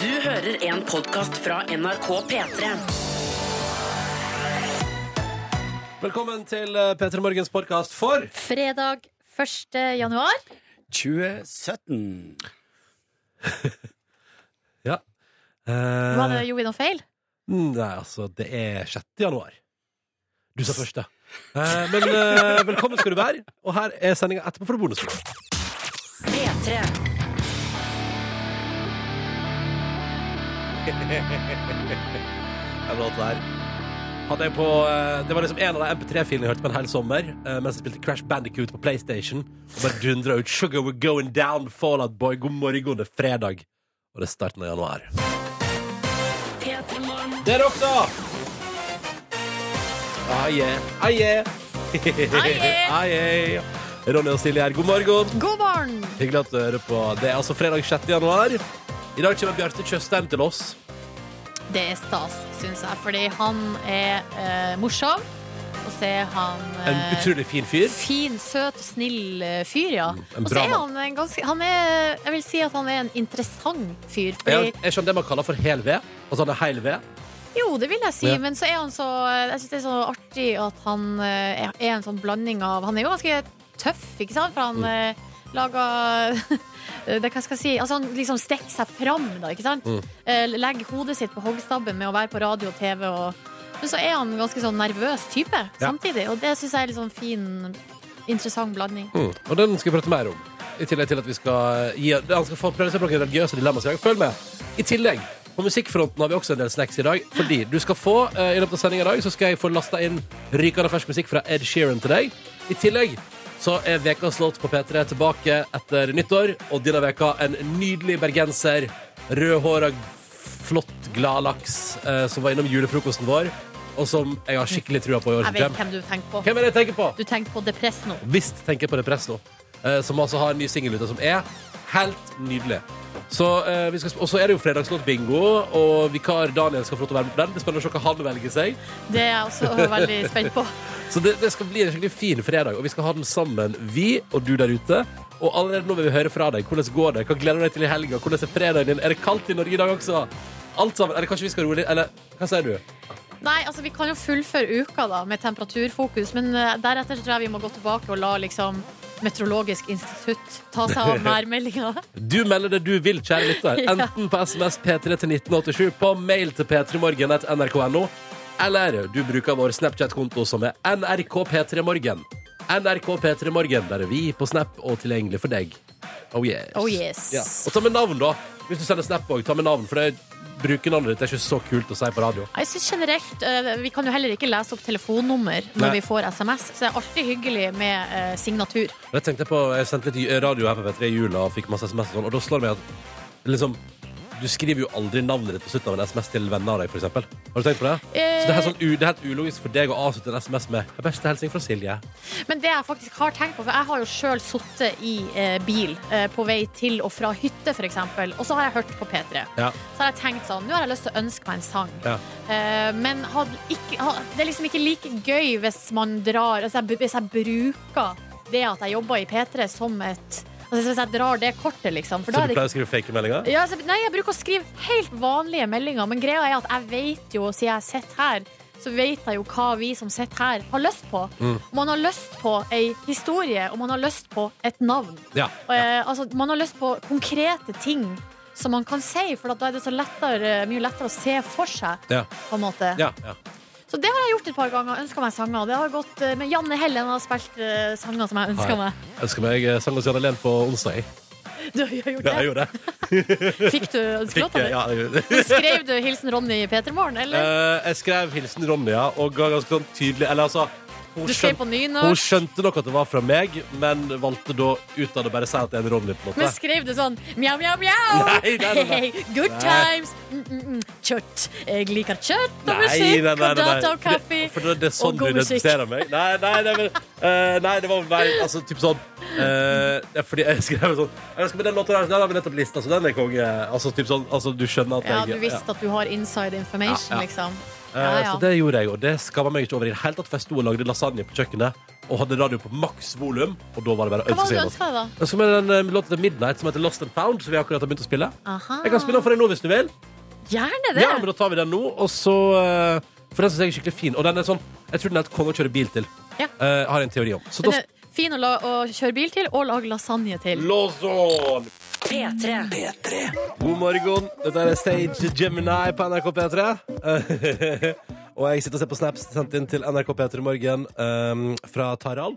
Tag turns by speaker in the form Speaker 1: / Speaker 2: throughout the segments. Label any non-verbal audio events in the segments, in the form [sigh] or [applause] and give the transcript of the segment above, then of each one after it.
Speaker 1: Du hører en podcast fra NRK P3.
Speaker 2: Velkommen til eh, P3 Morgens podkast for
Speaker 3: Fredag 1. januar.
Speaker 4: 2017.
Speaker 2: eh,
Speaker 3: Var det, gjorde vi noe feil?
Speaker 2: Nei, altså, det er 6. januar. Du sa første. Eh, men eh, velkommen skal du være, og her er sendinga etterpå for bonusbordet.
Speaker 1: P3.
Speaker 2: Hadde jeg på, eh, det var liksom en av de MP3-filene jeg hørte på en hel sommer, eh, mens jeg spilte Crash Bandicoot på PlayStation. Og bare dundra ut 'Sugar We're Going Down', Fall Out Boy, god morgen, det er fredag. Og det er starten av januar.
Speaker 1: P3 Morgen.
Speaker 2: Det er dere, da! Ah, yeah. Ah, yeah. [laughs] Ah, yeah. Ronny og Silje her, god morgen.
Speaker 3: God morgen!
Speaker 2: Hyggelig at du hører på. Det er altså fredag 6. januar. I dag kommer Bjarte Tjøstheim til oss.
Speaker 3: Det er stas, syns jeg, fordi han er eh, morsom. Og så er han
Speaker 2: En
Speaker 3: eh,
Speaker 2: utrolig fin fyr.
Speaker 3: fin, søt og snill eh, fyr, ja.
Speaker 2: en
Speaker 3: Og så
Speaker 2: bra
Speaker 3: er
Speaker 2: mann.
Speaker 3: han en ganske han er, Jeg vil si at han er en interessant fyr.
Speaker 2: Er
Speaker 3: Fordi,
Speaker 2: han- er ikke han det man kaller for hel ved? Altså han er heil ved?
Speaker 3: jo, det vil jeg si,
Speaker 2: Ja.
Speaker 3: men så er han så Jeg syns det er så artig at han eh, er er en sånn blanding av Han er jo ganske tøff, ikke sant? For
Speaker 2: Mm.
Speaker 3: han eh, lager [laughs] det, hva skal jeg si? Altså, han liksom strekker seg fram, da, ikke sant?
Speaker 2: Mm.
Speaker 3: Eh, Legger hodet sitt på hoggstabben med å være på radio og TV. Og, men så er han en ganske sånn nervøs type
Speaker 2: Ja.
Speaker 3: samtidig, og det syns jeg er litt sånn fin, interessant blanding.
Speaker 2: Mm. Og den skal vi prate mer om. I tillegg til at vi skal gi, han skal få prøve seg på noen religiøse dilemmaer i dag. Følg med. I tillegg, på musikkfronten har vi også en del snacks i dag. Fordi du skal få, eh, i løpet av sendinga i dag, så skal jeg få lasta inn rykende fersk musikk fra Ed Sheeran til deg. I tillegg så er Vekas låt på P3 tilbake etter nyttår, og denne veka en nydelig bergenser, rødhåra, flott gladlaks, eh, som var innom julefrokosten vår, og som jeg har skikkelig trua på i år som
Speaker 3: Jeg vet
Speaker 2: kommer.
Speaker 3: hvem du tenker på.
Speaker 2: Hvem er det jeg tenker på?
Speaker 3: Du tenker på Depress nå.
Speaker 2: Visst tenker jeg på Depress nå, eh, som altså har en ny singel ute, som er helt nydelig. Så, eh, vi skal, sp- og så er det jo fredagslåt-bingo, og vikar Daniel skal få lov til å være med på den. Det er spennende å se hva han velger seg.
Speaker 3: Det er jeg også [laughs] veldig spent på.
Speaker 2: Så det, det skal bli en skikkelig fin fredag, og vi skal ha den sammen, vi og du der ute. Og allerede nå vil vi høre fra deg. Hvordan går det? Hva gleder du deg til i helga? Hvordan er fredagen din? Er det kaldt i Norge i dag også? Alt sammen. Eller kanskje vi skal roe litt? Eller hva sier du?
Speaker 3: Nei, altså Vi kan jo fullføre uka da med temperaturfokus, men eh, deretter så tror jeg vi må gå tilbake og la liksom Meteorologisk institutt ta seg av værmeldinga.
Speaker 2: Du melder det du vil, kjære lytter.
Speaker 3: [laughs] Ja.
Speaker 2: Enten på SMS P3 til 1987, på mail til p3morgen.nrk.no, eller du bruker vår Snapchat-konto som er NRK P3morgen. NRK P3morgen, der er vi på Snap og tilgjengelig for deg. Oh yes.
Speaker 3: Oh yes.
Speaker 2: Ja. Og ta med navn, da. Hvis du sender Snap òg, ta med navn, for det brukernavnet ditt er ikke så kult å si på radio.
Speaker 3: Jeg synes generelt, eh, Vi kan jo heller ikke lese opp telefonnummer når
Speaker 2: Nei.
Speaker 3: vi får SMS, så det er alltid hyggelig med eh, signatur.
Speaker 2: Og Jeg tenkte på, jeg sendte litt radio her på P3 i jula og fikk masse SMS og sånn, og da slår det meg at liksom, du skriver jo aldri navnet ditt på slutten av en SMS til venner av deg, for eksempel. Har du tenkt på det? Så det er, sånn, u- det er helt ulogisk for deg å avslutte en SMS med «Jeg beste hilsen fra Silje».
Speaker 3: Men det jeg faktisk har tenkt på, for jeg har jo sjøl sittet i eh, bil eh, på vei til og fra hytte, f.eks., og så har jeg hørt på P3.
Speaker 2: Ja.
Speaker 3: Så har jeg tenkt sånn, nå har jeg lyst til å ønske meg en sang.
Speaker 2: Ja.
Speaker 3: Eh, men had, ikke, ha- det er liksom ikke like gøy hvis man drar altså jeg, Hvis jeg bruker det at jeg jobber i P3 som et altså Hvis jeg drar det kortet, liksom.
Speaker 2: Så
Speaker 3: For
Speaker 2: du
Speaker 3: da er det
Speaker 2: pleier å skrive fake meldinger?
Speaker 3: ja, altså, nei, jeg bruker å skrive helt vanlige meldinger, men greia er at jeg vet jo, siden jeg sitter her, så vet jeg jo hva vi som sitter her, har lyst på.
Speaker 2: Mm.
Speaker 3: Og Man har lyst på ei historie, og man har lyst på et navn.
Speaker 2: Ja.
Speaker 3: Og, eh, altså, man har lyst på konkrete ting som man kan si, for at da er det så lettere, eh, mye lettere å se for seg,
Speaker 2: Ja.
Speaker 3: på en måte.
Speaker 2: Ja, ja.
Speaker 3: Så det har jeg gjort et par ganger. Ønska meg sanger. Det har gått eh, med Janne Hellen har spilt eh, sanger som jeg
Speaker 2: Hei.
Speaker 3: ønska meg. [laughs]
Speaker 2: Jeg ønsker meg eh, sang hos Janne Len på onsdag. jeg.
Speaker 3: Du har gjort
Speaker 2: Ja, jeg
Speaker 3: det.
Speaker 2: gjorde det.
Speaker 3: Fikk
Speaker 2: Fikk,
Speaker 3: du ønskelåta
Speaker 2: eh,
Speaker 3: di?
Speaker 2: ja, jeg gjorde det.
Speaker 3: Skrev du 'Hilsen Ronny i Petermorgen', eller?
Speaker 2: Eh, jeg skrev hilsen Ronja, og ga ganske sånn tydelig, eller altså, hun
Speaker 3: Du skrev
Speaker 2: skjønte-
Speaker 3: på
Speaker 2: Hun
Speaker 3: nynorsk,
Speaker 2: skjønte nok at det var fra meg, men valgte da ut av det bare å si at det er en Ronny. på en
Speaker 3: men
Speaker 2: måte
Speaker 3: skrev du sånn mjau, mjau, mjau?
Speaker 2: [laughs] Nei, nei, nei, nei.
Speaker 3: Hey, [laughs] good
Speaker 2: Nei.
Speaker 3: times. Mm, mm, mm. Kjøtt. Jeg liker kjøtt og
Speaker 2: Nei,
Speaker 3: musikk
Speaker 2: nei, nei,
Speaker 3: og
Speaker 2: nei, nei.
Speaker 3: data og kaffe.
Speaker 2: For, det, for det er sånn
Speaker 3: og
Speaker 2: du
Speaker 3: god musikk.
Speaker 2: identifiserer meg. Nei, nei, nei, men, eh, nei det var mer altså, typ sånn eh, det er Fordi jeg skrev sånn Jeg skal med den låta der, den har vi nettopp lista, så den er konge. Altså, typ sånn, altså, du skjønner at
Speaker 3: Ja,
Speaker 2: jeg
Speaker 3: du visste at du har inside
Speaker 2: Ja,
Speaker 3: information,
Speaker 2: ja.
Speaker 3: liksom.
Speaker 2: Ja.
Speaker 3: Ja, ja.
Speaker 2: Så det gjorde jeg, og det skamma meg ikke over i det hele tatt, for jeg sto og lagde lasagne på kjøkkenet og hadde radio på maks volum, og da var det bare å
Speaker 3: Hva
Speaker 2: ønske seg
Speaker 3: var det du
Speaker 2: gjennom.
Speaker 3: ønska deg, da?
Speaker 2: Jeg ønsker meg en eh, låt til Midnight som heter Lost and Found, som vi akkurat har begynt å spille.
Speaker 3: Aha.
Speaker 2: Jeg kan spille den for deg nå hvis du vil.
Speaker 3: Gjerne det!
Speaker 2: Ja, men da tar vi den nå, og så eh, For den syns jeg er skikkelig fin. Og den er sånn Jeg tror den er et konge å kjøre bil til.
Speaker 3: Ja.
Speaker 2: Eh, har jeg en teori om. Så da
Speaker 3: Den er fin å, la, å kjøre bil til og lage lasagne til.
Speaker 2: Låson!
Speaker 1: P3.
Speaker 2: God morgen. Dette er Stage Gemini på NRK P3. [laughs] Eh, og jeg sitter og ser på snaps sendt inn til NRK P3 Morgen eh, fra Taral.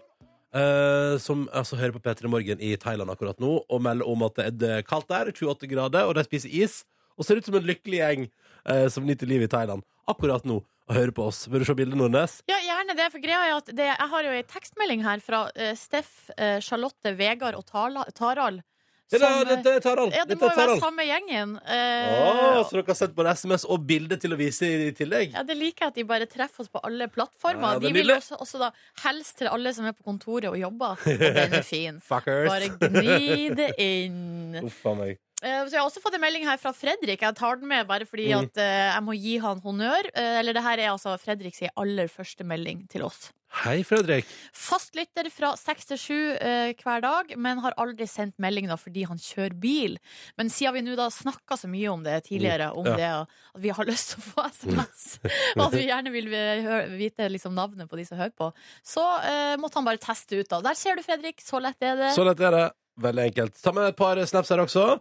Speaker 2: eh, som altså hører på P3 Morgen i Thailand akkurat nå og melder om at det er kaldt der, 28 grader, og de spiser is. Og ser ut som en lykkelig gjeng eh, som nyter livet i Thailand akkurat nå og hører på oss. Vil du se bildet, Nordnes?
Speaker 3: Ja, gjerne det, for greia er at det, Jeg har jo ei tekstmelding her fra eh, Steff, eh, Charlotte, Vegard og Tala, Tarald.
Speaker 2: Det,
Speaker 3: som,
Speaker 2: det, det er Taral.
Speaker 3: eh, ja, det
Speaker 2: Dette
Speaker 3: må
Speaker 2: er
Speaker 3: jo være
Speaker 2: Taral.
Speaker 3: samme gjengen.
Speaker 2: Å,
Speaker 3: Eh,
Speaker 2: så dere har sendt både SMS og bilde til å vise i tillegg?
Speaker 3: ja, Det liker jeg at de bare treffer oss på alle plattformer.
Speaker 2: Ja, det er
Speaker 3: de vil
Speaker 2: nydelig.
Speaker 3: også, også da helst til alle som er på kontoret og
Speaker 2: [laughs]
Speaker 3: jobber. Og den er fin.
Speaker 2: Fuckers.
Speaker 3: Bare gni det inn.
Speaker 2: Uff a meg.
Speaker 3: Eh, Så jeg har også fått en melding her fra Fredrik. Jeg tar den med bare fordi
Speaker 2: Mm.
Speaker 3: at eh, jeg må gi han honnør. Eh, eller det her er altså Fredrik sin aller første melding til oss.
Speaker 2: Hei, Fredrik.
Speaker 3: Fastlytter fra seks til sju eh, hver dag, men har aldri sendt melding da fordi han kjører bil. Men siden vi nå da snakka så mye om det tidligere, om
Speaker 2: Mm. Ja. Mm.
Speaker 3: det at vi har lyst til å få SMS, og at vi gjerne vil eh, hø- vite liksom navnet på de som hører på, så eh, måtte han bare teste ut, da. Der ser du, Fredrik. Så lett er det.
Speaker 2: Så lett er det. Veldig enkelt. Ta med et par snaps her også,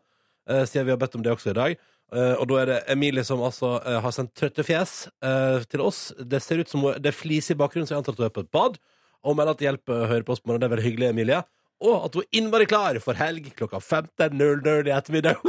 Speaker 2: eh, siden vi har bedt om det også i dag. Eh, Og da er det Emilie som altså eh, har sendt trøtte fjes eh, til oss. Det ser ut som hun, det er flis i bakgrunnen, så jeg antar at hun er på et bad. Og melder at det hjelper å høre på oss på morgenen. Det er veldig hyggelig, Emilie. Og at hun er innmari klar for helg klokka 15.00 i ettermiddag.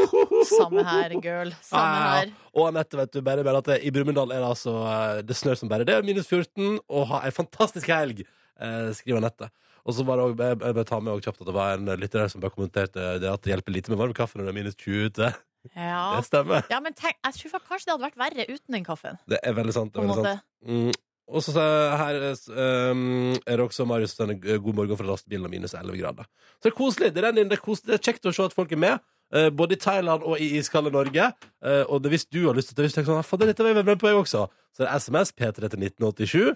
Speaker 3: Samme her, girl. Samme
Speaker 2: Ah, Ja, ja, ja.
Speaker 3: her.
Speaker 2: Og Anette, vet du, bare, bare at det, i Brumunddal er det altså eh, Det snør som bare det, minus 14, og ha ei fantastisk helg, eh, skriver Anette. Og så var det også, jeg, jeg bare tar med også kjapt at det var en lytter her som bare kommenterte det at det hjelper lite med varm kaffe når det er minus 20 ute.
Speaker 3: Ja.
Speaker 2: Det stemmer.
Speaker 3: Ja, men tenk, jeg tror faktisk kanskje det hadde vært verre uten den kaffen.
Speaker 2: Det er veldig sant. Det er
Speaker 3: På en
Speaker 2: veldig sant.
Speaker 3: måte.
Speaker 2: Mm. Og så sa- her eh, um, er det også Marius som sender eh, god morgen fra lastebilen og minus 11 grader. Så det er koselig. Det renner inn. Det er, kos- det er kjekt å se at folk er med. eh, både i Thailand og i iskalde Norge. Eh, og det, hvis du har lyst til det, hvis du tenker sånn, "Ah, fader, dette var jeg med på, jeg også, så er det SMS P3 til 1987.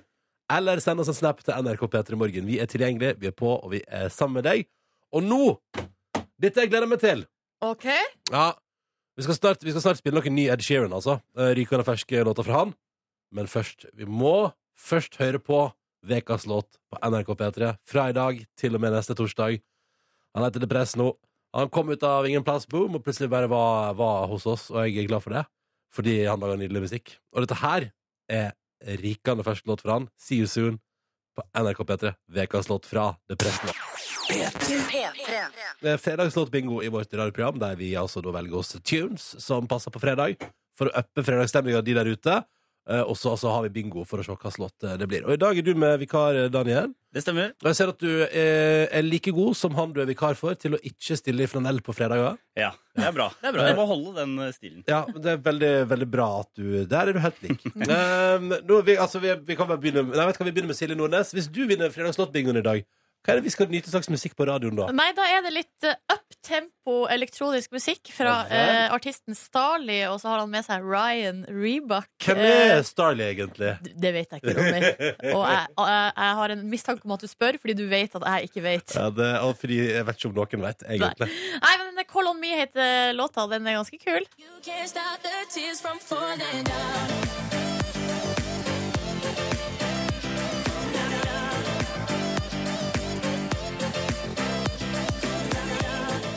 Speaker 2: Eller send oss en snap til NRK P3 Morgen. Vi er tilgjengelige, vi er på, og vi er sammen med deg. Og nå Dette jeg gleder meg til.
Speaker 3: Ok.
Speaker 2: Ja. Vi skal snart, vi skal snart spille noen ny Ed Sheeran, altså. Eh, Rykende ferske låter fra han. Men først, vi må først høre på Vekas låt på NRK P3 fra i dag til og med neste torsdag. Han heter Depress nå. Han kom ut av ingen plass, boom, og plutselig bare var, var hos oss, og jeg er glad for det. Fordi han lager nydelig musikk. Og dette her er rikende fersk låt fra han. See you soon på NRK P3. Vekas låt fra Depress nå.
Speaker 1: P3.
Speaker 2: Det er fredagslåtbingo i vårt radioprogram, der vi altså da velger oss tunes som passer på fredag, for å uppe fredagsstemninga de der ute. Eh, Og så altså, har vi bingo for å se hva slått eh, det blir. Og i dag er du med vikar, eh, Daniel.
Speaker 4: Det stemmer.
Speaker 2: Og jeg ser at du eh, er like god som han du er vikar for, til å ikke stille i flanell på fredager.
Speaker 4: Ja, det er bra. Det er bra. Jeg må holde den eh, stilen.
Speaker 2: Ja, men det er veldig, veldig bra at du Der er du helt [laughs] lik. um, nå, vi, altså, vi, vi kan bare begynne Nei, vet du hva, vi begynner med Silje Nordnes. Hvis du vinner fredagslåtbingoen i dag, hva er det vi skal nyte slags musikk på radioen da?
Speaker 3: Nei, da er det litt eh, uptempo elektronisk musikk fra
Speaker 2: Ja vel.
Speaker 3: eh, artisten Starley, og så har han med seg Ryan Rebuck.
Speaker 2: Hvem
Speaker 3: eh,
Speaker 2: er Starley, egentlig?
Speaker 3: D- Det vet jeg ikke,
Speaker 2: [laughs]
Speaker 3: Ronny. Og jeg, jeg, jeg har en mistanke om at du spør, fordi du vet at jeg ikke vet.
Speaker 2: Ja, det, og fordi jeg vet ikke om noen vet, egentlig.
Speaker 3: Nei, men denne Call On Me heter låta. Den er ganske kul.
Speaker 5: You can't stop the tears from falling down.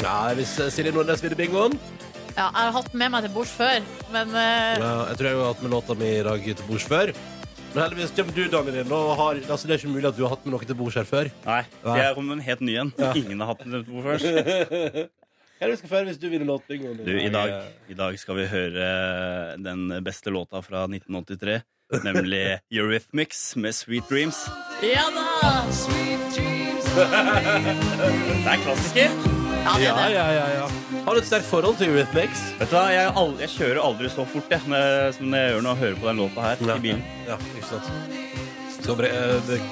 Speaker 2: Ja, Hvis eh, Silje Nordnes vinner bingoen
Speaker 3: Ja, jeg har hatt den med meg til bords før, men eh,
Speaker 2: ja, Jeg tror jeg har hatt med låta mi i dag til bords før. Men heldigvis kommer du, Daniel, inn. Og har, altså, det er ikke mulig at du har hatt med noe til bords her før.
Speaker 4: Nei,
Speaker 2: Nei.
Speaker 4: jeg kom med en helt ny en. Ingen har hatt den på først.
Speaker 2: Hva er det du skal føre hvis du vinner låtbingoen?
Speaker 4: [laughs] Du, i dag, I dag skal vi høre eh, den beste låta fra 1983, nemlig Eurythmics med Sweet Dreams.
Speaker 3: ja da!
Speaker 4: Det er klassiker.
Speaker 3: Ja, det
Speaker 2: Ja,
Speaker 3: er det.
Speaker 2: ja, ja, ja. Har du et sterkt forhold til Eurythmics?
Speaker 4: Vet du hva, jeg, er aldri, jeg kjører aldri så fort jeg, når, jeg- som jeg gjør når jeg hører på den låta her i bilen.
Speaker 2: Ja, ikke sant. Skal bre... eh, det-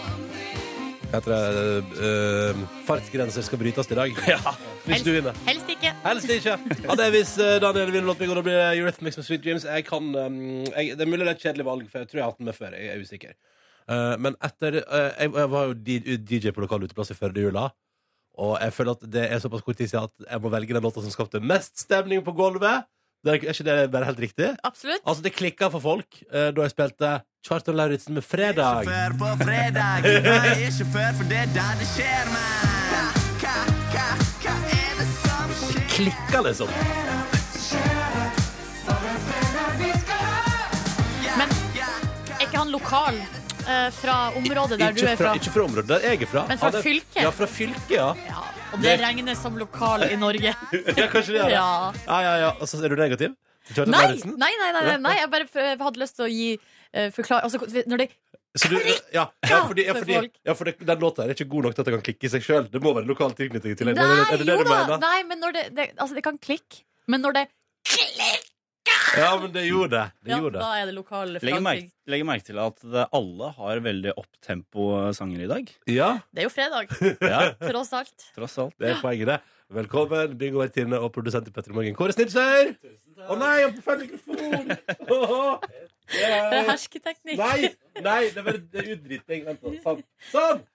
Speaker 2: Hva heter det? Eh, eh, fartsgrenser skal brytes i dag.
Speaker 4: Ja.
Speaker 2: Hvis du vinner.
Speaker 3: Helst ikke.
Speaker 2: Helst ikke. Ja, det er hvis eh, Daniel vinner låten min, og da blir det Eurythmics med Sweet Dreams. Jeg kan, um, jeg, det er mulig det er et kjedelig valg, for jeg tror jeg har hatt den med før. Jeg er usikker. Eh, men etter eh, jeg, jeg var jo D- DJ på lokal uteplass i førjula. Og jeg føler at det er såpass kort tid siden at jeg må velge den låta som skapte mest stemning på gulvet. Det er, er ikke det bare helt riktig?
Speaker 3: Absolutt.
Speaker 2: Altså, det klikka for folk eh, da jeg spilte Kjartan Lauritzen med 'Fredag'.
Speaker 6: Sjåfør på fredag. Jeg er sjåfør for det er da det skjer, mann. Hva, hva, hva er det som skjer?
Speaker 2: Klikka, liksom.
Speaker 3: Men er ikke han lokal eh, fra området der du
Speaker 2: Ikke fra,
Speaker 3: er fra?
Speaker 2: ikke fra området der jeg er fra.
Speaker 3: Men fra
Speaker 2: Han er-
Speaker 3: fylket?
Speaker 2: Ja, fra fylket,
Speaker 3: [laughs]
Speaker 2: ja.
Speaker 3: Ja, og det regnes som lokal i
Speaker 2: [laughs]
Speaker 3: Norge.
Speaker 2: ja kanskje det er det.
Speaker 3: Ja.
Speaker 2: Ja, ja, ja. Altså, er du negativ? til Kjartan
Speaker 3: Nei,
Speaker 2: Lauritzen?
Speaker 3: nei, nei, nei, nei, nei. jeg bare eh, hadde lyst til å gi eh, forklar... Altså, når det
Speaker 2: Så du, ja, ja, fordi, ja,
Speaker 3: for
Speaker 2: fordi,
Speaker 3: folk.
Speaker 2: ja, for det, den låta her er ikke god nok til at det kan klikke i seg sjøl. Det må være lokal tilknytning til en.
Speaker 3: Nei,
Speaker 2: Er det- er det det
Speaker 3: jo
Speaker 2: du
Speaker 3: da!
Speaker 2: mener?
Speaker 3: Nei, men når det, det Altså, det kan klikke. Men når det
Speaker 2: Ja, men det gjorde det. det,
Speaker 3: Ja,
Speaker 2: gjorde det.
Speaker 3: da er det lokal
Speaker 4: Legger merke,
Speaker 3: forankring.
Speaker 4: legger merke til at det, alle har veldig opptempo-sanger i dag.
Speaker 2: Ja,
Speaker 3: Det er jo fredag,
Speaker 2: [laughs]
Speaker 4: Ja,
Speaker 3: tross alt.
Speaker 4: tross alt.
Speaker 2: det er poenget, det. Velkommen, byggevertinne og produsent i Petter Morgen, Kåre Snipser. Å nei, jeg får feil mikrofon! Åhå.
Speaker 3: Det er
Speaker 2: Nei,
Speaker 3: hersketeknikk.
Speaker 2: nei, nei, det er bare det er utdritting. Vent, da. Sånn. sånn.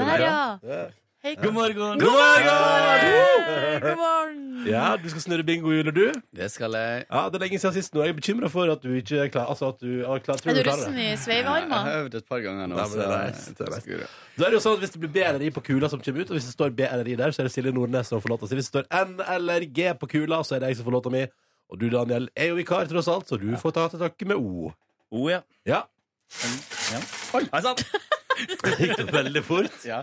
Speaker 3: Der, ja.
Speaker 2: Ja.
Speaker 3: Hei, god
Speaker 7: morgen.
Speaker 2: God morgen!
Speaker 3: morgen.
Speaker 2: Ja, du skal snurre bingohjulet, du.
Speaker 7: Det skal jeg.
Speaker 2: Ja, Det er lenge siden sist nå. Jeg er bekymra for at du ikke er klar. Altså, at du, ja, klar, tror
Speaker 3: Er du liksom
Speaker 2: du klarer det.
Speaker 3: russen i
Speaker 7: Jeg har
Speaker 3: sveivearmer?
Speaker 2: [laughs]
Speaker 7: øvd et par ganger nå.
Speaker 2: Nei, men det er
Speaker 7: så-
Speaker 2: nice, det er nice. Da er det jo sånn at Hvis det blir BLRI på kula som kommer ut, og hvis det står BLRI der, så er det Silje Nordnes som får låta si. Hvis det står N eller G på kula, så er det jeg som får låta mi. Og du, Daniel, er jo vikar, tross alt, så du får ta til takke med O.
Speaker 4: Å Oh, ja.
Speaker 2: Ja.
Speaker 4: ja. Hei sann!
Speaker 2: Gikk det veldig
Speaker 4: [laughs]
Speaker 2: fort?
Speaker 7: Ja.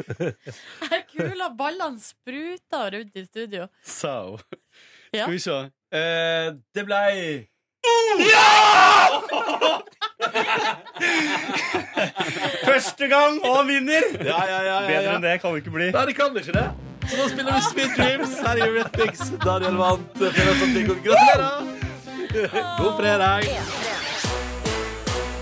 Speaker 3: Her kula ballene spruta rundt i studio.
Speaker 7: Så
Speaker 3: Ja.
Speaker 7: Skal vi se. Eh, det blei
Speaker 4: [laughs] Første gang og vinner!
Speaker 2: Ja, ja, ja. ja,
Speaker 4: Bedre
Speaker 2: ja.
Speaker 4: enn det kan det ikke bli.
Speaker 2: Nei, det kan ikke det. Så nå spiller vi Sweet Dreams her i Redfix. Daniel vant. eh, Fredag som bingo. Gratulerer! God fredag.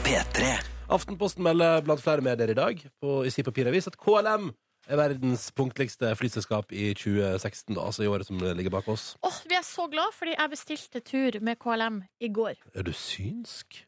Speaker 6: P3.
Speaker 2: Aftenposten melder blant flere medier i dag på, i sin papiravis at KLM er verdens punktligste flyselskap i 2016, da, altså i året som ligger bak oss.
Speaker 3: Åh, Vi er så glad fordi jeg bestilte tur med KLM i går.
Speaker 2: Er du synsk?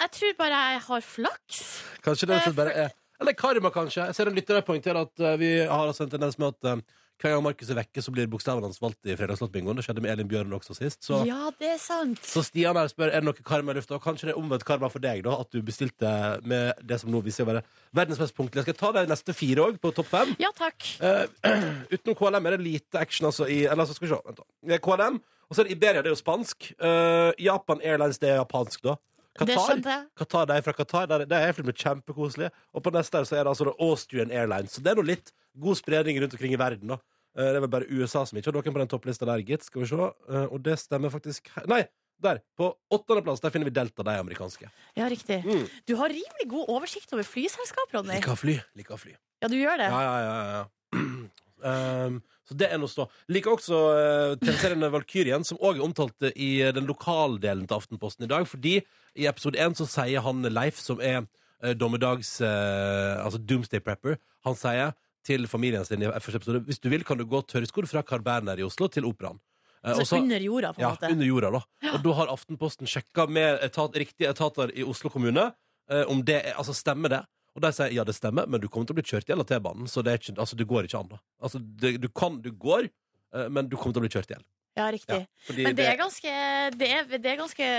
Speaker 3: Jeg tror bare jeg har flaks.
Speaker 2: Kanskje det er slett bare er Eller karma, kanskje. Jeg ser en lytter her poengtere at eh, vi har altså en tendens med at eh, hver gang Markus er vekke, så blir bokstavene hans valgt i Fredagslåtbingoen. Det skjedde med Elin Bjørn også sist. Så,
Speaker 3: Ja, det er sant.
Speaker 2: så Stian her spør er det noe karma i lufta. Og Kanskje det er omvendt karma for deg, da, at du bestilte med det som nå viser seg å være verdens mest punktlige. Skal jeg ta de neste fire òg, på topp fem?
Speaker 3: Ja takk.
Speaker 2: Eh, [clears throat] utenom KLM er det lite action, altså. I, eller altså, skal vi se. Vent, da. Det er KLM. Og så er det Iberia, det er jo spansk. Eh, Japan Airlines, det er japansk, da.
Speaker 3: Det
Speaker 2: Qatar,
Speaker 3: skjønte jeg.
Speaker 2: Qatar, de er fra Qatar. Der, der er jeg med kjempekoselig. Og på neste her så er det altså da Austrian Airlines. Så det er nå litt god spredning rundt omkring i verden, da. Eh, det er vel bare USA som ikke har noen på den topplista der, gitt. Skal vi se. Eh, og det stemmer faktisk her. Nei! Der! På åttendeplass der finner vi Delta, de amerikanske.
Speaker 3: Ja, riktig.
Speaker 2: Mm.
Speaker 3: Du har rimelig god oversikt over flyselskap, Ronny.
Speaker 2: Liker å fly. Liker å fly.
Speaker 3: Ja, du gjør det.
Speaker 2: Ja, ja, ja, [clears throat] ja. Ehm, så det er noe å stå. Liker også uh, TV-serien Valkyrien, som òg er omtalt eh, i den lokaldelen til Aftenposten i dag. Fordi i episode én så sier han Leif, som er eh, dommedags eh, Altså Doomsday Prepper, han sier til familien sin i første episode Hvis du vil, kan du gå tørrskodd fra Carl Berner i Oslo til Operaen. Eh, og
Speaker 3: Altså
Speaker 2: så-
Speaker 3: under jorda, på en
Speaker 2: ja,
Speaker 3: måte.
Speaker 2: under jorda, da. Og da har Aftenposten sjekka med etat, riktige etater i Oslo kommune eh, om det er, altså stemmer det. Og de sier ja, det stemmer, men du kommer til å bli kjørt i hjel av T-banen. Så det, er ikke, altså, det går ikke an, da. Altså, det, du kan, du går, eh, men du kommer til å bli kjørt i hjel.
Speaker 3: Ja, riktig.
Speaker 2: Ja, fordi
Speaker 3: Men det er, ganske, det, er, det er ganske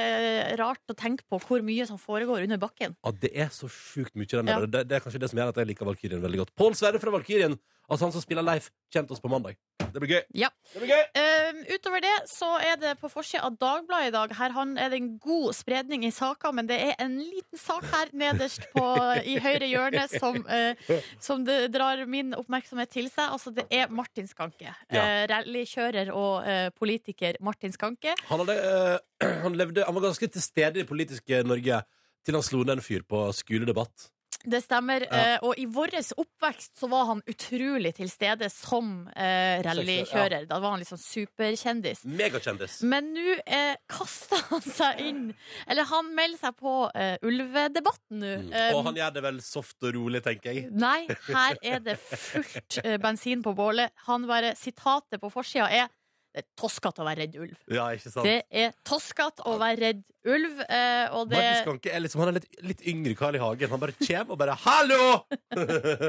Speaker 3: rart å tenke på hvor mye som foregår under bakken.
Speaker 2: Ja, det er så sjukt mye den
Speaker 3: Ja.
Speaker 2: der. Det, det er kanskje det som gjør at jeg liker Valkyrien veldig godt. Pål Sverre fra Valkyrien, altså han som spiller Leif, kommer til oss på mandag. Det blir gøy.
Speaker 3: Ja.
Speaker 2: Det blir gøy.
Speaker 3: Ehm, utover det så er det på forsida av Dagbladet i dag. Her han er det en god spredning i saker, men det er en liten sak her nederst på, i høyre hjørne som, eh, som det drar min oppmerksomhet til seg. Altså, det er Martin Skanke.
Speaker 2: Ja.
Speaker 3: Eh, Rallykjører og eh, politiker Martin Skanke.
Speaker 2: Han, hadde, [clears throat] eh, han, levde, han var ganske til stede i det politiske Norge til han slo ned en fyr på skoledebatt.
Speaker 3: Det stemmer. eh, og i vår oppvekst så var han utrolig til stede som eh, rallykjører. Da var han liksom superkjendis.
Speaker 2: Megakjendis.
Speaker 3: Men nå eh, kaster han seg inn Eller han melder seg på eh, ulvedebatten nå. Eh,
Speaker 2: Mm. Og han gjør det vel soft og rolig, tenker jeg.
Speaker 3: Nei, her er det fullt eh, bensin på bålet. Han bare, Sitatet på forsida er det er toskete å være redd ulv.
Speaker 2: Ja, ikke sant?
Speaker 3: Det er toskete å være redd ulv, eh, og det
Speaker 2: Markus Kanke er liksom, han er litt, litt yngre Karl i Hagen. Han bare kommer og bare 'Hallo!'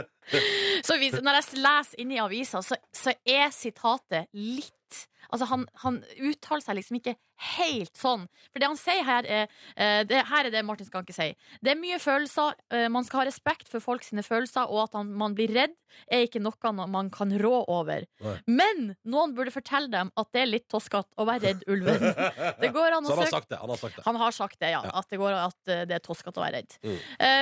Speaker 3: Så hvis, når jeg leser inni avisa, så, så er sitatet litt Altså, han, han uttaler seg liksom ikke helt sånn. For det han sier her, er eh, det, Her er det Martin Skanke sier. Det er mye følelser. eh, Man skal ha respekt for folk sine følelser, og at han, man blir redd, er ikke noe no- man kan rå over.
Speaker 2: Nei.
Speaker 3: Men noen burde fortelle dem at det er litt toskete å være redd
Speaker 2: [laughs]
Speaker 3: ulven. Det går an
Speaker 2: Så
Speaker 3: å
Speaker 2: han har
Speaker 3: søke
Speaker 2: sagt det. Han har sagt det.
Speaker 3: han har sagt det, ja. Mm. At det, går, at eh, det er toskete å være redd.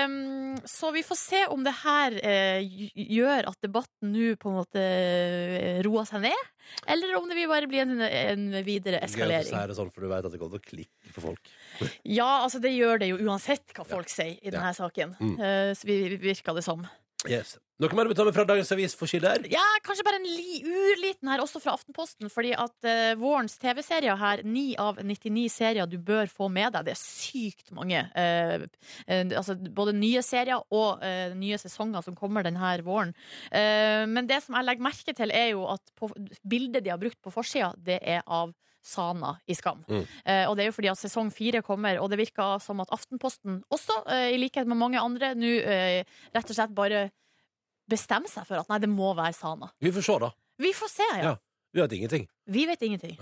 Speaker 3: Um, så vi får se om det her eh, gj- gjør at debatten nå på en måte eh, roer seg ned, eller om det vil bare bli en, en videre
Speaker 2: Gøy at du
Speaker 3: eskalering.
Speaker 2: sier det sånn, for du vet at det kommer til å klikke for folk.
Speaker 3: Ja, altså det gjør det jo uansett hva folk sier i denne saken.
Speaker 2: Mm.
Speaker 3: Eh, så vi, vi virker det som.
Speaker 2: Yes. Noe mer du vil ta med fra dagens avis for skiller?
Speaker 3: Ja, kanskje bare en li, urliten her, også fra Aftenposten, fordi at eh, vårens TV-serier her, 9 av 99 serier du bør få med deg, det er sykt mange. eh, eh, altså både nye serier og eh, nye sesonger som kommer denne våren. Eh, men det som jeg legger merke til, er jo at på, bildet de har brukt på forsida, det er av Sana i Skam.
Speaker 2: Mm.
Speaker 3: Eh, og det er jo fordi at sesong fire kommer, og det virker som at Aftenposten også, eh, i likhet med mange andre, nå eh, rett og slett bare bestemme seg for at nei, det må være Sana.
Speaker 2: Vi får se, da.
Speaker 3: Vi får se,
Speaker 2: Ja.
Speaker 3: ja.
Speaker 2: Vi vet ingenting.
Speaker 3: Vi vet ingenting.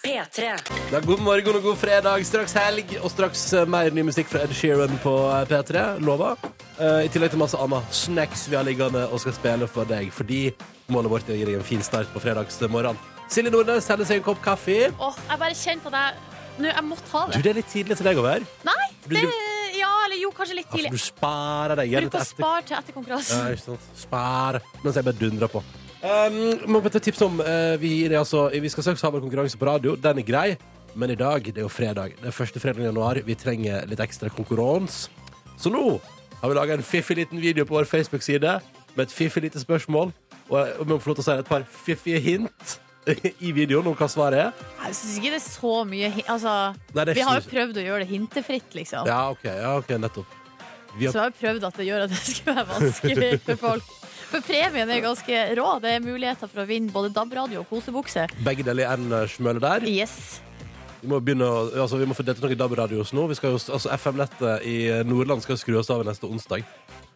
Speaker 1: P3.
Speaker 2: Da, god morgen og god fredag. Straks helg og straks eh, mer ny musikk fra Ed Sheeran på eh, P3. Lova. Eh, I tillegg til masse annet snacks vi har liggende og skal spille for deg. Fordi målet vårt er å gi deg en fin start på fredagsmorgenen. Silje Nordnes selger seg en kopp kaffe.
Speaker 3: Åh, jeg bare kjente at jeg Nå, jeg måtte ha
Speaker 2: Du,
Speaker 3: det.
Speaker 2: det er litt tidlig til deg å være.
Speaker 3: Nei,
Speaker 2: Blir
Speaker 3: det
Speaker 2: du-
Speaker 3: Ja, eller jo, kanskje litt
Speaker 2: Altså,
Speaker 3: tidlig.
Speaker 2: du sparer deg. gjerne
Speaker 3: Bruk å
Speaker 2: til etter-
Speaker 3: spare til etter konkurransen.
Speaker 2: Ja, ikke sant. Spar. Mens jeg bare dundrer på. Um, må bare ta tips om eh, Vi, gir deg altså, vi skal straks ha vår konkurranse på radio. Den er grei, men i dag det er jo fredag. Det er første fredag i januar. Vi trenger litt ekstra konkurranse. Så nå har vi laga en fiffig liten video på vår Facebook-side med et fiffig lite spørsmål. Og jeg om jeg får lov til å si et par fiffige hint [laughs] i videoen om hva svaret er.
Speaker 3: Jeg syns ikke det er så mye hi- Altså,
Speaker 2: Nei, det er
Speaker 3: vi har
Speaker 2: ikke
Speaker 3: jo prøvd å gjøre det hintefritt, liksom.
Speaker 2: Ja, OK. Ja, ok, nettopp. Vi
Speaker 3: Så vi
Speaker 2: har,
Speaker 3: har jo prøvd at det gjør at det [laughs] skulle være vanskelig for folk. For premien er jo ganske rå. Det er muligheter for å vinne både DAB-radio og kosebukse.
Speaker 2: begge deler er en eh, smøle der.
Speaker 3: Yes.
Speaker 2: Vi må begynne å, altså vi må få delt ut noen DAB-radios nå. Vi skal jo, altså FM-nettet i eh, Nordland skal skru oss av neste onsdag.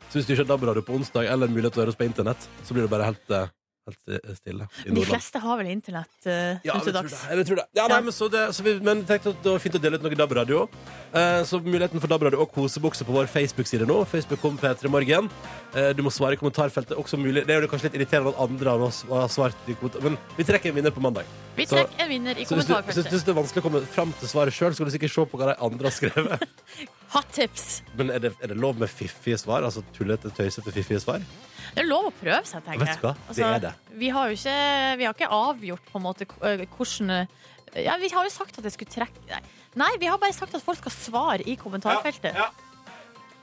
Speaker 2: Så hvis du ikke har DAB-radio på onsdag, eller en mulighet til å høre oss på internett, så blir det bare helt, eh, helt eh, stille i
Speaker 3: De
Speaker 2: Nordland.
Speaker 3: fleste har vel internett eh,
Speaker 2: Ja,
Speaker 3: nå
Speaker 2: jeg
Speaker 3: til
Speaker 2: tror det.
Speaker 3: dags.
Speaker 2: Jeg tror det. Ja, nei,
Speaker 3: Ja.
Speaker 2: men, så det, så vi, men tenkte at det var fint å dele ut noe DAB-radio. Eh, så muligheten for DAB-radio og kosebukse på vår Facebook-side nå. Facebook kom P3 Morgen. Eh, du må svare i kommentarfeltet. Også mulig. Det er jo kanskje litt irriterende at andre av oss har svart i kommentar... Men vi trekker en vinner på mandag.
Speaker 3: Vi
Speaker 2: Så-
Speaker 3: trekker en vinner i
Speaker 2: Så hvis du hvis du
Speaker 3: kommentarfeltet.
Speaker 2: synes det er vanskelig å komme fram til svaret sjøl, skal du sikkert se på hva de andre har skrevet.
Speaker 3: Hot tips.
Speaker 2: Men er det, er det lov med fiffige svar? Altså tullete, tøysete, fiffige svar?
Speaker 3: Det er lov å prøve seg, tenker
Speaker 2: Vet
Speaker 3: jeg. Altså,
Speaker 2: du hva? Det er det.
Speaker 3: Vi har jo ikke, vi har ikke avgjort på en måte k- øh, hvordan øh, ja, Vi har jo sagt at det skulle trekke nei. nei, vi har bare sagt at folk skal svare i kommentarfeltet.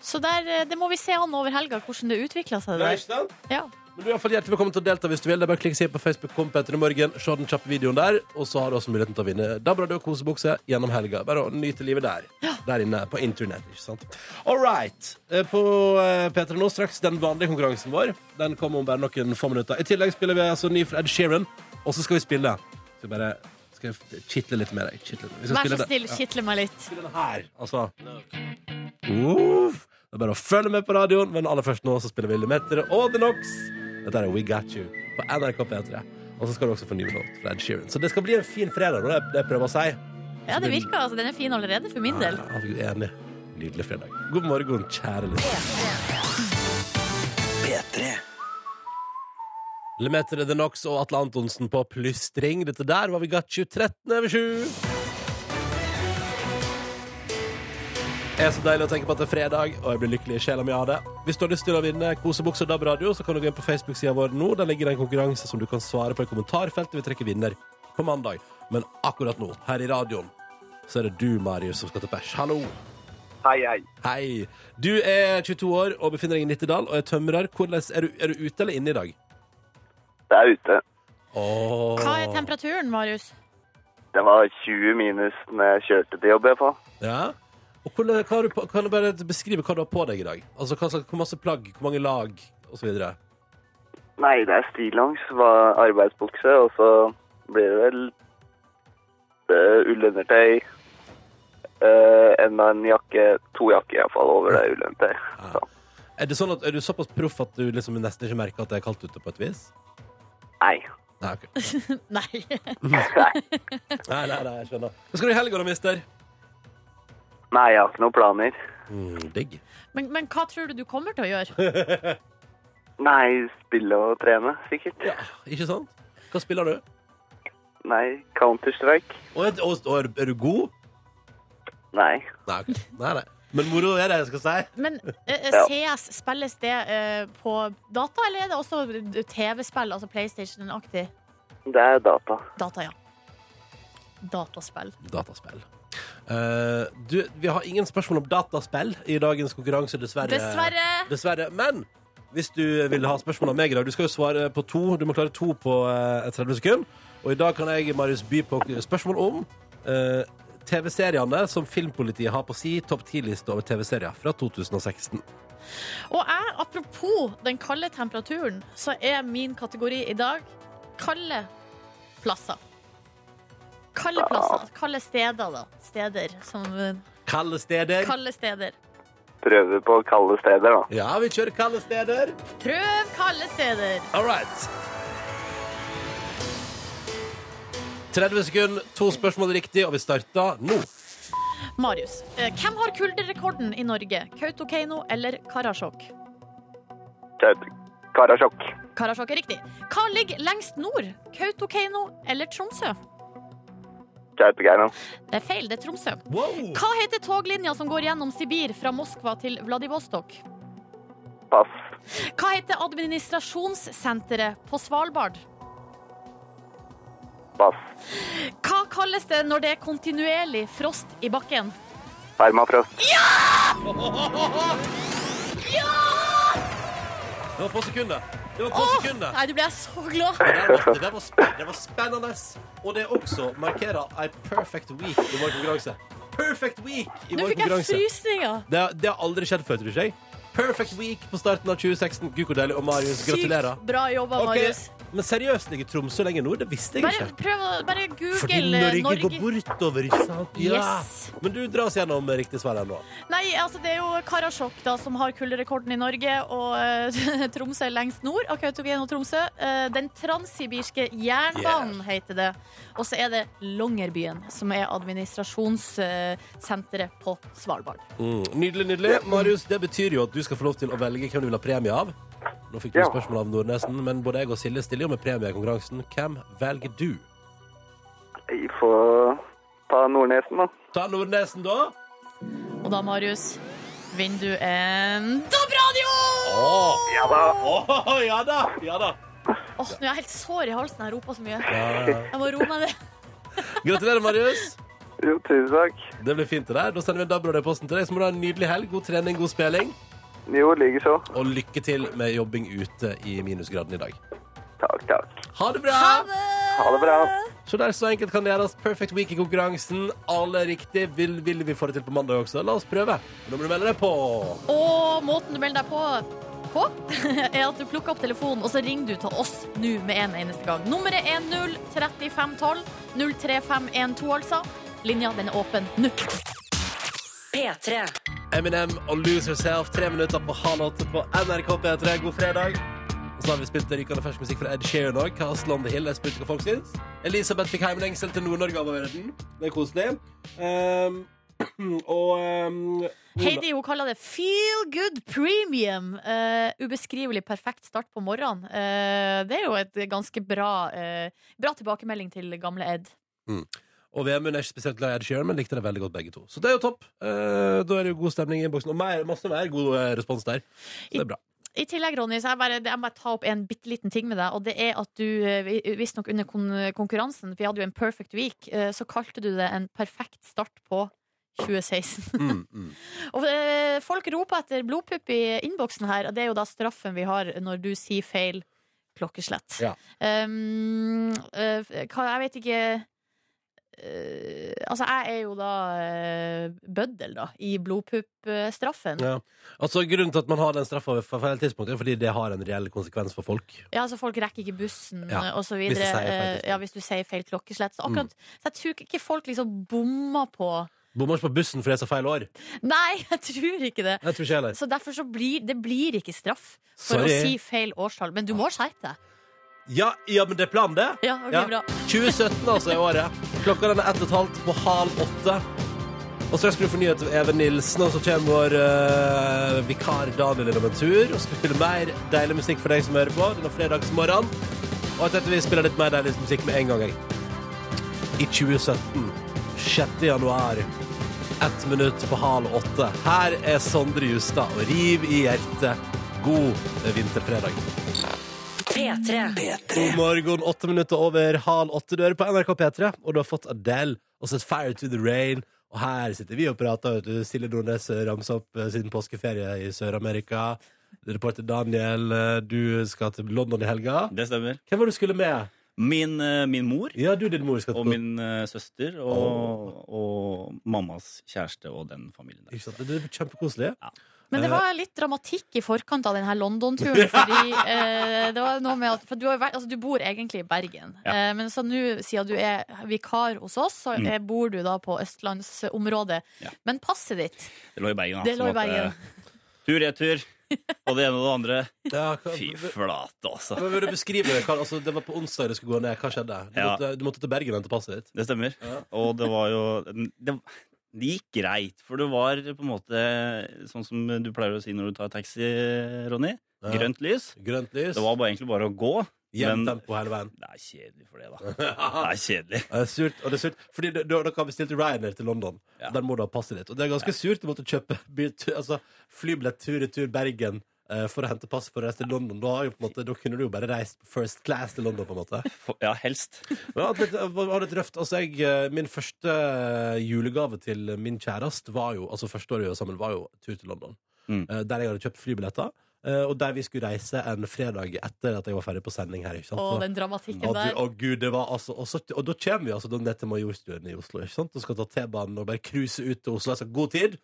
Speaker 3: Så der, øh, det må vi se an over helga, hvordan det utvikler seg. Det der. Ja.
Speaker 2: Men du er i hvert fall hjertelig velkommen til å delta hvis du vil. Det er bare å klikke seg på Facebook kom Petter i morgen, se den kjappe videoen der, og så har du også muligheten til å vinne DAB-radio og kosebukse gjennom helga. Bare å nyte livet der. Der inne på internett, ikke sant. All right. Eh, På eh, P3 nå straks den vanlige konkurransen vår. Den kommer om bare noen få minutter. I tillegg spiller vi altså ny fra Ed Sheeran, og så skal vi spille. Skal bare skal jeg kitle litt med deg. Kitle. Vi skal
Speaker 3: Vær
Speaker 2: spille
Speaker 3: så
Speaker 2: det.
Speaker 3: snill,
Speaker 2: Ja
Speaker 3: kitle meg litt.
Speaker 2: til den her. Altså. Uff. Det er bare å følge med på radioen, men aller først nå så spiller vi Millimeter og The Knox. Dette er We Got You på NRK P3. Og så skal du også få ny låt fra Ed Sheeran. Så det skal bli en fin fredag, det er det jeg prøver å si.
Speaker 3: Ja, det virker. altså, Den er fin allerede, for min del.
Speaker 2: Ja, vi er enig. Nydelig fredag. God morgen, kjære lytter. Lemetere The Knox og Atle Antonsen på plystring. Dette der var We Got You 13 over 7. Det er så deilig å tenke på at det er fredag, og jeg blir lykkelig i sjela mi av det. Hvis du har lyst til å vinne kosebukse og DAB-radio, så kan du gå inn på Facebook-sida vår nå. Der ligger det en konkurranse som du kan svare på i kommentarfeltet. Vi trekker vinner på mandag. Men akkurat nå, her i radioen, så er det du, Marius, som skal til pers. Hallo!
Speaker 8: Hei, hei.
Speaker 2: Hei. Du er 22 år og befinner deg i Nittedal og er tømrer. Hvordan er du, er du ute eller inne i dag?
Speaker 8: Det er ute.
Speaker 2: Åh.
Speaker 3: Hva er temperaturen, Marius?
Speaker 8: Det var 20 minus når jeg kjørte til jobb, jeg på.
Speaker 2: Ja. Og hvordan, hva har du, på- kan du bare beskrive hva du har på deg i dag? Altså, hva, slags- Hvor masse plagg, hvor mange lag osv.?
Speaker 8: Nei, det er stillongs, var arbeidsbukse, og så blir det vel eh, ullundertøy. eh, enda en jakke, to jakker i hvert fall over det ullundertøy. Så.
Speaker 2: Er, det sånn at- er du såpass proff at du liksom nesten ikke merker at det er kaldt ute? på et vis?
Speaker 8: Nei.
Speaker 2: Nei, ok.
Speaker 3: Nei.
Speaker 2: [laughs] nei, nei, nei jeg skjønner. Hva skal du i helga, da, mister?
Speaker 8: Nei, jeg har ikke noen planer.
Speaker 2: Mm, digg.
Speaker 3: [laughs] Men, men hva tror du du kommer til å gjøre?
Speaker 8: Nei, spille og trene, sikkert.
Speaker 2: Ja, ikke sant? Hva spiller du?
Speaker 8: Nei, Counter-Strike.
Speaker 2: Og, er- og, og er, du- er du god?
Speaker 8: Nei.
Speaker 2: Nei, ok. [laughs] nei, nei. Men moro er det, jeg skal si.
Speaker 3: Men eh, eh,
Speaker 8: Ja.
Speaker 3: CS, spilles det eh, på data, eller er det også TV-spill, altså PlayStation-aktig?
Speaker 8: Det er data.
Speaker 3: Data, ja. Dataspill.
Speaker 2: Dataspill. Eh, du, vi har ingen spørsmål om dataspill i dagens konkurranse, dessverre.
Speaker 3: Dessverre.
Speaker 2: Dessverre. Men hvis du vil ha spørsmål av meg i dag Du skal jo svare på to. Du må klare to på eh, 30 sekunder. Og i dag kan jeg Marius, by på spørsmål om eh, TV-seriene som filmpolitiet har på si topp 10-liste over TV-serier fra 2016.
Speaker 3: Og jeg, apropos den kalde temperaturen, så er min kategori i dag kalde plasser. Kalde plasser. Kalde steder, da. Steder som eh,
Speaker 2: Kalde steder.
Speaker 3: Kalde steder.
Speaker 8: Prøve på kalde steder, da.
Speaker 2: Ja, vi kjører kalde steder.
Speaker 3: Prøv kalde steder!
Speaker 2: All right. 30 sekunder, to spørsmål riktig, og vi starter nå.
Speaker 3: Marius, eh, hvem har kulderekorden i Norge? Kautokeino eller Karasjok?
Speaker 8: Kjøp. Karasjok.
Speaker 3: Karasjok er riktig. Hva ligger lengst nord? Kautokeino eller Tromsø?
Speaker 8: Kautokeino.
Speaker 3: Det er feil, det er Tromsø.
Speaker 2: Wow.
Speaker 3: Hva heter toglinja som går gjennom Sibir fra Moskva til Vladivostok?
Speaker 8: Pass.
Speaker 3: Hva heter administrasjonssenteret på Svalbard?
Speaker 8: Pass.
Speaker 3: Hva kalles det når det er kontinuerlig frost i bakken?
Speaker 8: Permafrost.
Speaker 2: Det var få sekunder. Det var få
Speaker 3: Åh,
Speaker 2: sekunder.
Speaker 3: nei, du ble jeg så glad!
Speaker 2: Det var, det, var sp- det var spennende. Og det også markerer ei perfect week i vår konkurranse. Perfect week i
Speaker 3: Nå
Speaker 2: vår
Speaker 3: fikk jeg
Speaker 2: konkurranse.
Speaker 3: frysninger.
Speaker 2: Det, det har aldri skjedd før, tror ikke jeg. Perfect week på starten av 2016. Gud, hvor deilig. Og Marius, gratulerer.
Speaker 3: Sykt bra jobba,
Speaker 2: Ok,
Speaker 3: Marius.
Speaker 2: Men seriøst, ligger Tromsø lenger nord? Det visste jeg
Speaker 3: Bare
Speaker 2: ikke.
Speaker 3: prøv å bare google
Speaker 2: Fordi Norge,
Speaker 3: Norge.
Speaker 2: går bortover, ikke sant?
Speaker 3: Yes.
Speaker 2: Men du drar oss gjennom riktig svar her nå.
Speaker 3: Nei, altså det er jo Karasjok da, som har kulderekorden i Norge, og eh, [laughs] Tromsø er lengst nord av Kautokeino og Tromsø. Eh, den transsibirske jernbanen heter det. Og så er det Longyearbyen, som er administrasjonssenteret på Svalbard.
Speaker 2: Mm, nydelig, nydelig. Marius, det betyr jo at du skal få lov til å velge hvem du vil ha premie av. Nå fikk du
Speaker 8: Ja.
Speaker 2: spørsmål av Nordnesen, men både jeg og Silje stiller jo med premie i konkurransen. Hvem velger du?
Speaker 8: Vi får ta Nordnesen, da.
Speaker 2: Ta Nordnesen, da.
Speaker 3: Og da, Marius, vinner du en DAB-radio!
Speaker 2: Å, ja da. ja da. Ja da.
Speaker 3: Åh, nå er jeg helt sår i halsen. Jeg roper så mye.
Speaker 2: Ja.
Speaker 3: Jeg må roe meg ned.
Speaker 2: Gratulerer, Marius.
Speaker 8: Jo, tusen takk.
Speaker 2: Det blir fint det der. Da sender vi en dabbrød i posten til deg, så må du ha en nydelig helg. God trening, god spilling.
Speaker 8: Jo, ligger så.
Speaker 2: Og lykke til med jobbing ute i minusgraden i dag.
Speaker 8: Takk, takk.
Speaker 2: Ha det bra!
Speaker 8: Ha det bra.
Speaker 2: Så der så enkelt kan det gjøres. Perfect week i konkurransen. Alle riktig. Vil, vil vi få det til på mandag også? La oss prøve. Nå må du melde deg på.
Speaker 3: Og måten du melder deg på på, [laughs] er at du plukker opp telefonen og så ringer du til oss nå med en eneste gang. Nummeret er 03512. 03512, altså. Linja den er åpen nå.
Speaker 1: P3.
Speaker 2: Eminem og Lose Yourself. Tre minutter på halv åtte på NRK P3. God fredag. Og så har vi spilt rykende fersk musikk fra Ed Sheeran òg. Castle on the Hill. Jeg spurte hva folk syns. Elisabeth fikk heimlengsel til Nord-Norge av verden. Det er koselig. Ehm, [clears throat] og ehm,
Speaker 3: Heidi hun kaller det Feel Good Premium. Eh, ubeskrivelig perfekt start på morgenen. Eh, det er jo et ganske bra, eh, bra tilbakemelding til gamle Ed.
Speaker 2: Og Vemund er ikke spesielt glad i Ed Sheeran, men likte det veldig godt begge to. Så det er jo topp. Eh, da er det jo god stemning i innboksen. Og mer, masse mer god eh, respons der. Så det er bra.
Speaker 3: I tillegg, Ronny, så jeg bare, jeg må ta opp en bitte liten ting med deg. Og det er at du eh, vi- visstnok under kon konkurransen, for vi hadde jo en perfect week, eh, så kalte du det en perfekt start på 2016.
Speaker 2: Mm, mm.
Speaker 3: [laughs] Og eh, folk roper etter blodpupp i innboksen her, og det er jo da straffen vi har når du sier feil klokkeslett.
Speaker 2: Ja.
Speaker 3: Um, eh, hva, jeg vet ikke eh, Altså, jeg er jo da eh, bøddel, da, i blodpuppstraffen. Ja.
Speaker 2: Ja. Altså, grunnen til at man har den straffa ved feil tidspunkt, er fordi det har en reell konsekvens for folk.
Speaker 3: altså folk rekker ikke bussen
Speaker 2: Ja,
Speaker 3: og så
Speaker 2: hvis du
Speaker 3: videre.
Speaker 2: sier feil Mm.
Speaker 3: eh,
Speaker 2: tidspunkt.
Speaker 3: ja, hvis du sier feil klokkeslett. Så, akkurat, så jeg tror ikke folk liksom bommer på
Speaker 2: Bommer ikke på bussen fordi jeg sa feil år.
Speaker 3: Nei, [laughs] jeg tror ikke det.
Speaker 2: Jeg tror ikke heller.
Speaker 3: Så derfor så blir det blir ikke straff for
Speaker 2: Sorry.
Speaker 3: å si feil årstall. Men du må skjerpe deg.
Speaker 2: Ja, ja, men det er planen, det.
Speaker 3: Ja, ok,
Speaker 2: Ja.
Speaker 3: bra.
Speaker 2: 2017 altså i året. Klokka den er ett og et halvt på halv åtte. Og straks skal du få nyheter av Even Nilsen, og så kommer vår eh, vikar Daniel innom en tur. Og skal spille mer deilig musikk for deg som hører på denne fredagsmorgenen. Og jeg tenkte vi spiller litt mer deilig musikk med en gang, jeg. I 2017. 6. januar. Ett minutt på halv åtte. Her er Sondre Justad og Riv i hjertet. God vinterfredag.
Speaker 1: P3.
Speaker 2: God morgen, åtte minutter over halv åtte dører på NRK P3, og du har fått Adele og sett Fire to the Rain. Og her sitter vi og prater, vet du. Silje Nordnes ramser opp eh, sin påskeferie i Sør-Amerika. Reporter Daniel, eh, du skal til London i helga.
Speaker 4: Det stemmer.
Speaker 2: Hvem var det du skulle med?
Speaker 4: Min, eh, min mor
Speaker 2: Ja, du, din mor skal
Speaker 4: og
Speaker 2: til
Speaker 4: min eh, søster og, og mammas kjæreste og den familien der.
Speaker 2: Ikke sant? Det blir kjempekoselig.
Speaker 3: Men det
Speaker 2: Eh.
Speaker 3: var litt dramatikk i forkant av denne
Speaker 2: [laughs]
Speaker 3: London-turen. Fordi eh, det var noe med at for du, har jo vært, altså, du bor egentlig i Bergen.
Speaker 4: Ja.
Speaker 3: Eh, men så nå, siden du er vikar hos oss, så
Speaker 4: Mm.
Speaker 3: eh, bor du da på østlandsområdet.
Speaker 4: Ja.
Speaker 3: Men passet ditt,
Speaker 4: Det lå i Bergen. da,
Speaker 3: det
Speaker 4: sånn
Speaker 3: lå i
Speaker 4: at,
Speaker 2: [laughs]
Speaker 4: eh,
Speaker 3: Bergen. [laughs]
Speaker 4: Tur-retur og det ene og det andre.
Speaker 2: Ja, hva,
Speaker 4: Fy flate, altså.
Speaker 2: men vil du beskrive det? Hva, altså, det var på onsdag det skulle gå ned. Hva skjedde? Du,
Speaker 4: Ja.
Speaker 2: måtte, du måtte til Bergen og hente passet ditt.
Speaker 4: Det stemmer.
Speaker 2: Ja.
Speaker 4: Og det var jo det, det gikk greit, for det var på en måte sånn som du pleier å si når du tar taxi, Ronny.
Speaker 2: Ja.
Speaker 4: Grønt lys.
Speaker 2: Grønt lys.
Speaker 4: Det var bare, egentlig bare å gå.
Speaker 2: Jevnt
Speaker 4: men-
Speaker 2: tempo hele veien.
Speaker 4: Det er kjedelig for det,
Speaker 2: [laughs]
Speaker 4: da. Det er kjedelig.
Speaker 2: Ja, Det er Eh, surt, og det er surt Fordi du- du- dere har bestilt Ryanair til London
Speaker 4: Ja.
Speaker 2: Der må du ha passet ditt Og det er ganske surt å måtte kjøpe by- tu- altså, flybillett tur-retur Bergen eh, For å hente pass for å reise til London Da, har jo, på en måte, da kunne du jo bare reist first class til London på en
Speaker 4: [laughs]
Speaker 2: måte
Speaker 4: For- Ja, helst.
Speaker 2: Men det var litt, det var litt røft altså, jeg, eh, Min første eh, julegave til min kjærest var jo, Altså første året vi var sammen var jo tur til London
Speaker 4: Mm.
Speaker 2: Eh, Der jeg hadde kjøpt flybilletter eh, Og der vi skulle reise en fredag etter at jeg var ferdig på sending her ikke sant?
Speaker 3: Å,
Speaker 2: Så-
Speaker 3: den dramatikken
Speaker 2: å, du,
Speaker 3: der.
Speaker 2: å gud, det var altså Og, så, og da kommer vi altså da ned til Majorstuen i Oslo ikke sant? og skal ta T-banen og bare cruise ut til Oslo. Altså, god tid.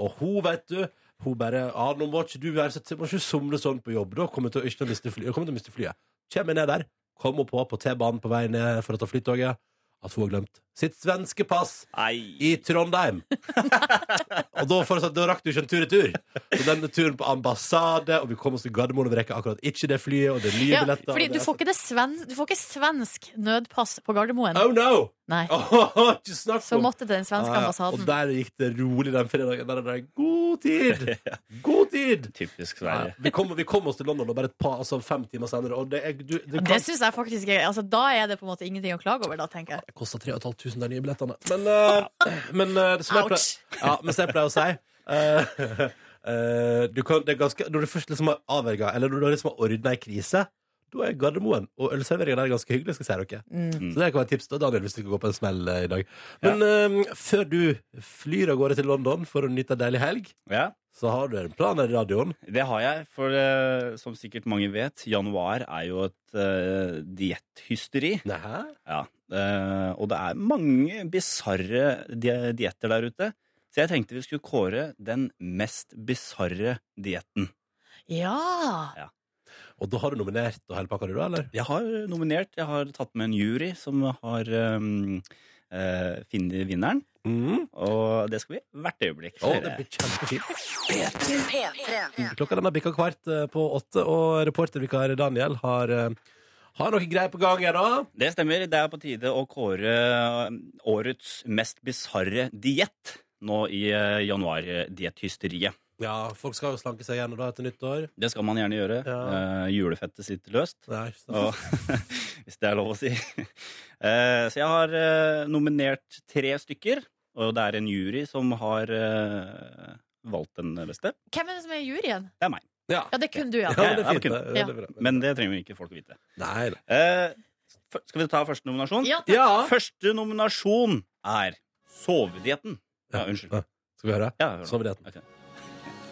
Speaker 2: Og hun, vet du Hun bare ah, 'Nå må ikke du være så må ikke somle sånn på jobb, da kommer jeg til å ikke miste flyet.' Jeg kommer til å miste flyet. Kommer jeg ned der, kommer hun på på T-banen på vei ned for å ta flytoget, at hun har glemt sitt svenske pass
Speaker 4: Nei.
Speaker 2: i Trondheim. [laughs] og da, for, da rakk du ikke en tur-retur. Så den turen på ambassade, og vi kom oss til Gardermoen, og vi rekker akkurat ikke det flyet, og det er nye
Speaker 3: Ja,
Speaker 2: billetter.
Speaker 3: fordi
Speaker 2: og
Speaker 3: du
Speaker 2: det er-
Speaker 3: får, ikke det sven, du får ikke svensk nødpass på Gardermoen.
Speaker 2: Oh no!
Speaker 3: Nei.
Speaker 2: Åh, ikke snakk
Speaker 3: Så
Speaker 2: om. Ah,
Speaker 3: måtte til den svenske
Speaker 2: Ja, ja.
Speaker 3: ambassaden.
Speaker 2: Og der gikk det rolig den fredagen. Der var det god tid! God tid!
Speaker 4: Typisk
Speaker 2: Ja,
Speaker 4: Sverige.
Speaker 2: vi, kom, vi kom oss til London og bare et par, altså fem timer senere, og det, er- du, du
Speaker 3: Ja,
Speaker 2: kan,
Speaker 3: Det syns jeg faktisk er altså, Da er det på en måte ingenting å klage over, da, tenker jeg.
Speaker 2: det kosta 3500, de nye billettene. Men, eh, men eh, det som jeg pleier,
Speaker 3: Ouch.
Speaker 2: ja, men som jeg pleier å si eh, [laughs] eh, du kan, det er ganske, Når du først liksom har avverga, eller når du liksom har ordna ei krise, da er Gardermoen og ølserveringa der ganske hyggelig, skal jeg si dere. Så det kan være et tips da, Daniel, hvis du skal gå på en smell eh, i dag. Men eh, før du flyr av gårde til London for å nyte en deilig helg,
Speaker 4: Ja,
Speaker 2: så har du en plan her i radioen.
Speaker 4: det har jeg. For eh, som sikkert mange vet, januar er jo et uh, dietthysteri.
Speaker 2: Nei.
Speaker 4: Ja. eh, og det er mange bisarre die- dietter der ute. Så jeg tenkte vi skulle kåre den mest bisarre dietten.
Speaker 3: Ja!
Speaker 2: Og da har du nominert og hele pakka, du, da? eller?
Speaker 4: Jeg har nominert, jeg har tatt med en jury som har um, eh, funnet vinneren.
Speaker 2: Mm.
Speaker 4: Og det skal vi hvert øyeblikk.
Speaker 2: Å,
Speaker 4: gjøre.
Speaker 2: det blir kjempefint.
Speaker 1: P3.
Speaker 2: Klokka den har bikka kvart eh, på åtte, og reportervikar Daniel har, eh, har noe greier på gang her, da.
Speaker 4: det stemmer. Det er på tide å kåre um, årets mest bisarre diett nå i eh, januar. eh, Diethysteriet.
Speaker 2: Ja, folk skal jo slanke seg igjen og da etter nyttår.
Speaker 4: Det skal man gjerne gjøre.
Speaker 2: Ja.
Speaker 4: Eh, julefettet sitter løst.
Speaker 2: Nei, ikke sant?
Speaker 4: Og, [laughs] hvis det er lov å si. Eh, så jeg har eh, nominert tre stykker, og det er en jury som har eh, valgt den beste.
Speaker 3: Hvem er det som er i juryen?
Speaker 4: Det er meg.
Speaker 2: Ja.
Speaker 3: Ja, det er kun du, ja.
Speaker 2: Ja, men det
Speaker 4: Ja,
Speaker 2: er fint.
Speaker 4: ja,
Speaker 2: det.
Speaker 4: men
Speaker 2: Det er
Speaker 3: ja.
Speaker 2: bra.
Speaker 4: Men det trenger jo ikke folk å vite.
Speaker 2: Nei, nei.
Speaker 4: Eh, f- skal vi ta første nominasjon?
Speaker 3: Ja, takk.
Speaker 2: Ja.
Speaker 4: Første nominasjon er sovedietten. Ja, unnskyld.
Speaker 2: Skal vi høre?
Speaker 4: Ja, hør nå.
Speaker 2: Sovedietten.
Speaker 4: Ok.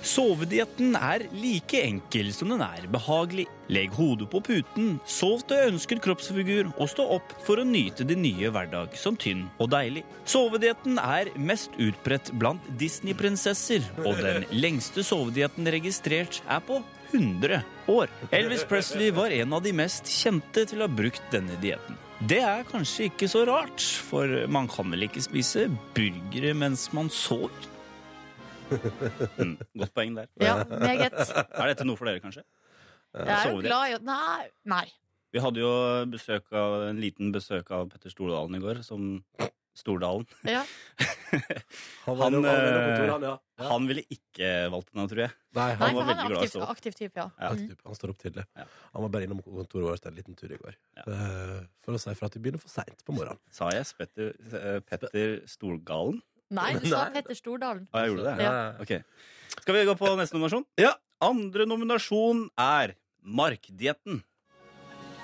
Speaker 4: Sovedietten er like enkel som den er behagelig. Legg hodet på puten, sov til ønsket kroppsfigur og stå opp for å nyte din nye hverdag som tynn og deilig. Sovedietten er mest utbredt blant Disney-prinsesser, og den lengste sovedietten registrert er på 100 år. Elvis Presley var en av de mest kjente til å ha brukt denne dietten. Det er kanskje ikke så rart, for man kan vel ikke spise burgere mens man sover? Mm, godt poeng der.
Speaker 3: Ja, meget.
Speaker 4: Er dette noe for dere, kanskje?
Speaker 3: Jeg er jo
Speaker 4: Sovedietten.
Speaker 3: glad i å Nei. nei.
Speaker 4: Vi hadde jo besøk av, en liten besøk av Petter Stordalen i går, som Stordalen.
Speaker 3: Ja.
Speaker 2: Han,
Speaker 4: Han,
Speaker 2: han,
Speaker 4: eh,
Speaker 2: han, ja. Ja.
Speaker 4: Han ville ikke valgt den, tror jeg.
Speaker 2: Nei,
Speaker 3: Nei,
Speaker 2: han,
Speaker 4: var
Speaker 3: for han er
Speaker 4: veldig glad i
Speaker 3: aktiv,
Speaker 4: stå opp.
Speaker 3: aktiv type, ja.
Speaker 4: Ja.
Speaker 3: Mm.
Speaker 2: typ, han står opp tidlig.
Speaker 4: Ja.
Speaker 2: Han var bare innom kontoret vårt en liten tur i går. Eh, For å si fra at vi begynner for seint på morgenen.
Speaker 4: Sa jeg Spetter, eh, Petter Stordalen?
Speaker 3: Nei, du sa
Speaker 2: Nei.
Speaker 3: Petter Stordalen.
Speaker 4: Ja, jeg gjorde det.
Speaker 3: Ja.
Speaker 4: Ok. Skal vi gå på neste nominasjon? Ja. Andre nominasjon er Markdietten.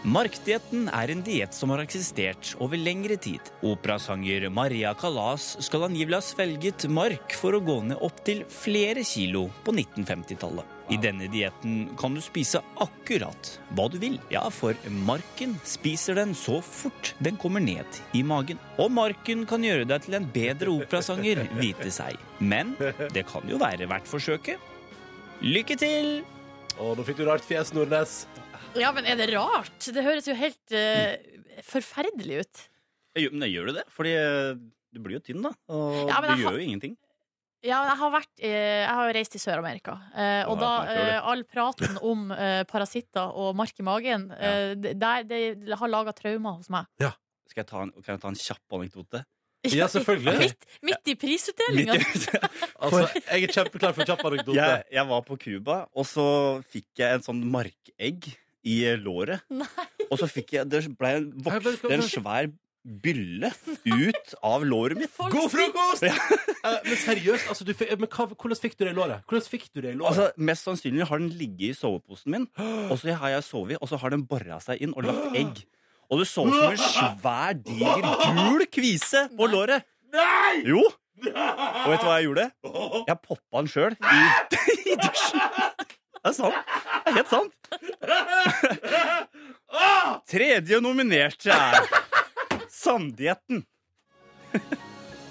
Speaker 4: Markdietten er en diett som har eksistert over lengre tid. Operasanger Maria Callas skal angivelig ha svelget mark for å gå ned opptil flere kilo på 1950-tallet. I denne dietten kan du spise akkurat hva du vil. Ja, for marken spiser den så fort den kommer ned i magen. Og marken kan gjøre deg til en bedre operasanger, vite seg. Men det kan jo være verdt forsøket. Lykke til!
Speaker 2: Og nå fikk du rart fjes, Nordnes.
Speaker 3: Ja, men er det rart? Det høres jo helt eh, forferdelig ut.
Speaker 4: Jo, Men gjør du det? Fordi eh, du blir jo tynn, da. Og
Speaker 3: Ja, men
Speaker 4: du
Speaker 3: jeg har-
Speaker 4: gjør jo ingenting.
Speaker 3: Ja, jeg har, vært, eh, jeg har jo reist til Sør-Amerika. eh, og
Speaker 4: Ja,
Speaker 3: da
Speaker 4: jeg merker det.
Speaker 3: eh, all praten om eh, parasitter og mark i magen, eh, det, det- det har laga traumer hos meg.
Speaker 4: Skal jeg ta en, kan jeg ta en kjapp anekdote?
Speaker 2: Ja, selvfølgelig.
Speaker 3: [laughs] Midt, midt i prisutdelinga!
Speaker 2: Altså, jeg er kjempeklar for en kjapp anekdote.
Speaker 4: [laughs] Jeg, jeg var på Cuba, og så fikk jeg en sånn markegg i låret. Og så fikk jeg Det ble en,
Speaker 2: Nei,
Speaker 4: vokst,
Speaker 2: men-
Speaker 4: en svær bylle ut av låret mitt.
Speaker 2: God frokost! [laughs] Eh, Men seriøst, altså, du, fikk- men hva, hvordan fikk du det i låret? Hvordan fikk du det i låret?
Speaker 4: Altså, Mest sannsynlig har den ligget i soveposen min, og så har jeg sovet, og så har den bora seg inn og lagt egg. Og det så ut som en svær, diger, gul kvise på låret. Nei! Jo. Og vet du hva jeg gjorde? Jeg poppa den sjøl i, [laughs] i dusjen. Det er sant. Det er helt sant. Tredje nominerte er Sanddietten.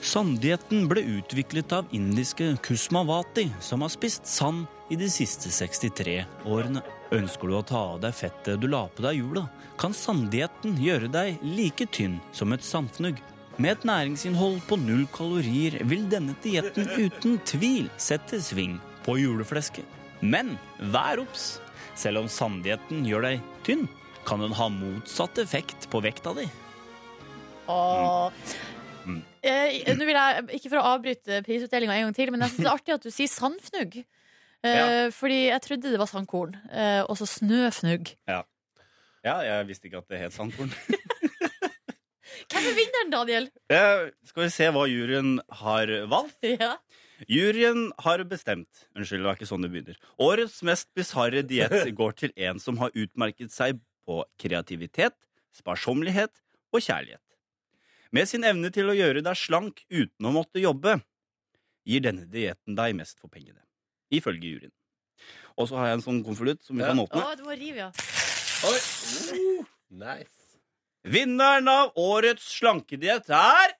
Speaker 4: Sanddietten ble utviklet av indiske Kusmavati, som har spist sand i de siste 63 årene. Ønsker du å ta av deg fettet du la på deg i jula, kan sanddietten gjøre deg like tynn som et sandfnugg. Med et næringsinnhold på null kalorier vil denne dietten uten tvil sette sving på juleflesket. Men vær obs! Selv om sanddietten gjør deg tynn, kan den ha motsatt effekt på vekta di.
Speaker 3: Åh. Eh, Nå vil jeg, ikke for å avbryte prisutdelinga en gang til, men jeg syns det er artig at du sier sandfnugg. Eh, Fordi jeg trodde det var sandkorn, eh, og så snøfnugg.
Speaker 4: Ja, jeg visste ikke at det het sandkorn.
Speaker 3: Hvem er vinneren, Daniel? [laughs]
Speaker 4: Eh, Skal vi se hva juryen har valgt.
Speaker 3: Ja.
Speaker 4: Juryen har bestemt Unnskyld, det var ikke sånn det begynner. Årets mest bisarre diett
Speaker 3: [laughs]
Speaker 4: går til en som har utmerket seg på kreativitet, sparsommelighet og kjærlighet. Med sin evne til å gjøre deg slank uten å måtte jobbe, gir denne dietten deg mest for pengene. Ifølge juryen. Og så har jeg en sånn konvolutt som vi kan åpne.
Speaker 3: Å, du har riv, ja.
Speaker 2: Oi. Uh, nice.
Speaker 4: Vinneren av årets slankediett er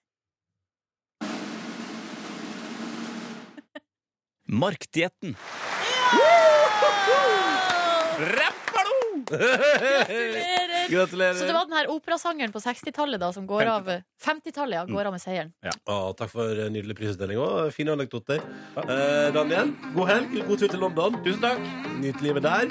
Speaker 4: Markdietten. Rappalo!
Speaker 3: Gratulerer!
Speaker 2: Gratulerer.
Speaker 3: Så det var den her operasangeren på 60-tallet da, som går av 50-tallet, ja,
Speaker 9: Mm.
Speaker 3: går av med seieren.
Speaker 2: Å, takk for eh, nydelig prisutdeling og fine anekdoter. Eh, Daniel, god helg. God tur til London. Tusen takk. Nyt livet der.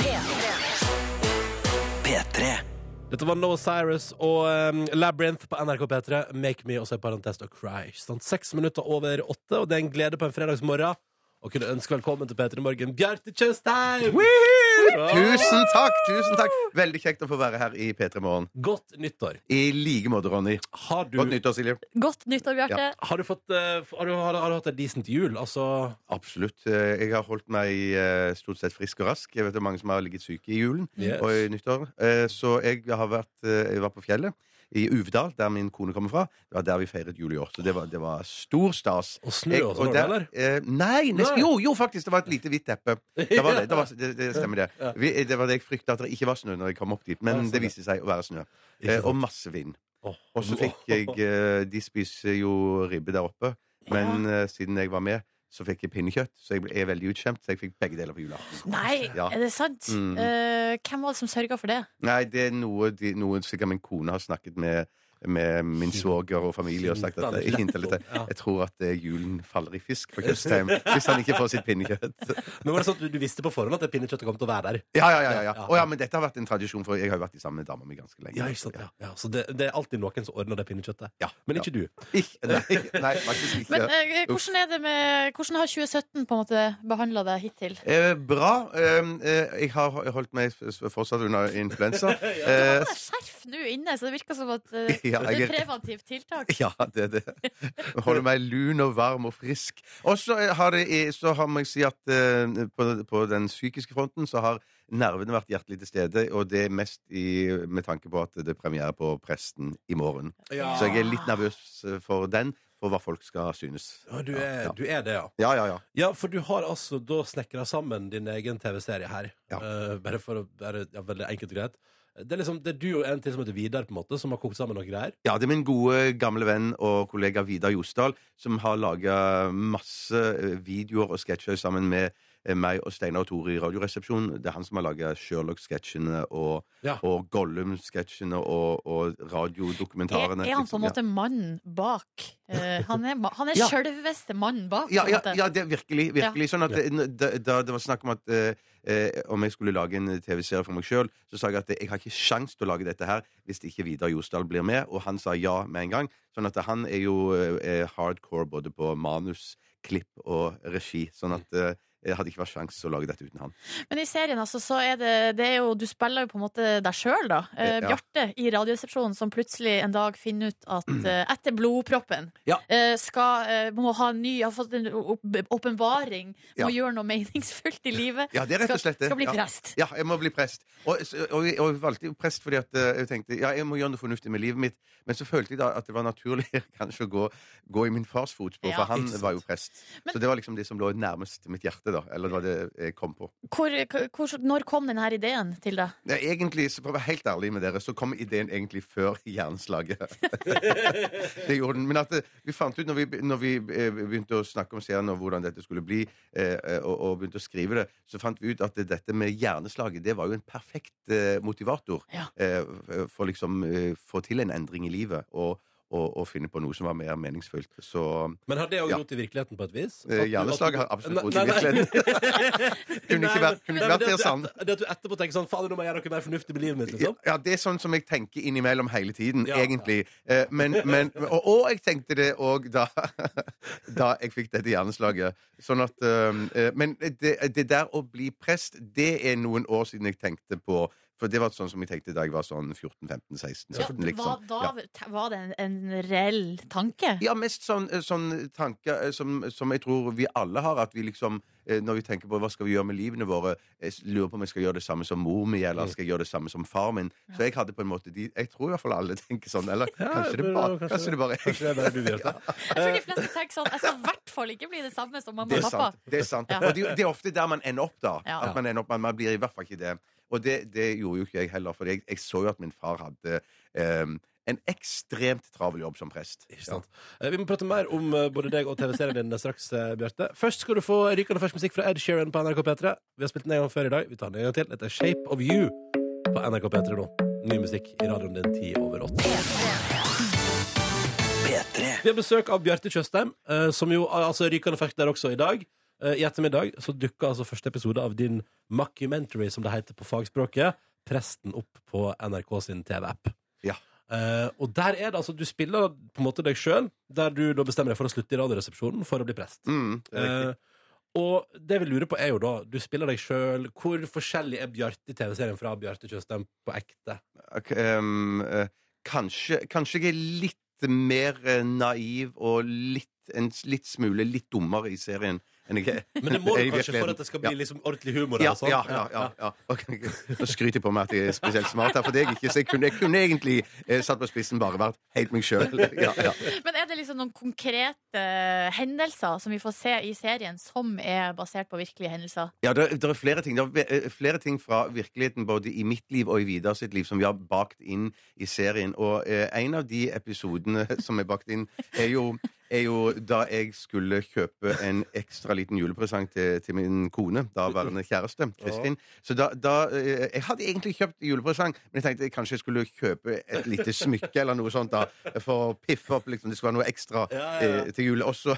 Speaker 2: Dette var Noah Cyrus og um, Labyrinth på NRK P3. Make me også i parentes og cry. Sånn, seks minutter over åtte, og det er en glede på en fredagsmorgen å kunne ønske velkommen til P3 Morgen, Bjarte Tjøstheim!
Speaker 9: Tusen takk! tusen takk Veldig kjekt å få være her i P3 Morgen.
Speaker 2: Godt nyttår.
Speaker 9: I like måte, Ronny.
Speaker 2: Har du,
Speaker 9: Godt nyttår, Silje.
Speaker 3: Godt nyttår, Bjarte.
Speaker 2: har du, fått, eh, har du, har, du- har du hatt en decent jul? Altså
Speaker 9: Absolutt. Eh, Jeg har holdt meg eh, stort sett frisk og rask. Jeg vet det er mange som har ligget syke i julen
Speaker 2: Yes.
Speaker 9: og i nyttår. Eh, Så jeg har vært eh, jeg var på fjellet. i Uvdal, der min kone kommer fra. Det var der vi feiret jul i år. Så det var, det var stor stas.
Speaker 2: Og snø
Speaker 9: Jeg-
Speaker 2: og sånn,
Speaker 9: der-
Speaker 2: eller?
Speaker 9: Eh, nei, nesten,
Speaker 2: Nei.
Speaker 9: jo, jo, faktisk. Det var et lite hvitt teppe. Det, var det, det, var, det, det stemmer, det.
Speaker 2: Ja.
Speaker 9: Vi, det var det jeg frykta, at det ikke var snø når jeg kom opp dit.
Speaker 2: Ja,
Speaker 9: Men
Speaker 2: sånn,
Speaker 9: det
Speaker 2: ja.
Speaker 9: viste seg å være snø.
Speaker 2: Ikke
Speaker 9: Eh,
Speaker 2: sant.
Speaker 9: og masse vind.
Speaker 2: Åh.
Speaker 9: Og så fikk jeg eh, De spiser jo ribbe der oppe. Men eh, siden jeg var med, så fikk jeg pinnekjøtt. Så jeg ble- er veldig utskjemt, så jeg fikk begge deler på julaften.
Speaker 3: Nei,
Speaker 9: Ja.
Speaker 3: er det sant?
Speaker 9: Mm.
Speaker 3: Eh, hvem var det som sørga for det?
Speaker 9: Nei, det er noe, de, noe sikkert min kone har snakket med med min svoger og familie og sagt at
Speaker 2: Hintet litt.
Speaker 9: [laughs] jeg, hintet litt.
Speaker 2: Ja.
Speaker 9: jeg tror at eh, julen faller i fisk for Tjøstheim hvis han ikke får sitt pinnekjøtt.
Speaker 2: Men var det sånn at du, du visste på forhånd at det pinnekjøttet kom til å være der?
Speaker 9: Ja, ja, ja, ja, ja.
Speaker 2: Ja.
Speaker 9: Å, ja, men dette har vært en tradisjon, for jeg har jo vært sammen med dama mi ganske lenge.
Speaker 2: Ja, ikke sant, ja. Ja, så det, det er alltid noen som ordner det pinnekjøttet.
Speaker 9: Ja.
Speaker 2: Men ikke du.
Speaker 9: Ikke- Nei, nei, faktisk ikke.
Speaker 3: Men eh, hvordan, er det med, hvordan har 2017 på en måte behandla deg hittil?
Speaker 9: Eh, bra. Ehm, eh, jeg har ho- holdt meg s- s- fortsatt under influensa.
Speaker 3: Han
Speaker 9: Eh,
Speaker 3: har skjerf nå inne, så det virker som at eh,
Speaker 9: [laughs] Ja,
Speaker 3: det er et
Speaker 9: jeg er-
Speaker 3: preventivt
Speaker 9: [laughs]
Speaker 3: tiltak.
Speaker 9: ja, det er det. Holder meg lun og varm og frisk. Og så eh, har det i- så har må jeg si at eh, på, på den psykiske fronten så har nervene vært hjertelig til stede, og det er mest i, med tanke på at det er premiere på Presten i morgen.
Speaker 2: Ja.
Speaker 9: Så jeg er litt nervøs eh, for den, for hva folk skal synes.
Speaker 2: Ah. Ja, du, er,
Speaker 9: Ja.
Speaker 2: du er det, ja.
Speaker 9: Ja, ja, ja.
Speaker 2: Ja, for du har altså da snekra sammen din egen TV-serie her.
Speaker 9: Ja.
Speaker 2: Eh, bare for å være ja, veldig enkelt og greit. Det er liksom, det er du og en til som heter Vidar, på en måte, som har kokt sammen noen greier.
Speaker 9: Ja, det er min gode gamle venn og kollega Vidar Josdal, som har laga masse eh, videoer og sketsjer sammen med eh, meg og Steinar og Tore i Radioresepsjonen. Det er han som har laga Sherlock-sketsjene og,
Speaker 2: Ja.
Speaker 9: og Gollum-sketsjene og, og
Speaker 3: Er,
Speaker 9: radiodokumentarene.
Speaker 3: er han på
Speaker 9: liksom.
Speaker 3: en måte mannen bak? Eh, han er, ma- han er
Speaker 9: Ja.
Speaker 3: sjølveste mannen bak,
Speaker 9: ja,
Speaker 3: på en
Speaker 9: ja,
Speaker 3: måte.
Speaker 9: ja, det er virkelig. virkelig Sånn at eh, da, da det var snakk om at eh, eh, om jeg skulle lage en TV-serie for meg sjøl, så sa jeg at jeg har ikke sjans til å lage dette her hvis ikke Vidar Josdal blir med, og han sa ja med en gang. Sånn at han er jo eh, hardcore både på manus, klipp og regi. Sånn at eh, jeg hadde ikke vært sjans til å lage dette uten han.
Speaker 3: Men i serien altså, så er det, det er jo, du spiller jo på en måte deg sjøl, da. Eh,
Speaker 9: Ja.
Speaker 3: Bjarte i Radioresepsjonen som plutselig en dag finner ut at eh, etter blodproppen
Speaker 2: Ja.
Speaker 3: eh, skal, eh, må ha en ny, har fått en opp- åpenbaring,
Speaker 9: Ja.
Speaker 3: må gjøre noe meningsfullt i livet.
Speaker 9: Ja, det er rett og slett det.
Speaker 3: Skal, skal bli
Speaker 9: Ja.
Speaker 3: prest.
Speaker 9: Ja, jeg må bli prest. Og, og, og jeg valgte jo prest fordi at eh, jeg tenkte ja, jeg må gjøre noe fornuftig med livet mitt. Men så følte jeg da at det var naturlig [laughs] kanskje å gå, gå i min fars fotspor,
Speaker 3: Ja,
Speaker 9: for han
Speaker 2: ikke sant.
Speaker 9: var jo prest.
Speaker 3: Men-
Speaker 9: så det var liksom det som lå nærmest mitt hjerte, da. Eller det var det jeg kom på.
Speaker 3: Hvor, hvor, når kom denne ideen til deg?
Speaker 9: Nei, egentlig, så for å være helt ærlig med dere, så kom ideen egentlig før [laughs]
Speaker 2: [laughs]
Speaker 9: jernslaget. det gjorde den. Men at eh, vi fant ut, når vi, be- når vi eh, begynte å snakke om serien og hvordan dette skulle bli, eh, eh, og, og begynte å skrive det, så fant vi ut at dette med hjerneslaget, det var jo en perfekt eh, motivator
Speaker 3: Ja.
Speaker 9: eh, for liksom eh, få til en endring i livet. og og, og finne på noe som var mer meningsfullt. Så
Speaker 2: Men har det òg
Speaker 9: Ja.
Speaker 2: rot i virkeligheten på et vis? At
Speaker 9: eh,
Speaker 2: du-
Speaker 9: hjerneslaget har
Speaker 2: at du-
Speaker 9: absolutt rot
Speaker 2: Nei,
Speaker 9: i
Speaker 2: nei, nei. [laughs]
Speaker 9: virkeligheten. Kunne
Speaker 2: Nei,
Speaker 9: ikke vært- kunne
Speaker 2: men- nei,
Speaker 9: ikke vært
Speaker 2: men det at du
Speaker 9: mer
Speaker 2: etter- Det at du etterpå tenker sånn Fader, nå må jeg gjøre noe mer fornuftig med livet mitt,
Speaker 9: Ja,
Speaker 2: liksom.
Speaker 9: ja, det er sånn som jeg tenker innimellom hele tiden,
Speaker 2: Ja.
Speaker 9: egentlig. Eh, men, men, og, og jeg tenkte det òg da, [laughs] da jeg fikk dette hjerneslaget. Sånn at eh, eh, Men det, det der å bli prest, det er noen år siden jeg tenkte på For det var sånn som jeg tenkte da jeg var sånn 14-15-16.
Speaker 3: Ja,
Speaker 9: 17, liksom.
Speaker 3: var, da
Speaker 9: Ja.
Speaker 3: te- var det en, en reell tanke?
Speaker 9: Ja, mest sånn, sånn tanker eh, som, som jeg tror vi alle har, at vi liksom eh, når vi tenker på hva skal vi gjøre med livene våre, jeg s- lurer på om jeg skal gjøre det samme som mor mi, eller skal jeg gjøre det samme som far min. Så jeg hadde på en måte de Jeg tror i hvert fall alle tenker sånn, eller kanskje det
Speaker 2: men
Speaker 9: bare
Speaker 2: kanskje
Speaker 9: Kanskje det bare er
Speaker 2: Kanskje det er bare du,
Speaker 9: [laughs]
Speaker 2: Bjarte.
Speaker 3: Jeg tror de fleste tenker sånn Jeg skal i hvert fall ikke bli det samme som mamma
Speaker 9: Det
Speaker 3: og
Speaker 9: er
Speaker 3: pappa.
Speaker 9: sant. Det er, sant.
Speaker 3: Ja.
Speaker 9: Og det, det er ofte der man ender opp, da.
Speaker 3: Ja.
Speaker 9: At man, ender opp, man, man blir i hvert fall ikke det. Og det, det gjorde jo ikke jeg heller, for jeg, jeg så jo at min far hadde eh, en ekstremt travel jobb som prest.
Speaker 2: Ikke sant? Eh, Vi må prate mer om eh, både deg og TV-serien din straks, eh, Bjarte. Først skal du få rykende fersk musikk fra Ed Sheeran på NRK P3. Vi har spilt den en gang før i dag. Vi tar den en gang til. Dette er Shape of You på NRK P3 nå. Ny musikk i radioen din ti over åtte. Vi har besøk av Bjarte Tjøstheim, eh, som jo er altså, rykende fersk der også i dag. Eh, I ettermiddag så dukker altså første episode av din mockumentary, som det heter på fagspråket, Presten opp på NRK sin TV-app.
Speaker 9: Ja.
Speaker 2: Eh, og der er det altså, du spiller på en måte deg sjøl, der du da bestemmer deg for å slutte i Radioresepsjonen for å bli prest.
Speaker 9: Mm, det er riktig.
Speaker 2: Eh, og det vi lurer på, er jo da, du spiller deg sjøl, hvor forskjellig er Bjarte i TV-serien fra Bjarte Tjøstheim på ekte?
Speaker 9: Ok, ehm, eh, kanskje, kanskje jeg er litt mer eh, naiv og litt, en s- litt smule litt dummere i serien enn jeg er.
Speaker 2: Men det må du
Speaker 9: enn jeg i
Speaker 2: kanskje for at det skal bli
Speaker 9: virkeligheten.
Speaker 2: liksom ordentlig humor.
Speaker 9: ja,
Speaker 2: her og sånn.
Speaker 9: ja, ja, ja, ja. Ok, ok. Nå skryter jeg på meg at jeg er spesielt smart her, for det er jeg ikke. Så jeg kunne, jeg kunne egentlig eh, satt på spissen bare vært helt meg
Speaker 2: [laughs]
Speaker 9: sjøl. Ja, ja.
Speaker 3: Men er det liksom noen konkrete hendelser som vi får se i serien, som er basert på virkelige hendelser?
Speaker 9: Ja, det, er flere ting. Det er eh, flere ting fra virkeligheten både i mitt liv og i Vidar sitt liv som vi har bakt inn i serien. Og eh, en av de episodene [laughs] som er bakt inn, er jo, er jo da jeg skulle kjøpe en ekstra liten julepresang til, til min kone, daværende kjæreste, Kristin. Så da, da eh, Jeg hadde egentlig kjøpt julepresang, men jeg tenkte kanskje jeg skulle kjøpe et lite smykke eller noe sånt da, for å piffe opp liksom, det skulle være noe ekstra
Speaker 2: Ja, ja, ja.
Speaker 9: eh, til jul. Og så,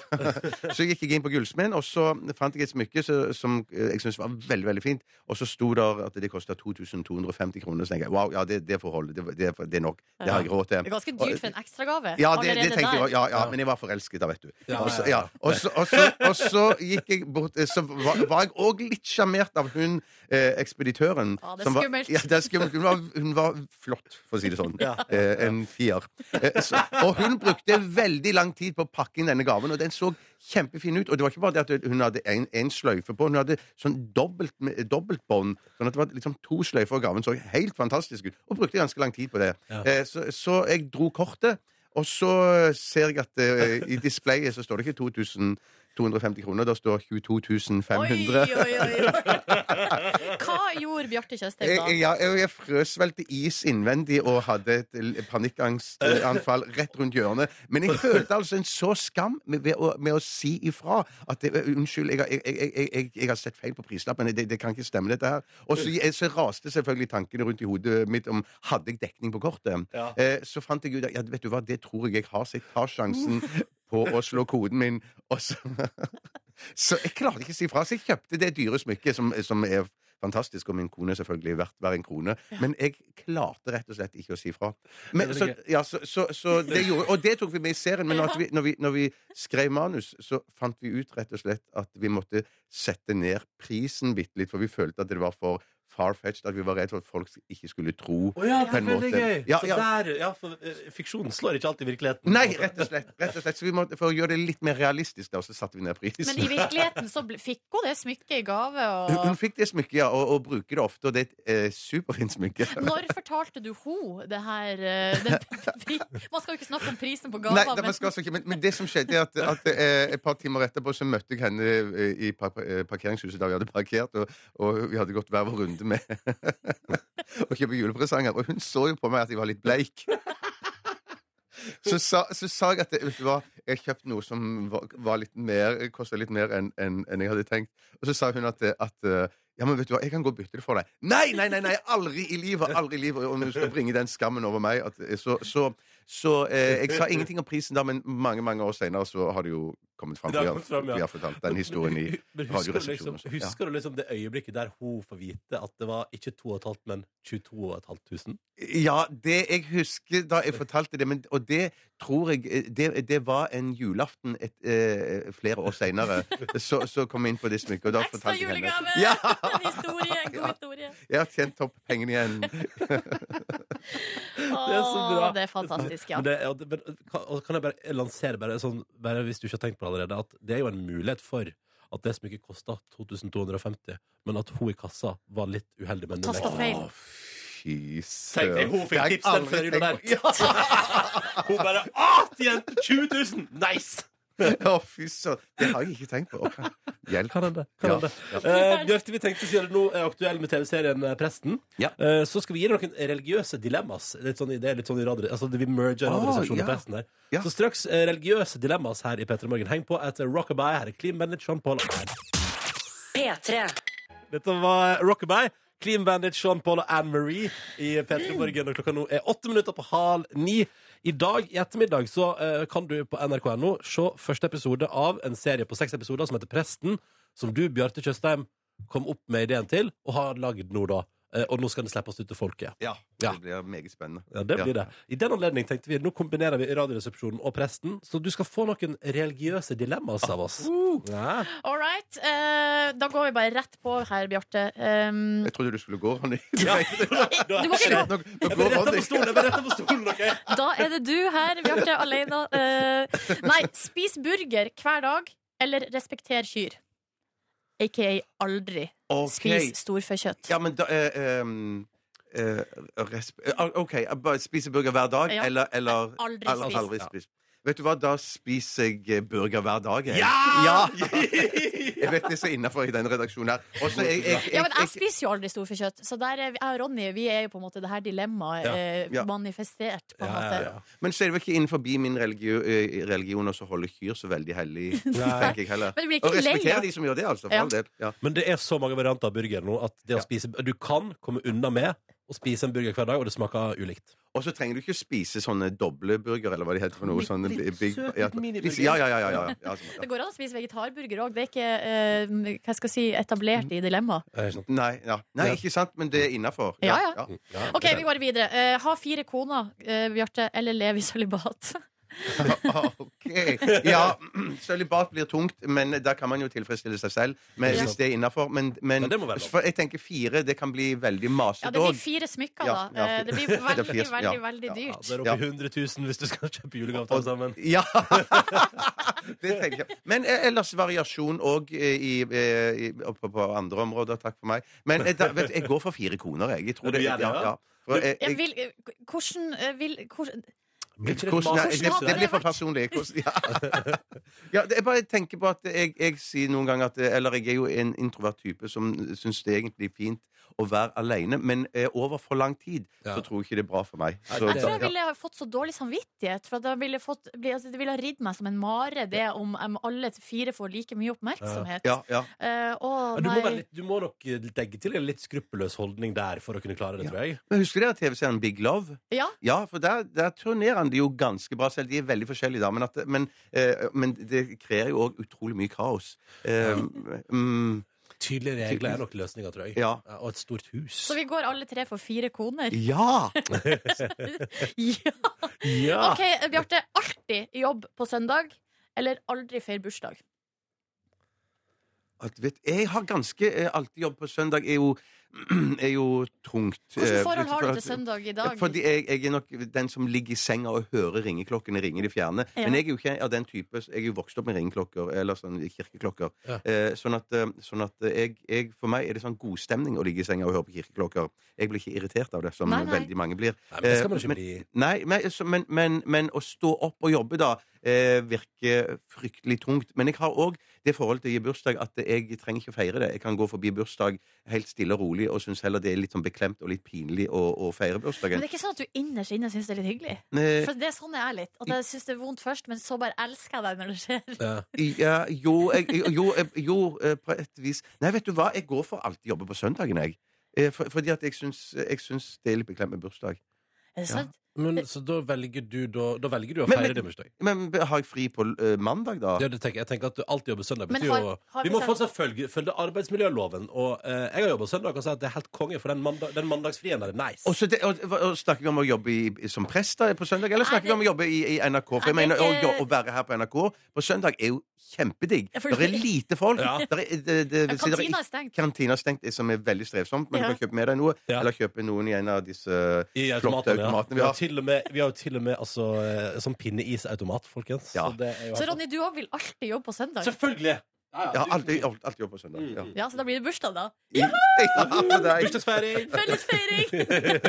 Speaker 9: så gikk jeg inn på gullsmeden, og så fant jeg et smykke så, som eh, jeg syntes var veldig veldig fint. Og så sto det at det kosta 2250 kroner. Så tenkte jeg wow, ja, det, det får holde. Det, det, er for- det er nok. Det har jeg råd til.
Speaker 3: Det er ganske dyrt for en ekstragave.
Speaker 9: Ja, det, det
Speaker 3: allerede
Speaker 9: tenkte jeg
Speaker 3: der.
Speaker 9: også. ja, ja, men jeg var forelsket da, vet du.
Speaker 2: Ja,
Speaker 9: Og så-
Speaker 2: ja, ja.
Speaker 9: ja. Og så- og så- og så gikk jeg bort eh, Så var, var jeg òg litt sjarmert av hun eh, ekspeditøren.
Speaker 3: Ja, det er
Speaker 9: som var-
Speaker 3: skummelt.
Speaker 9: Ja, det er skummelt. Hun var, hun var flott, for å si det sånn. Eh, en fier. Eh, så, og hun brukte veldig lang tid på å pakke inn denne gaven, og den så kjempefin ut. Og det var ikke bare det at hun hadde en, en sløyfe på, hun hadde sånn dobbelt, med- dobbeltbånd. Sånn at det var liksom to sløyfer, og gaven så helt fantastisk ut. Og brukte ganske lang tid på det. Eh, så, så jeg dro kortet. Og så ser jeg at eh, i displayet så står det ikke 2250 kroner, da står 22 500.
Speaker 3: Oi, oi, oi. Hva gjorde Bjarte Tjøstheim
Speaker 9: Jeg,
Speaker 3: da?
Speaker 9: jeg, ja, jeg, jeg frøs vel til is innvendig og hadde et l- panikkangstanfall rett rundt hjørnet. Men jeg følte altså en så skam med, ved å, med å si ifra at det, eh, unnskyld, jeg, har- jeg, jeg, jeg, jeg, jeg har sett feil på prislappen. Det, det kan ikke stemme, dette her. Og så, jeg- så raste selvfølgelig tankene rundt i hodet mitt om hadde jeg dekning på kortet. Eh, så fant jeg ut at ja, vet du hva, det tror jeg jeg har, så jeg tar sjansen på å slå koden min. Og så så jeg klarte ikke å si fra. Så jeg kjøpte det dyre smykket, som, som er fantastisk, og min kone er selvfølgelig verdt hver en krone. Men jeg klarte rett og slett ikke å si fra. Men, så, ja, så, så, så det gjorde, og det tok vi med i serien, men at vi, når, vi, når vi skrev manus, så fant vi ut rett og slett at vi måtte sette ned prisen bitte litt, for vi følte at det var for far-fetched, at vi var redd for at folk ikke skulle tro
Speaker 2: Å ja, det er
Speaker 9: på en
Speaker 2: veldig
Speaker 9: måte.
Speaker 2: gøy!
Speaker 9: Ja,
Speaker 2: Så
Speaker 9: ja.
Speaker 2: der, ja, for eh, Fiksjonen slår ikke alltid virkeligheten.
Speaker 9: Nei, rett og slett. Rett og slett. Så vi måtte, for å gjøre det litt mer realistisk, da, så satte vi ned prisen.
Speaker 3: Men i virkeligheten så ble- fikk hun det smykket i gave.
Speaker 9: Hun, hun
Speaker 3: Og...
Speaker 9: fikk det smykket, ja, og, og bruker det ofte, og det er et eh, superfint smykke.
Speaker 3: Når fortalte du hun det her eh, den, pri- Man skal jo ikke snakke om prisen på
Speaker 9: Nei,
Speaker 3: gaver,
Speaker 9: det
Speaker 3: men
Speaker 9: var skal altså ikke, men, men det som skjedde, er at, at eh, et par timer etterpå så møtte jeg henne eh, i par, eh, parkeringshuset der vi hadde parkert, og, og vi hadde gått hver vår runde med [laughs] å kjøpe julepresanger, og hun så jo på meg at jeg var litt bleik. Så sa, så sa jeg at det, vet du hva, jeg kjøpte noe som var, var litt mer, kosta litt mer enn enn- enn jeg hadde tenkt. Og så sa hun at, eh, at eh, ja, men vet du hva, jeg kan gå og bytte det for deg. Nei, nei, nei, nei, aldri i livet! aldri i livet, Om hun skal bringe den skammen over meg. At, eh, så så, så eh, jeg sa ingenting om prisen da, men mange mange år senere så har det jo kommet fram.
Speaker 2: Det har
Speaker 9: Vi
Speaker 2: kommet fram,
Speaker 9: har,
Speaker 2: ja.
Speaker 9: vi har fortalt den historien i
Speaker 2: Men husker du, liksom,
Speaker 9: Radioresepsjonen. og sånt. Ja.
Speaker 2: husker du liksom det øyeblikket der hun får vite at det var ikke 2500, men 22500?
Speaker 9: Ja, det jeg husker da jeg fortalte det, men, og det tror jeg eh, Det, det var en julaften et, eh, flere år seinere. Så, så kom jeg inn på det smykket, og da
Speaker 3: ekstra
Speaker 9: fortalte jeg henne
Speaker 3: julegave!
Speaker 9: Ja!
Speaker 3: En historie, en god
Speaker 9: Ja.
Speaker 3: historie.
Speaker 9: Jeg har tjent topp pengene igjen.
Speaker 2: Det er så bra.
Speaker 3: Å, det er fantastisk, ja.
Speaker 2: Men det, ja, det, men, kan, og kan jeg bare lansere, bare, sånn, bare hvis du ikke har tenkt på det allerede, at det er jo en mulighet for at det smykket kosta 2250, men at hun i kassa var litt uheldig med
Speaker 3: Tasta feil.
Speaker 9: Å, fy
Speaker 2: Tenk deg,
Speaker 9: søren.
Speaker 2: hun
Speaker 9: Det har
Speaker 2: fikk
Speaker 9: jeg
Speaker 2: tips den
Speaker 9: aldri
Speaker 2: før jula
Speaker 9: tenkt
Speaker 2: der.
Speaker 9: [laughs]
Speaker 2: Hun bare ah, til jente, 20 000! Nice!
Speaker 9: på. Å, fy søren. Det har jeg ikke tenkt på. Å, Hjelp.
Speaker 2: Kan hende. Kan
Speaker 9: Ja.
Speaker 2: hende. Eh, Bjarte, vi tenkte siden du nå er aktuell med TV-serien eh, Presten,
Speaker 9: Ja.
Speaker 2: eh, så skal vi gi deg noen religiøse dilemmas. Litt sånn, i- det er litt sånn i radio, altså Vi merger Radioresepsjonen
Speaker 9: Ah, ja.
Speaker 2: og Presten der.
Speaker 9: Ja.
Speaker 2: Så straks eh, religiøse dilemmas her i P3 Morgen. Heng på etter Rockabye. Her er Clean Bandit, Sean Paul og Anne.
Speaker 1: P3.
Speaker 2: Dette var Rockabye. Clean Bandit, Sean Paul og Anne Marie i P3 Morgen. Og klokka nå er åtte minutter på halv ni. I dag i ettermiddag så eh, kan du på nrk.no se første episode av en serie på seks episoder som heter Presten, som du, Bjarte Tjøstheim, kom opp med ideen til og har lagd nå, da. Eh, og nå skal den slippes ut til folket.
Speaker 9: Ja,
Speaker 2: Ja.
Speaker 9: det blir meget spennende.
Speaker 2: Ja, det blir det. I den anledning tenkte vi nå kombinerer vi Radioresepsjonen og presten, så du skal få noen religiøse dilemmaer av oss. Ja.
Speaker 3: All right. eh, da går vi bare rett på her, Bjarte. Um,
Speaker 9: Jeg trodde du skulle gå, Ronny. [laughs]
Speaker 3: du må ikke gå.
Speaker 9: Nå, nå
Speaker 2: Jeg ble
Speaker 9: går
Speaker 2: retta på
Speaker 9: Ronny.
Speaker 2: stolen! Jeg ble rettet på stolen, ok?
Speaker 3: Da er det du her, Bjarte, alene. Eh, nei, spis burger hver dag, eller respekter kyr. aka aldri
Speaker 9: Ok.
Speaker 3: spis storfekjøtt.
Speaker 9: Ja, men da eh, ehm, eh, resp eh, OK, jeg bare spise burger hver dag,
Speaker 3: Ja.
Speaker 9: eller, eller
Speaker 3: Aldri
Speaker 9: eller
Speaker 3: spis.
Speaker 9: aldri spis. Vet du hva, da spiser jeg eh, burger hver dag. Jeg.
Speaker 4: Ja! Ah!
Speaker 7: [laughs]
Speaker 9: jeg vet det er så innafor i denne redaksjonen her. Og så jeg, jeg, jeg,
Speaker 3: Ja, men jeg
Speaker 9: jeg,
Speaker 3: spiser jo aldri storfekjøtt, så der er vi, jeg og Ronny vi er jo på en måte det her dilemmaet
Speaker 2: Ja.
Speaker 3: eh,
Speaker 9: Ja.
Speaker 3: manifestert, på en
Speaker 2: Ja, ja,
Speaker 3: måte.
Speaker 2: ja.
Speaker 9: Men så er det vel ikke innenfor min religion, eh, religion også å holde kyr så veldig
Speaker 2: [laughs]
Speaker 9: hellig. tenker jeg heller.
Speaker 3: Men det blir ikke
Speaker 9: Og respektere
Speaker 3: lenger.
Speaker 9: de som gjør det, altså. For
Speaker 3: Ja.
Speaker 9: all del. Ja.
Speaker 2: Men det er så mange varianter av burger nå at det å spise, du kan komme unna med å spise en burger hver dag, og det smaker ulikt.
Speaker 9: Og så trenger du ikke spise sånne doble burger, eller hva de heter for noe.
Speaker 2: Litt-
Speaker 9: Sånne
Speaker 2: litt
Speaker 9: big,
Speaker 2: søt
Speaker 9: ja,
Speaker 2: miniburger.
Speaker 9: ja, ja, ja, ja, ja, ja, sånn,
Speaker 3: Det
Speaker 9: ja.
Speaker 3: går an å spise vegetarburger òg. Det er ikke eh, hva skal jeg si,
Speaker 9: Mm.
Speaker 3: etablert i dilemmaet.
Speaker 2: Er det sant?
Speaker 9: Nei, ja. Nei, ikke sant, men det er innafor.
Speaker 3: Ja, ja.
Speaker 2: Ja,
Speaker 3: [laughs] OK, vi går videre. Eh, ha fire koner, eh, Bjarte, eller lev i
Speaker 9: [laughs]
Speaker 3: sølibat.
Speaker 9: OK. Ja, [clears throat] sølibat blir tungt, men der kan man jo tilfredsstille seg selv. Men,
Speaker 3: Ja.
Speaker 9: Hvis det er innafor. Men, men
Speaker 2: Men det må være lov.
Speaker 9: for jeg tenker fire, det kan bli veldig
Speaker 3: Ja,
Speaker 9: masete
Speaker 3: det blir
Speaker 9: òg.
Speaker 3: fire smykker,
Speaker 9: Ja,
Speaker 3: da.
Speaker 9: ja,
Speaker 3: Eh,
Speaker 9: fire.
Speaker 3: Det blir
Speaker 9: [laughs] Det er
Speaker 3: veldig,
Speaker 9: fire,
Speaker 3: veldig,
Speaker 9: ja.
Speaker 3: veldig
Speaker 2: Ja,
Speaker 3: dyrt.
Speaker 2: det er
Speaker 9: Ja.
Speaker 2: oppe i 100 000 hvis du skal kjøpe julegave til alle sammen.
Speaker 9: Ja! [laughs] det tenker jeg. Men eh, ellers variasjon òg i, eh, i, på, på andre områder. Takk for meg. Men eh, da, vet, du, jeg går for fire koner, jeg. jeg tror
Speaker 2: Du
Speaker 9: det,
Speaker 2: gjør det,
Speaker 9: ja,
Speaker 2: ja?
Speaker 9: ja. For jeg-
Speaker 3: Jeg
Speaker 9: jeg-
Speaker 3: vil, eh, hvordan eh, vil hvordan,
Speaker 2: Blir ikke det
Speaker 9: Hvordan-
Speaker 2: maser-
Speaker 9: nei, det, det blir for personlig. Hvordan-
Speaker 2: [laughs]
Speaker 9: Ja. Ja, det, jeg bare tenker på at jeg, jeg sier noen ganger at eh, Eller jeg er jo en introvert type som syns det er egentlig fint å være alene, men eh, over for lang tid
Speaker 2: Ja.
Speaker 9: så tror jeg ikke det er bra for meg. Så,
Speaker 3: Jeg tror jeg
Speaker 9: ja.
Speaker 3: ville ha fått så dårlig samvittighet. For at jeg ville fått, bli- altså, det ville ha ridd meg som en mare, det om em, alle fire får like mye oppmerksomhet.
Speaker 9: Ja, ja.
Speaker 3: Eh, å,
Speaker 2: Ja, du, må
Speaker 3: nei.
Speaker 2: være litt, du må nok eh, legge til en litt skruppelløs holdning der for å kunne klare det, tror jeg.
Speaker 9: Men husker dere TV-serien Big Love?
Speaker 3: Ja.
Speaker 9: Ja, for der, der turnerer han det jo ganske bra selv. De er veldig forskjellige, da, men, at, men, eh, men det krever jo òg utrolig mye kaos. Eh, mm,
Speaker 2: Tydelige regler er nok løsninga, tror jeg.
Speaker 9: Ja.
Speaker 2: Og et stort hus.
Speaker 3: Så vi går alle tre for fire koner.
Speaker 9: ja!
Speaker 3: [laughs] Ja.
Speaker 2: Ja!
Speaker 3: OK, eh, Bjarte. Alltid jobb på søndag, eller aldri feir bursdag?
Speaker 9: At, vet, jeg har ganske eh, alltid jobb på søndag. Er jo, [clears throat] er jo tungt.
Speaker 3: Hvilket
Speaker 9: eh,
Speaker 3: forhold har
Speaker 9: for
Speaker 3: du
Speaker 9: at-
Speaker 3: til søndag i dag?
Speaker 9: Fordi jeg, jeg er nok den som ligger i senga og hører ringeklokkene ringe i det fjerne.
Speaker 3: Ja.
Speaker 9: Men jeg er jo ikke av den type Jeg er jo vokst opp med ringeklokker, eller sånn kirkeklokker.
Speaker 2: Ja.
Speaker 9: Eh, sånn at, eh, sånn at jeg, jeg, for meg er det sånn godstemning å ligge i senga og høre på kirkeklokker. Jeg blir ikke irritert av det, som
Speaker 3: Nei, nei.
Speaker 9: veldig mange blir.
Speaker 2: Nei, men det skal man
Speaker 9: Eh,
Speaker 2: ikke bli.
Speaker 9: Nei, men, så- men, men, men å stå opp og jobbe da eh, virker fryktelig tungt. Men jeg har òg det forholdet til å gi bursdag at jeg trenger ikke å feire det. Jeg kan gå forbi bursdag helt stille og rolig og syns heller det er litt sånn beklemt og litt pinlig å, å feire
Speaker 3: Men
Speaker 9: bursdagen.
Speaker 3: det er ikke sånn at du innerst inne syns det er litt hyggelig?
Speaker 9: Eh,
Speaker 3: For det er sånn jeg er litt. At jeg syns det er vondt først, men så bare elsker jeg deg når det skjer.
Speaker 2: Ja.
Speaker 9: ja, jo, jeg, jo, jeg, jo, eh, på et vis Nei, vet du hva? Jeg går for alltid jobbe på søndagen, jeg. Eh, For, fordi at jeg syns, jeg syns det er litt beklemt med bursdag.
Speaker 3: Er det sant?
Speaker 2: Men så da velger du, da, da velger du å
Speaker 9: Men-
Speaker 2: feire
Speaker 9: men-
Speaker 2: din bursdag?
Speaker 9: Men har jeg fri på eh, mandag, da?
Speaker 2: Ja, det tenker, jeg Jeg tenker at du alltid jobber søndag.
Speaker 3: Men
Speaker 2: Betyr
Speaker 3: har-
Speaker 2: jo,
Speaker 3: har
Speaker 2: vi
Speaker 3: vi
Speaker 2: må
Speaker 3: søndag-
Speaker 2: fortsatt følge, følge arbeidsmiljøloven. Og eh, jeg har jobba søndag og sier at det er helt konge, for den, mandag, den mandagsfrien der er nice.
Speaker 9: Og så det, og, og Snakker vi om å jobbe i, i- som prest da, på søndag, eller
Speaker 3: Nei,
Speaker 9: snakker vi
Speaker 3: det-
Speaker 9: om å jobbe i, i NRK? For
Speaker 3: Nei,
Speaker 9: jeg
Speaker 3: det
Speaker 9: mener,
Speaker 3: er
Speaker 9: å,
Speaker 3: ikke-
Speaker 9: jo- å være her på NRK på søndag er jo kjempedigg.
Speaker 3: Ja, for
Speaker 9: Det er
Speaker 3: det-
Speaker 9: lite folk.
Speaker 2: Ja.
Speaker 9: Der er, det, det,
Speaker 3: Ja,
Speaker 9: vil si der
Speaker 3: Kantina
Speaker 9: ikke-
Speaker 3: er stengt.
Speaker 9: Kantina er stengt, som er veldig strevsomt, men
Speaker 3: Ja.
Speaker 9: du kan kjøpe med deg noe.
Speaker 2: Ja.
Speaker 9: Eller kjøpe noen i en av disse eh,
Speaker 2: I
Speaker 9: flotte
Speaker 2: automatene, ja.
Speaker 9: automatene
Speaker 2: Vi
Speaker 9: vi
Speaker 2: har
Speaker 9: har.
Speaker 2: til og med, vi har jo til og med altså, eh, sånn pinneisautomat, folkens.
Speaker 9: Ja.
Speaker 2: Så, det er jo
Speaker 3: Så Ronny, du òg vil alltid jobbe på søndag?
Speaker 2: Selvfølgelig!
Speaker 9: Jeg har alltid, alt- alltid jobbet på søndag.
Speaker 2: Mm.
Speaker 9: Ja.
Speaker 3: Ja, så da blir det bursdag, da.
Speaker 9: Ja, for deg.
Speaker 2: Bursdagsfeiring!
Speaker 3: Fellesfeiring!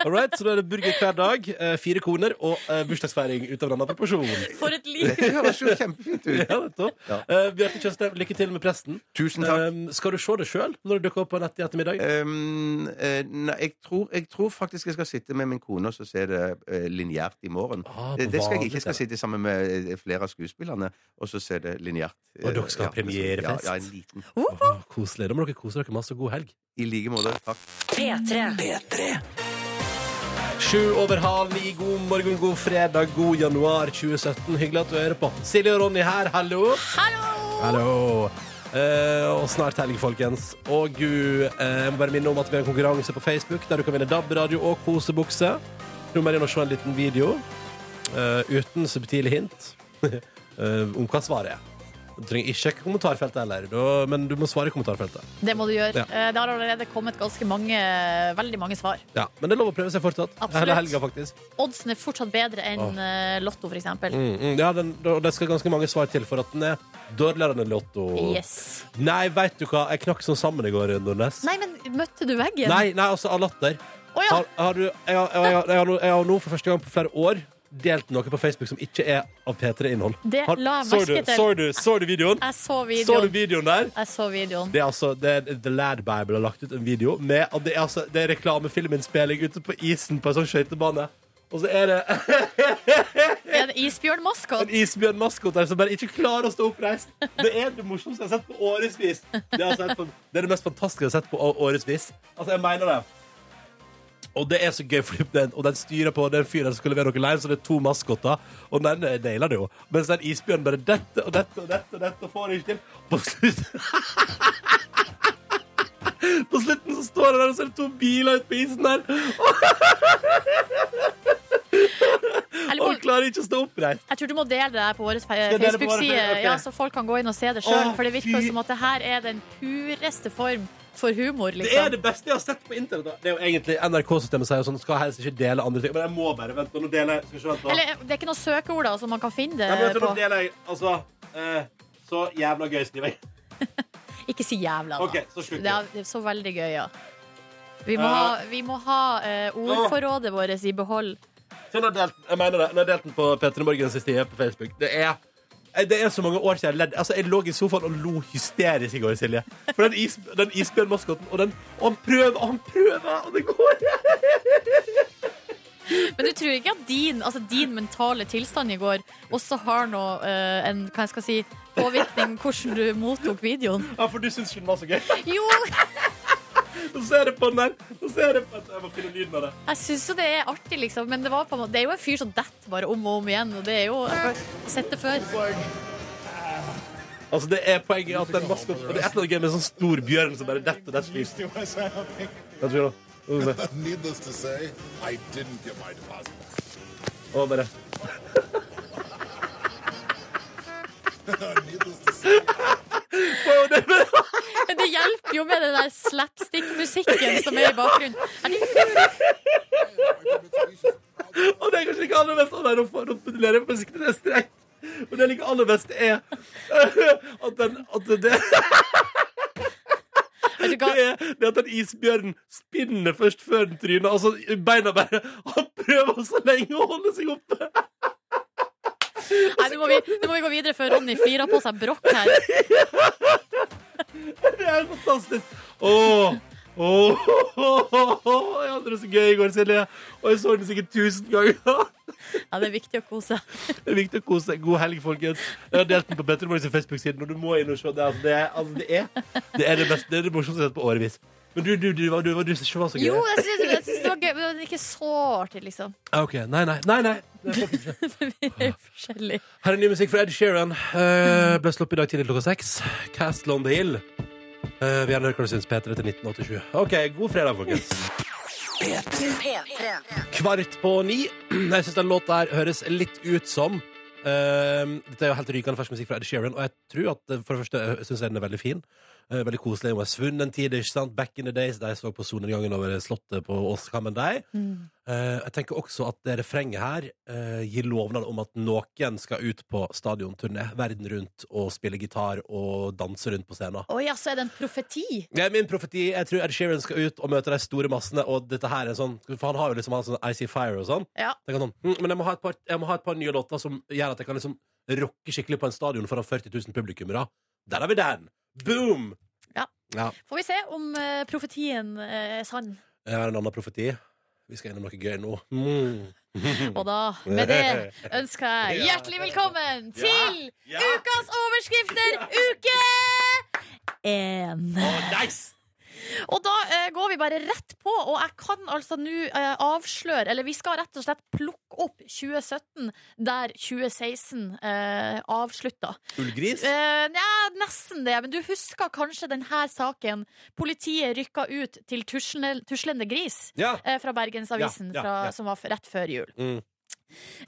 Speaker 2: All right, så da er det burger hver dag, eh, fire koner og eh, bursdagsfeiring ut av en annen proporsjon.
Speaker 9: [laughs]
Speaker 3: For et liv!
Speaker 9: Det høres jo kjempefint
Speaker 2: Ja,
Speaker 9: ut.
Speaker 2: nettopp.
Speaker 9: Ja.
Speaker 2: Eh, Bjarte Tjøstheim, lykke til med presten.
Speaker 9: Tusen takk.
Speaker 2: Eh, skal du se det sjøl når det dukker opp på nettet i ettermiddag?
Speaker 9: Um, eh, nei, jeg tror, jeg tror faktisk jeg skal sitte med min kone og så se det eh, lineært i morgen.
Speaker 2: Ah, på
Speaker 9: det, det skal jeg
Speaker 2: vanlig
Speaker 9: ikke. Jeg skal
Speaker 2: TV.
Speaker 9: sitte sammen med eh, flere av skuespillerne og så se det lineært.
Speaker 2: Og dere skal ha
Speaker 9: Eh, ja,
Speaker 2: premierefest?
Speaker 9: Ja, ja, en liten.
Speaker 2: Åh, koselig. Da må dere kose dere masse. God helg.
Speaker 9: I like måte. Takk.
Speaker 1: P3.
Speaker 2: Sju over halv ni, god morgen, god fredag, god januar 2017. Hyggelig at du hører på. Silje og Ronny her, hallo.
Speaker 3: Hallo!
Speaker 2: Hallo. Eh, og snart helg, folkens. Og gud, eh, jeg må bare minne om at vi har en konkurranse på Facebook der du kan vinne DAB-radio og kosebukse. Du må bare inn og se en liten [laughs] video eh, uten subtile hint eh, om hva svaret er. Du trenger ikke sjekke kommentarfeltet heller, da- men du må svare i kommentarfeltet.
Speaker 3: Det må du
Speaker 2: Ja.
Speaker 3: gjøre. Eh, Det har allerede kommet ganske mange, veldig mange svar.
Speaker 2: Ja, Men det er lov å prøve seg fortsatt.
Speaker 3: Absolutt.
Speaker 2: Hele helga, faktisk.
Speaker 3: Oddsen er fortsatt bedre enn eh, Lotto, for eksempel.
Speaker 2: Mm, mm. Ja, den, og det skal ganske mange svar til for at den er dårligere enn en Lotto.
Speaker 3: Yes.
Speaker 2: Nei, veit du hva, jeg knakk sånn sammen i går, Nordnes.
Speaker 3: Nei, men møtte du veggen?
Speaker 2: Nei, nei, altså av latter.
Speaker 3: Å ja.
Speaker 2: Har, har du, jeg, har- jeg, har- jeg, har nå- jeg har nå for første gang på flere år delt noe på Facebook som ikke er av P3-innhold.
Speaker 3: Det
Speaker 2: Har-
Speaker 3: la jeg
Speaker 2: så,
Speaker 3: merke
Speaker 2: du-
Speaker 3: til.
Speaker 2: så, du- så du videoen?
Speaker 3: Jeg så
Speaker 2: Så du
Speaker 3: videoen.
Speaker 2: videoen der?
Speaker 3: Jeg så videoen.
Speaker 2: Det er altså, det er, The Lad Bible har lagt ut en video med at det er, altså, det er reklamefilminnspilling ute på isen på en sånn skøytebane. Og så er det
Speaker 3: Er det isbjørnmaskot?
Speaker 2: en isbjørnmaskot der som bare ikke klarer å stå oppreist. Det er det morsomste jeg har sett på årevis. Det er, altså helt fan- det er det mest fantastiske jeg har sett på å- årevis. Altså, jeg mener det. Og det er så gøy, fordi den, og den styrer på den fyren som skulle levere noe live, så det er to maskotter. Og den eh, nailer det jo. Mens den isbjørnen bare dette og dette og dette og dette og får det ikke til. På slutten [laughs] På slutten så står det der, og så er det to biler ute på isen der.
Speaker 3: Jeg
Speaker 2: Og
Speaker 3: lurer på-
Speaker 2: klarer ikke å stå oppreist.
Speaker 3: jeg tror du må dele det her på vår fe-
Speaker 2: jeg dele på vår
Speaker 3: Facebook-side,
Speaker 2: fe- ok.
Speaker 3: ja, så folk kan gå inn og se det sjøl.
Speaker 2: Å,
Speaker 3: For det virker
Speaker 2: fy.
Speaker 3: som at det her er den pureste form for humor,
Speaker 2: Det er
Speaker 3: liksom.
Speaker 2: det beste jeg har sett på internett. da. Det er jo egentlig NRK-systemet sier jo sånn Skal helst ikke dele andre ting. Men jeg må bare vente. og Nå deler jeg Skal vi se, vent da.
Speaker 3: Eller det er ikke noen søkeord, da, så man kan finne
Speaker 2: Nei, men
Speaker 3: det
Speaker 2: jeg tror
Speaker 3: på.
Speaker 2: nå deler jeg Altså eh, Så jævla gøy, Snive.
Speaker 3: Ikke si jævla, da.
Speaker 2: OK, så slutt.
Speaker 3: Det er, det er så veldig gøy, ja. Vi må ha, vi må ha eh, ordforrådet vårt i behold.
Speaker 2: Sånn har jeg delt, jeg mener det. Nå har jeg delt den på Petter Morgens siste på Facebook. Det er eh, det er så mange år siden jeg ledd. Altså, jeg lå i sofaen og lo hysterisk i går, Silje. For den, is, den isbjørnmaskoten, og den Og han prøver, og han prøver, og det går
Speaker 3: Men du tror ikke at din, altså din mentale tilstand i går også har noe eh, en, hva jeg skal si, påvirkning på hvordan du mottok videoen?
Speaker 2: Ja, for du syns ikke den var så gøy.
Speaker 3: Jo,
Speaker 2: Så ser jeg på den der. Så ser jeg på Jeg må finne lyden av det.
Speaker 3: jeg syns jo det er artig, liksom. Men det, var på, en måte- det er jo en fyr som detter bare om og om igjen, og det er jo jeg har sett det før.
Speaker 2: Altså, det er poenget at den maskoten Og det er et eller annet gøy med en sånn stor bjørn som bare detter og detter slik. Vent, vi nå. Nå skal vi se.
Speaker 10: Needless to say, I didn't get my deposit.
Speaker 2: Og bare
Speaker 10: Uh, Needless to say,
Speaker 3: Men det hjelper jo med den der slapstick-musikken som er i bakgrunnen. Er det
Speaker 2: Og det er kanskje ikke aller best Å nei, nå får- nå modulerer jeg på musikken til strek. Men det jeg liker aller best, er at den at det, det,
Speaker 3: Vet du hva?
Speaker 2: er, det er at den isbjørnen spinner først før den tryner. Altså, beina bare Han prøver så lenge å holde seg oppe.
Speaker 3: Nei, nå må, vi, nå må vi gå videre før Ronny firer på seg brokk her.
Speaker 2: Det er fantastisk. Åh. Åh, Jeg hadde det så gøy i går, Silje. Og jeg så den sikkert tusen ganger.
Speaker 3: Ja, det er viktig å kose seg.
Speaker 2: Det er viktig å kose seg. God helg, folkens. Jeg har delt den på Petter Morgens Facebook-siden, og du må inn og se det. Altså, det, er, altså, det, er, det er det beste, det er det morsomste jeg har sett på årevis. Men du, du, du, du, du, du synes ikke det var så gøy?
Speaker 3: Jo, jeg syns jeg syns det var gøy, men det er ikke så artig, liksom.
Speaker 2: Ah, ok. Nei, nei, nei, nei.
Speaker 3: Vi er jo forskjellige.
Speaker 2: Her er ny musikk fra Ed Sheeran. Eh, ble sluppet i dag tidlig klokka seks. Castle on the Hill. Eh, vi har hørt hva du syns, Peter, etter 1987. OK, god fredag, folkens.
Speaker 1: P3.
Speaker 2: Kvart på ni. [clears throat] Jeg syns den låta her høres litt ut som eh, Dette er jo helt rykende fersk musikk fra Ed Sheeran, og jeg tror at eh, for det første eh, syns jeg den er veldig fin. Eh, veldig koselig. Hun er svunnen en tid, ikke sant? Back in the days, da jeg så på solnedgangen over slottet på Åskammen der. Eh, jeg tenker også at det refrenget her eh, gir lovnad om at noen skal ut på stadionturné verden rundt og spille gitar og danse rundt på scenen.
Speaker 3: Oi, ja, så er det en profeti?
Speaker 2: Ja, min profeti, jeg tror Ed Sheeran skal ut og møte de store massene, og dette her er sånn For han har jo liksom han sånn Icy Fire og sånn.
Speaker 3: Ja.
Speaker 2: Tenker han sånn, hm, men jeg må, ha et par, jeg må ha et par nye låter som gjør at jeg kan liksom rocke skikkelig på en stadion foran 40 000 publikummere. Der har vi den! Boom!
Speaker 3: Ja.
Speaker 2: ja.
Speaker 3: Får vi se om eh, profetien eh, er sann.
Speaker 2: Jeg har en annen profeti. Vi skal innom noe gøy nå. Mm.
Speaker 3: Og da, med det, ønsker jeg hjertelig velkommen til ukas overskrifter, uke én.
Speaker 2: nice!
Speaker 3: Og da eh, går vi bare rett på, og jeg kan altså nå eh, avsløre Eller vi skal rett og slett plukke opp 2017 der 2016 eh, avslutta.
Speaker 2: Ullgris?
Speaker 3: Eh, nja, nesten det, men du husker kanskje denne saken. Politiet rykka ut til tuslende, tuslende gris
Speaker 2: Ja.
Speaker 3: eh, fra Bergensavisen
Speaker 2: Ja, ja,
Speaker 3: fra,
Speaker 2: ja.
Speaker 3: som var f- rett før jul.
Speaker 2: Mm.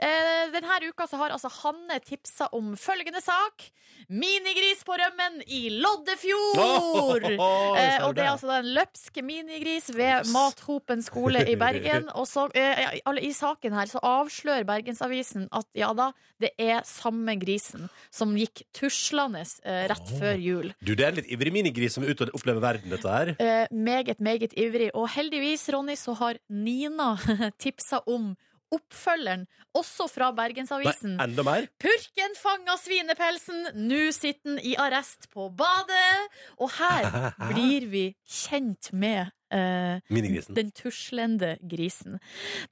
Speaker 3: Eh, denne uka så har altså Hanne tipsa om følgende sak. Minigris på rømmen i
Speaker 2: [laughs]
Speaker 3: Loddefjord!
Speaker 11: Ohohoho,
Speaker 3: Eh,
Speaker 11: ser du
Speaker 3: og det
Speaker 11: det?
Speaker 3: er altså da en løpske minigris ved Mathopen skole
Speaker 2: [laughs]
Speaker 3: i Bergen. Og så, eh, ja, alle- I saken her så avslører Bergensavisen at ja da, det er samme grisen som gikk tuslende eh, rett før jul.
Speaker 11: Du, det er en litt ivrig minigris som er ute og opplever verden, dette her.
Speaker 3: Eh, meget, meget ivrig. Og heldigvis, Ronny, så har Nina [laughs] tipsa om oppfølgeren, også fra Bergensavisen.
Speaker 11: Nei, enda mer?
Speaker 3: Purken fanga svinepelsen, nå sitter den i arrest på badet. Og her blir vi kjent med eh,
Speaker 11: Minigrisen.
Speaker 3: den tuslende grisen.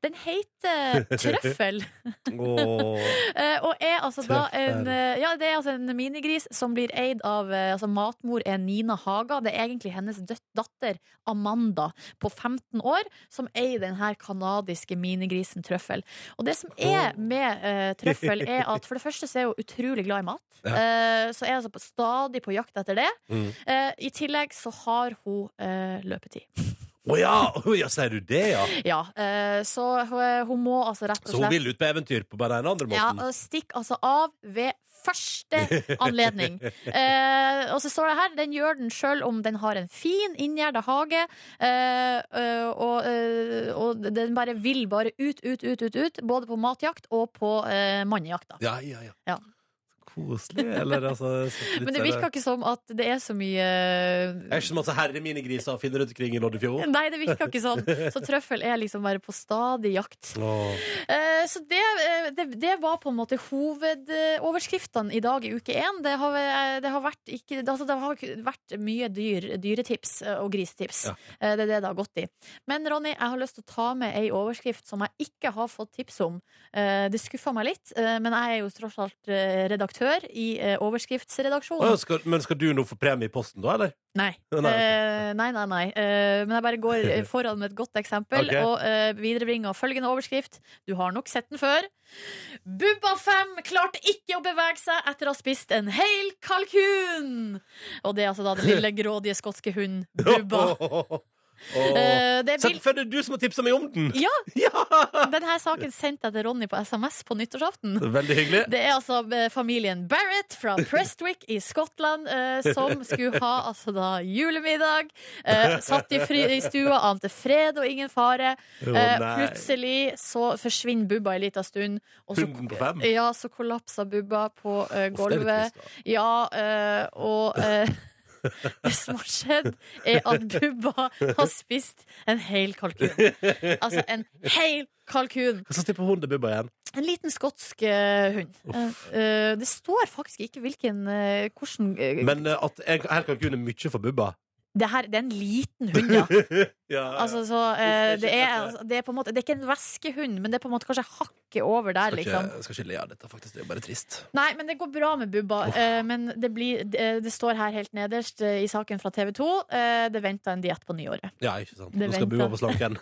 Speaker 3: Den heter Trøffel.
Speaker 11: Åh.
Speaker 3: Eh, og er altså da en,
Speaker 11: Trøffel.
Speaker 3: eh, ja, det er altså en minigris som blir eid av eh, altså matmor er Nina Haga. Det er egentlig hennes døtt, datter Amanda på 15 år som eier den her kanadiske minigrisen Trøffel. Og det som er med eh, Trøffel, er at for det første så er hun utrolig glad i mat.
Speaker 11: Ja.
Speaker 3: Eh, så er hun altså på, stadig på jakt etter det.
Speaker 11: Mm.
Speaker 3: Eh, I tillegg så har hun eh, løpetid.
Speaker 11: Å ja, å ja, sier du det, ja?
Speaker 3: Ja, eh, så hun, hun må altså rett og slett
Speaker 11: Så hun vil ut på eventyr på bare den andre
Speaker 3: ja,
Speaker 11: måten?
Speaker 3: og stikk altså av ved første anledning. Eh, og så står det her den gjør den sjøl om den har en fin, inngjerda hage. Eh, eh, og, eh, og den bare vil bare ut, ut, ut, ut, ut. Både på matjakt og på eh, mannejakt. da.
Speaker 11: Ja, ja, ja.
Speaker 3: Ja.
Speaker 11: Koselig, eller altså
Speaker 3: [laughs]
Speaker 11: litt
Speaker 3: Men det
Speaker 11: sånn-
Speaker 3: virker ikke som at det er så mye
Speaker 2: [laughs]
Speaker 11: Det er ikke så masse herre-minigriser å finne rundt omkring i Loddefjord?
Speaker 3: Nei, det virker ikke sånn. Så trøffel er liksom bare på stadig jakt. Eh, Så det, eh, det, det var på en måte hovedoverskriftene i dag i uke én. Det har, eh, det har, vært, ikke, altså det har ikke vært mye dyr, dyretips eh, og grisetips.
Speaker 11: Ja.
Speaker 3: Eh, Det er det det har gått i. Men Ronny, jeg har lyst til å ta med ei overskrift som jeg ikke har fått tips om. Eh, Det skuffa meg litt, eh, men jeg er jo tross alt eh, redaktør i eh,
Speaker 11: Å, ja,
Speaker 3: overskriftsredaksjonen.
Speaker 11: skal, men skal du nå få premie i posten, da, eller?
Speaker 3: Nei.
Speaker 11: [laughs] Nei, ok.
Speaker 3: Eh, nei, nei, nei. Eh, men jeg bare
Speaker 11: [laughs]
Speaker 3: går eh, foran med et godt eksempel
Speaker 11: Ok.
Speaker 3: og eh, viderebringer følgende overskrift. Du har nok sett den før. Bubba 5 klarte ikke å bevege seg etter å ha spist en hel kalkun! Og det er altså da den
Speaker 11: [laughs]
Speaker 3: lille grådige skotske hunden Bubba. Eh, det er
Speaker 11: Sett for deg du som har tipsa meg om den! [laughs]
Speaker 3: Ja! Denne saken sendte jeg til Ronny på SMS på nyttårsaften.
Speaker 11: Det er veldig hyggelig.
Speaker 3: Det er altså eh, familien Barrett
Speaker 11: [laughs]
Speaker 3: fra Prestwick i Skottland eh, som skulle ha altså da julemiddag. Eh, satt i, fri, i stua, ante fred og ingen fare.
Speaker 11: Å,
Speaker 3: Eh,
Speaker 11: nei.
Speaker 3: plutselig så forsvinner Bubba en liten stund. og så-
Speaker 11: Hunden på fem?
Speaker 3: Ja, så kollapsa Bubba på eh,
Speaker 11: Uff, det er litt
Speaker 3: gulvet. Ja, eh, og eh, [laughs] det som har skjedd, er at Bubba har spist en hel kalkun. Altså en hel kalkun.
Speaker 11: Hva slags type hund er Bubba igjen?
Speaker 3: En liten skotsk eh, hund. Eh, eh, det står faktisk ikke hvilken eh, hvordan, eh,
Speaker 11: Men eh, at en her kalkun er mye for
Speaker 7: [laughs]
Speaker 11: Bubba.
Speaker 3: det, her, det er en liten hund, ja.
Speaker 11: Ja,
Speaker 3: Altså, så, eh, det, er, altså, det er på en måte Det er ikke en veskehund, men det er på en måte kanskje hakket over der,
Speaker 2: Skal
Speaker 3: liksom.
Speaker 2: ikke, skal ikke le av dette, faktisk. Det er bare trist.
Speaker 3: Nei, men det går bra med Bubba. eh, men det, blir, eh, det, det står her helt nederst eh, i saken fra TV 2 eh, det venter en diett på nyåret.
Speaker 11: Ja, ikke sant.
Speaker 3: Det
Speaker 11: Nå skal
Speaker 3: venter.
Speaker 11: Bubba på slanken.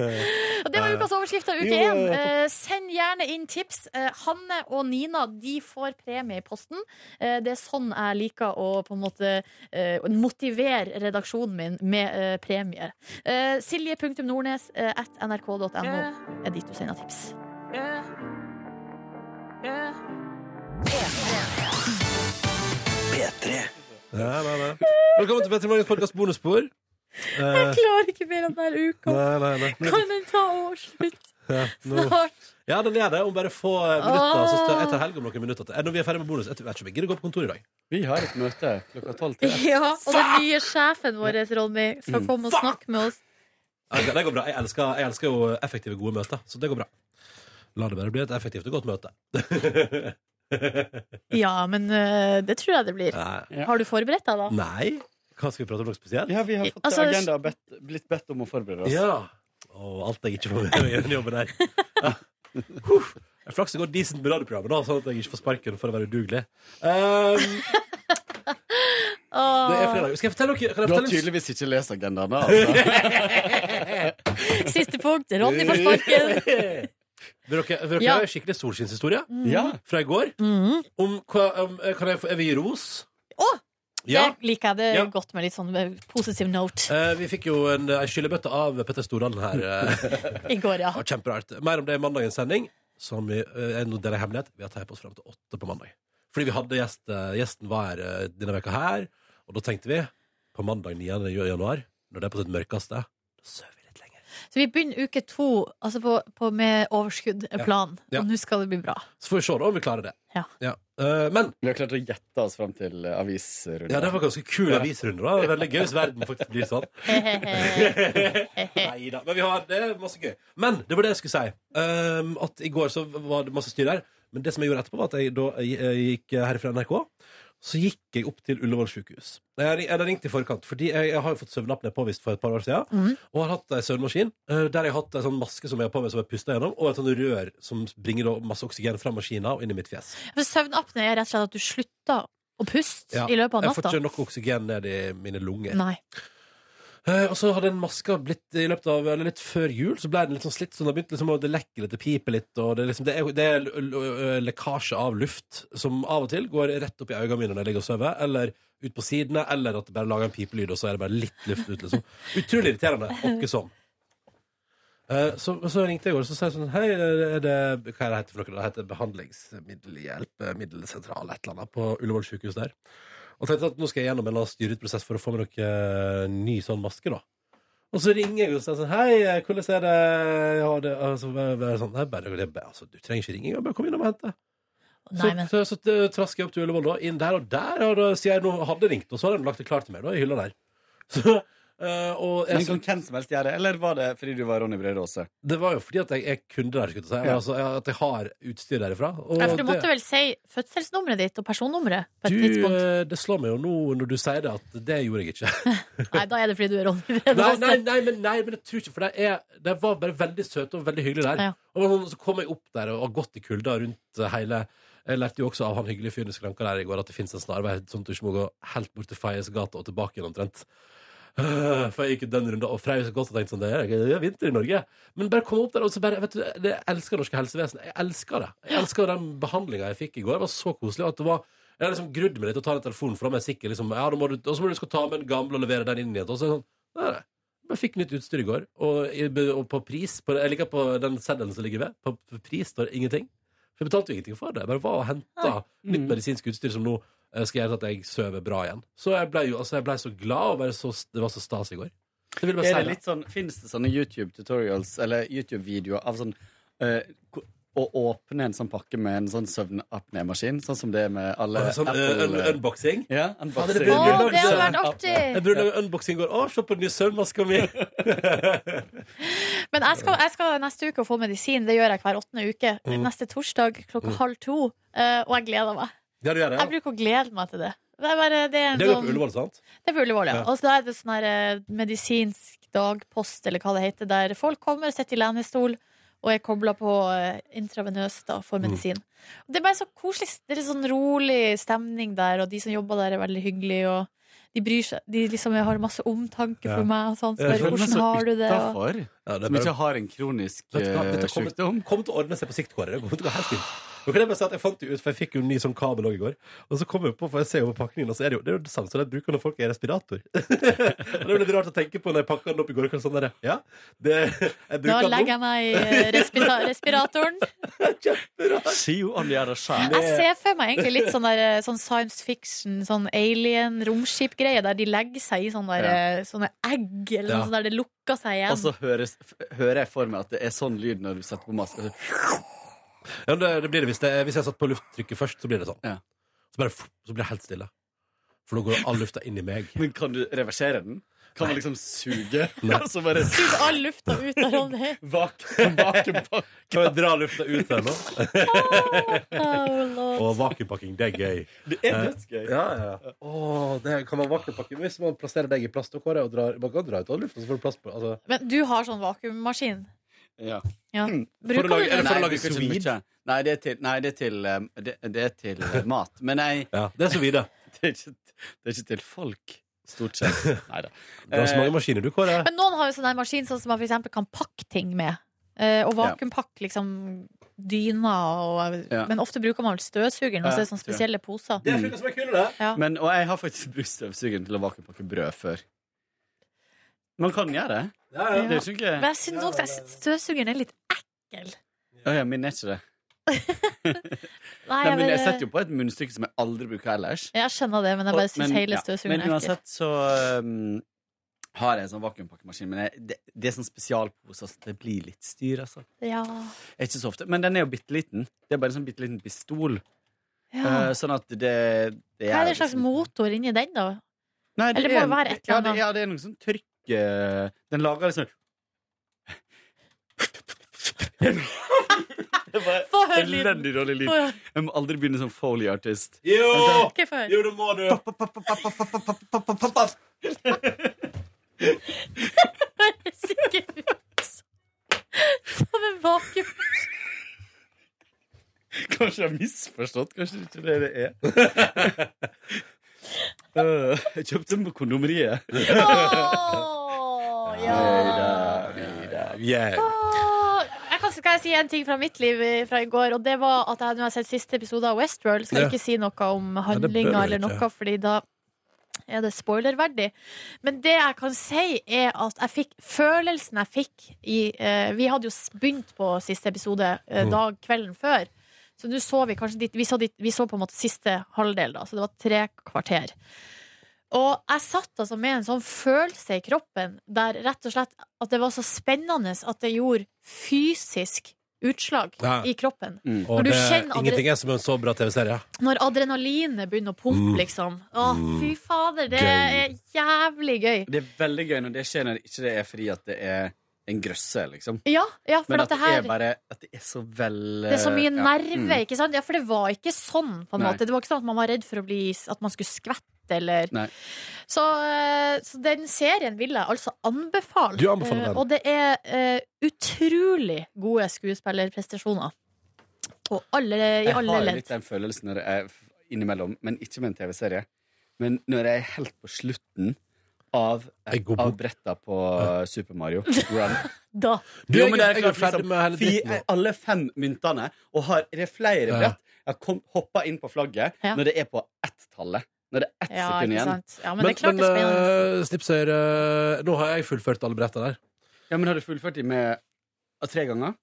Speaker 3: Og det var ukas overskrift av uke
Speaker 11: Jo.
Speaker 3: én. Eh, send gjerne inn tips. Eh, Hanne og Nina de får premie i posten. Eh, det er sånn jeg liker å på en måte eh, motivere redaksjonen min med eh, premie. Eh, Silje.nordnes eh, at nrk.no er dit du sender tips.
Speaker 2: P3. Ja, nei, nei. Velkommen til Petter Morgens podkast bonusspor.
Speaker 3: Jeg klarer ikke mer enn denne uka.
Speaker 11: Nei, nei, nei.
Speaker 3: Kan den ta årsslutt
Speaker 11: Ja, nå-
Speaker 3: snart?
Speaker 11: Ja, den er det. Om bare få eh, minutter. Så tar- jeg tar helg om noen minutter. til. Eh, Når vi er ferdig med bonus, jeg vet ikke om jeg gidder å gå på kontoret i dag.
Speaker 7: Vi har et møte klokka tolv til.
Speaker 3: Ja, og den nye sjefen vår, Ronny, skal
Speaker 11: Mm.
Speaker 3: komme og snakke med oss.
Speaker 2: Ja, det- det går bra. Jeg elsker, jeg elsker jo effektive, gode møter, så det går bra. La det bare bli et effektivt og godt møte.
Speaker 3: Ja, men øh, det tror jeg det blir.
Speaker 7: Ja.
Speaker 3: Har du forberedt deg, da?
Speaker 2: Eh, Nei. Hva skal vi prate om noe spesielt?
Speaker 7: Ja, vi har fått
Speaker 3: Altså,
Speaker 7: agenda og bedt, blitt bedt om å forberede oss.
Speaker 2: Ja. Å, alt jeg ikke får med meg i den jobben her. [laughs] Ja. Huff. Det er Flaks det går decent med radioprogrammet, da, sånn at jeg ikke får sparken for å være udugelig. Um, det er fredag. Skal jeg fortelle dere kan jeg
Speaker 7: Du har
Speaker 2: fortelle en
Speaker 7: tydeligvis ikke lest
Speaker 10: [laughs]
Speaker 7: agendaen, da. Altså.
Speaker 3: Siste punkt. Ronny
Speaker 2: [laughs]
Speaker 3: får sparken.
Speaker 2: Vil dere, vil dere
Speaker 3: Ja.
Speaker 2: ha en skikkelig solskinnshistorie
Speaker 7: Mm. Ja.
Speaker 3: Mhm.
Speaker 2: fra i går? Om, hva- om, eh, kan jeg, få- jeg vil gi ros. Ja.
Speaker 3: Det liker jeg det
Speaker 2: Ja.
Speaker 3: godt med litt sånn eh, positiv note
Speaker 2: Eh, vi fikk jo en, en skyllebøtte av Petter Stordalen her. eh.
Speaker 3: i går, ja.
Speaker 2: Det var kjemperart. Mer om det i mandagens sending. Som vi, eh, nå deler jeg hemmelighet. Vi har teipet oss frem til åtte på mandag. Fordi vi hadde gjest, eh, gjesten var her eh, denne veka her, og da tenkte vi på mandag 9. januar, når det er på sitt mørkeste
Speaker 3: Så vi begynner uke to altså på, på med overskudd, eh,
Speaker 2: Ja.
Speaker 3: plan.
Speaker 2: Ja.
Speaker 3: Og nå skal det bli bra.
Speaker 2: Så får vi se da om vi klarer det.
Speaker 3: Ja.
Speaker 2: Eh, men
Speaker 7: Vi har klart å gjette oss fram til eh, avisrunden.
Speaker 2: Ja, det var ganske kul avisrunde, da. Det er Veldig gøy hvis verden faktisk blir sånn. Nei da. Men vi har, det er masse gøy. Men det var det jeg skulle si. Um, at i går så var det masse styr her. Men det som jeg gjorde etterpå, var at jeg da jeg gikk her fra NRK. Så gikk jeg opp til Ullevål sykehus. Jeg ring- jeg hadde ringt i forkant, fordi jeg, jeg har jo fått søvnapné påvist for et par år siden. Og har hatt ei søvnmaskin eh, der jeg har hatt ei sånn maske som jeg har på meg som jeg puster gjennom, og et sånn rør som bringer da masse oksygen fra maskina og inn i mitt fjes.
Speaker 3: [laughs] For Søvnapné er rett og slett at du slutter å puste
Speaker 2: Ja,
Speaker 3: i løpet av
Speaker 2: Jeg får
Speaker 3: natta.
Speaker 2: ikke nok oksygen ned i mine lunger.
Speaker 3: Nei.
Speaker 2: Eh, og så har den maska blitt i løpet av, eller litt før jul, så ble den litt sånn slitt. Så den har begynt liksom å det lekke litt, det piper litt, og det er, liksom, det er, det er l- l- lekkasje av luft som av og til går rett opp i øynene mine når jeg ligger og sover, eller ut på sidene, eller at det bare lager en pipelyd, og så er det bare litt luft ut, liksom. Utrolig irriterende. Åkke sånn. Eh, Så, så ringte jeg i går og så sa jeg sånn Hei, er det, hva er det heter for noe? Det heter behandlingsmiddelhjelp, eh, middelsentral, et eller annet, på Ullevål sykehus der. Og tenkte at nå skal jeg gjennom en eller annen styret prosess for å få meg noe eh, ny sånn maske, da. Og så ringer jeg og sier sånn Hei, eh, hvordan er det? Ja, det altså, bare, bare sånn, «Nei, bare, det, bare, altså, du trenger ikke ringe engang, bare kom innom og hente.
Speaker 3: Nei,
Speaker 2: så
Speaker 3: men-
Speaker 2: så, så eh, trasker jeg opp til Ullevål, da, inn der og der, og da, sier jeg nå hadde ringt, og så hadde de lagt det klart til meg, da, i hylla der. [laughs] Så, eh, og
Speaker 7: Men
Speaker 2: jeg,
Speaker 7: kan hvem som helst gjøre det, eller var det fordi du var Ronny Brede Aase?
Speaker 2: det var jo fordi at jeg er kunde der, skulle jeg til å si.
Speaker 7: Ja.
Speaker 2: Altså, jeg- at jeg har utstyr derifra. Og
Speaker 3: Nei, for du måtte
Speaker 2: det,
Speaker 3: vel si fødselsnummeret ditt og personnummeret på et
Speaker 2: du,
Speaker 3: tidspunkt.
Speaker 2: eh, det slår meg jo nå når du sier det, at det gjorde jeg ikke.
Speaker 3: Nei, da er det fordi du er Ronny Brede
Speaker 2: Nei,
Speaker 3: Aase.
Speaker 2: nei, nei, men, nei, men jeg tror ikke For det, er, det var bare veldig søte og veldig hyggelig der.
Speaker 3: Ja.
Speaker 2: Og sånn, så kom jeg opp der og har gått i kulda rundt eh, hele Jeg lærte jo også av han hyggelige fyren i skranka der i går at det fins en snarvei, sånn at du ikke må gå helt bort til Feiesgata og tilbake igjen omtrent. Øh, For jeg gikk jo den runden og frøs godt og tenkte sånn Det er, det er vinter i Norge. Men bare kom opp der, og så bare vet du, det, Jeg elsker det norske helsevesenet. Jeg elsker det. Jeg elsker den behandlinga jeg fikk i går. Det var så koselig. og At det var jeg har liksom grudd meg litt til å ta den telefonen, for da må jeg sikker liksom, ja, da må du, Og så må du skal ta med den gamle og levere den inn igjen. Og så er det sånn, nei, nei. Jeg fikk nytt utstyr i går, og, i- og på pris på, Jeg liker på den seddelen som ligger ved. På på pris står det ingenting. For jeg betalte jo ingenting for det. Jeg bare var og henta nytt
Speaker 7: Mm.
Speaker 2: medisinsk utstyr som nå eh, skal gjøre at jeg sover bra igjen. Så jeg ble, jo, altså, jeg ble så glad, og bare så, det var så stas i går. Jeg vil bare si
Speaker 7: Er det
Speaker 2: det.
Speaker 7: litt sånn, Finnes det sånne YouTube-tutorials eller YouTube-videoer av sånn eh, ko- å åpne en sånn pakke med en sånn søvnapné-maskin, sånn som det er med alle
Speaker 2: Sånn, eh, un unboxing?
Speaker 7: Ja,
Speaker 2: Fader,
Speaker 7: unboxing.
Speaker 2: det burde vi lage
Speaker 3: det hadde
Speaker 2: sånn.
Speaker 3: vært artig.
Speaker 2: Jeg burde lage unboxing i går. Å, se på den nye søvnmaska
Speaker 7: [laughs]
Speaker 2: mi!
Speaker 3: Men jeg skal, jeg skal neste uke få medisin. Det gjør jeg hver åttende uke.
Speaker 2: Mm.
Speaker 3: Neste torsdag klokka
Speaker 2: Mm.
Speaker 3: halv to. eh, og jeg gleder meg.
Speaker 2: Ja, du gjør det,
Speaker 3: Jeg
Speaker 2: ja.
Speaker 3: bruker å glede meg til det. Det er, bare, det er, en
Speaker 2: Det er jo på
Speaker 3: sånn,
Speaker 2: Ullevål, sant?
Speaker 3: det er på Ullevål, ja.
Speaker 2: Ja.
Speaker 3: Og så da er det sånn her eh, medisinsk dagpost, eller hva det heter, der folk kommer og sitter i lenestol og er kobla på eh, intravenøst da, for
Speaker 2: Mm.
Speaker 3: medisin. Og Det er bare så koselig. Det er sånn rolig stemning der, og de som jobber der, er veldig hyggelige. og de bryr seg, de liksom har masse omtanke
Speaker 2: Ja.
Speaker 3: for meg. Og sånn, så
Speaker 2: Jeg
Speaker 3: bare,
Speaker 2: føler meg
Speaker 3: hvordan har du det? Og...
Speaker 7: Utenfor,
Speaker 2: det er
Speaker 7: som
Speaker 2: bare-
Speaker 7: ikke har en kronisk
Speaker 2: Vet du hva?
Speaker 7: eh,
Speaker 2: Dette kommer,
Speaker 7: sykdom.
Speaker 2: kommer til å ordne seg på sikt, Kåre. Det kommer til å gå helt fint. Nå kan jeg bare si at jeg fant jo ut, for jeg fikk jo en ny sånn kabel også i går. Og så kom jeg på, for jeg ser jo på pakningen, og så er det jo det, er jo det samme som jeg bruker når folk er i respirator. [laughs] og det er jo litt rart å tenke på når jeg pakka den opp i går. Sånn der, ja, det, jeg
Speaker 3: Da
Speaker 2: bruker den opp.
Speaker 3: legger jeg meg i eh, respira
Speaker 7: [laughs]
Speaker 3: respiratoren.
Speaker 7: See you on the other side.
Speaker 3: Jeg ser for meg egentlig litt sånn, der, eh, sånn science fiction, sånn alien, romskip-greie, der de legger seg i sånne, der, eh, sånne egg, eller
Speaker 7: Ja.
Speaker 3: noe
Speaker 7: Altså-
Speaker 3: sånt der det lukker seg igjen.
Speaker 7: Og så høres, f- hører jeg for meg at det er sånn lyd når du setter på maske.
Speaker 2: Ja, men det, det blir det. Hvis, det. hvis jeg satt på lufttrykket først, så blir det sånn.
Speaker 7: Ja.
Speaker 2: Så, bare, f- så blir det helt stille. For nå går all lufta inn i meg.
Speaker 7: Men kan du reversere den? Kan man liksom suge?
Speaker 2: Nei.
Speaker 7: [laughs] Og så bare
Speaker 3: Sug all lufta ut av sånn.
Speaker 7: [laughs]
Speaker 3: Ronny.
Speaker 7: vake, vake,
Speaker 2: [laughs]
Speaker 7: vake.
Speaker 2: Kan jeg dra lufta ut her nå?
Speaker 3: Oh, Lord.
Speaker 2: Og vakuumpakking, det er gøy.
Speaker 7: Det er dødsgøy.
Speaker 2: Ja, ja. Åh, det kan man vakuumpakke. Hvis man plasserer deg i plast og kåre og drar, man kan dra ut all lufta, så får du plass på altså.
Speaker 3: Men du har sånn vakuummaskin.
Speaker 7: Ja.
Speaker 3: Ja.
Speaker 7: Mm.
Speaker 2: For å
Speaker 3: Bruker
Speaker 2: lage-
Speaker 3: du
Speaker 2: eller for å
Speaker 3: den?
Speaker 7: Nei,
Speaker 2: lage
Speaker 7: bruker ikke
Speaker 2: sous vide?
Speaker 7: mye. Nei, det er til, nei, det er til, um, det, det er til
Speaker 2: [laughs]
Speaker 7: uh, mat. Men nei,
Speaker 2: Ja, det er så vidt, det.
Speaker 7: [laughs] det er ikke, det er ikke til folk, stort
Speaker 2: [laughs]
Speaker 7: sett. Eh, Nei da.
Speaker 2: Du har så mange maskiner, du, Kåre.
Speaker 3: Men noen har jo sånn der maskin sånn som man for eksempel kan pakke ting med. eh, Og vakuumpakke liksom dyner, og,
Speaker 7: Ja.
Speaker 3: men ofte bruker man vel støvsugeren, og så er det sånne
Speaker 7: Ja,
Speaker 3: spesielle poser.
Speaker 7: Det er funnet
Speaker 2: som er kul, det.
Speaker 3: Ja.
Speaker 7: Men, og jeg har faktisk brukt støvsugeren til å vakuumpakke brød før. Man kan gjøre det.
Speaker 3: Ja.
Speaker 7: eh, Det er jo ikke
Speaker 3: Men jeg syns nok at støvsugeren er litt ekkel.
Speaker 7: Å ja, min er ikke det.
Speaker 3: Nei,
Speaker 7: Nei, men jeg
Speaker 3: bare-
Speaker 7: setter jo på et munnstykke som jeg aldri bruker ellers.
Speaker 3: Jeg skjønner det, men jeg
Speaker 7: Og-
Speaker 3: bare syns
Speaker 7: men,
Speaker 3: hele
Speaker 7: ja.
Speaker 3: støvsugeren
Speaker 7: Men
Speaker 3: er ekkel.
Speaker 7: uansett så um, har jeg en sånn vakuumpakkemaskin, men jeg, det, det er sånn spesialpose, så det blir litt styr, altså.
Speaker 3: Ja.
Speaker 7: Det er Ikke så ofte, men den er jo bitte liten. Det er bare en sånn bitte liten pistol.
Speaker 3: Ja.
Speaker 7: Eh, sånn at det, det
Speaker 3: Hva er det
Speaker 7: liksom-
Speaker 3: slags motor inni den, da?
Speaker 7: Nei,
Speaker 3: Eller må
Speaker 7: er-
Speaker 3: det være et eller
Speaker 7: ja, det-
Speaker 3: annet?
Speaker 7: Ja, det er noe sånn trykk eh, Den lager
Speaker 3: [laughs]
Speaker 7: liksom Det var
Speaker 11: Få høre
Speaker 7: elendig dårlig lyd.
Speaker 11: Få høre.
Speaker 7: Jeg må aldri begynne som Foley artist.
Speaker 11: Jo!
Speaker 3: Ikke før.
Speaker 11: Jo, det må du.
Speaker 3: [laughs] Sikkert ut som en vakuum.
Speaker 7: [laughs] Kanskje jeg har misforstått. Kanskje det ikke er det det er. [laughs] Eh, jeg kjøpte den på kondomeriet.
Speaker 3: Åh, Jeg kan, skal jeg si en ting fra mitt liv eh, fra i går? Og det var at jeg nå har sett siste episode av Westworld. Skal
Speaker 12: Ja.
Speaker 3: ikke si noe om
Speaker 12: det bør du
Speaker 3: handlinga eller
Speaker 12: ikke.
Speaker 3: noe, fordi da er det spoilerverdig. Men det jeg kan si, er at jeg fikk følelsen jeg fikk i eh, Vi hadde jo s- begynt på siste episode eh,
Speaker 12: Mm.
Speaker 3: dag kvelden før. Så nå så vi kanskje dit, vi, så dit, vi så på en måte siste halvdel, da, så det var tre kvarter. Og jeg satt altså med en sånn følelse i kroppen der rett og slett at det var så spennende at det gjorde fysisk utslag
Speaker 2: Ja.
Speaker 3: i kroppen.
Speaker 2: Mm.
Speaker 3: Når
Speaker 2: Og
Speaker 3: du
Speaker 2: det,
Speaker 3: kjenner adre-
Speaker 2: ingenting er som en så bra TV-serie.
Speaker 3: når adrenalinet begynner å pumpe,
Speaker 2: Mm.
Speaker 3: liksom. Å,
Speaker 7: Mm.
Speaker 3: fy fader, det
Speaker 7: Gøy.
Speaker 3: er jævlig gøy.
Speaker 7: Det er veldig gøy når det skjer når ikke det er fordi at det er en grøsse, liksom.
Speaker 3: Ja, ja for
Speaker 7: Men
Speaker 3: at det her
Speaker 7: er bare At det er så vel
Speaker 3: Det er så mye
Speaker 7: ja.
Speaker 3: nerve,
Speaker 7: Mm.
Speaker 3: ikke sant? Ja, for det var ikke sånn, på en
Speaker 7: Nei.
Speaker 3: måte. Det var ikke sånn at man var redd for å bli At man skulle skvette, eller
Speaker 7: Nei.
Speaker 3: så, eh, så den serien vil jeg altså anbefale.
Speaker 2: Du anbefaler den.
Speaker 3: Eh, Og det er eh, utrolig gode skuespillerprestasjoner. På alle, I
Speaker 7: Jeg
Speaker 3: alle
Speaker 7: har jo
Speaker 3: ledd.
Speaker 7: litt den følelsen når jeg er f- innimellom, men ikke med en TV-serie. Men når jeg er helt på slutten av, av bretta på eh, Super Mario
Speaker 2: [laughs]
Speaker 7: Run
Speaker 3: Da.
Speaker 7: Jo, men jeg er klart,
Speaker 2: ferdig
Speaker 7: liksom,
Speaker 2: med hele
Speaker 7: fi-
Speaker 2: dritten nå.
Speaker 7: Alle fem myntene, og har det er flere
Speaker 2: Ja.
Speaker 7: brett. Jeg har kom- hoppa inn på flagget
Speaker 3: Ja.
Speaker 7: når det er på ett-tallet. Når det er ett
Speaker 3: Ja,
Speaker 7: sekund
Speaker 3: ikke
Speaker 7: igjen.
Speaker 3: sant. Ja, men det er klart det er
Speaker 2: Eh, Snipsøyer, eh, nå har jeg fullført alle bretta der.
Speaker 7: Ja, men har du fullført de med ah, tre ganger?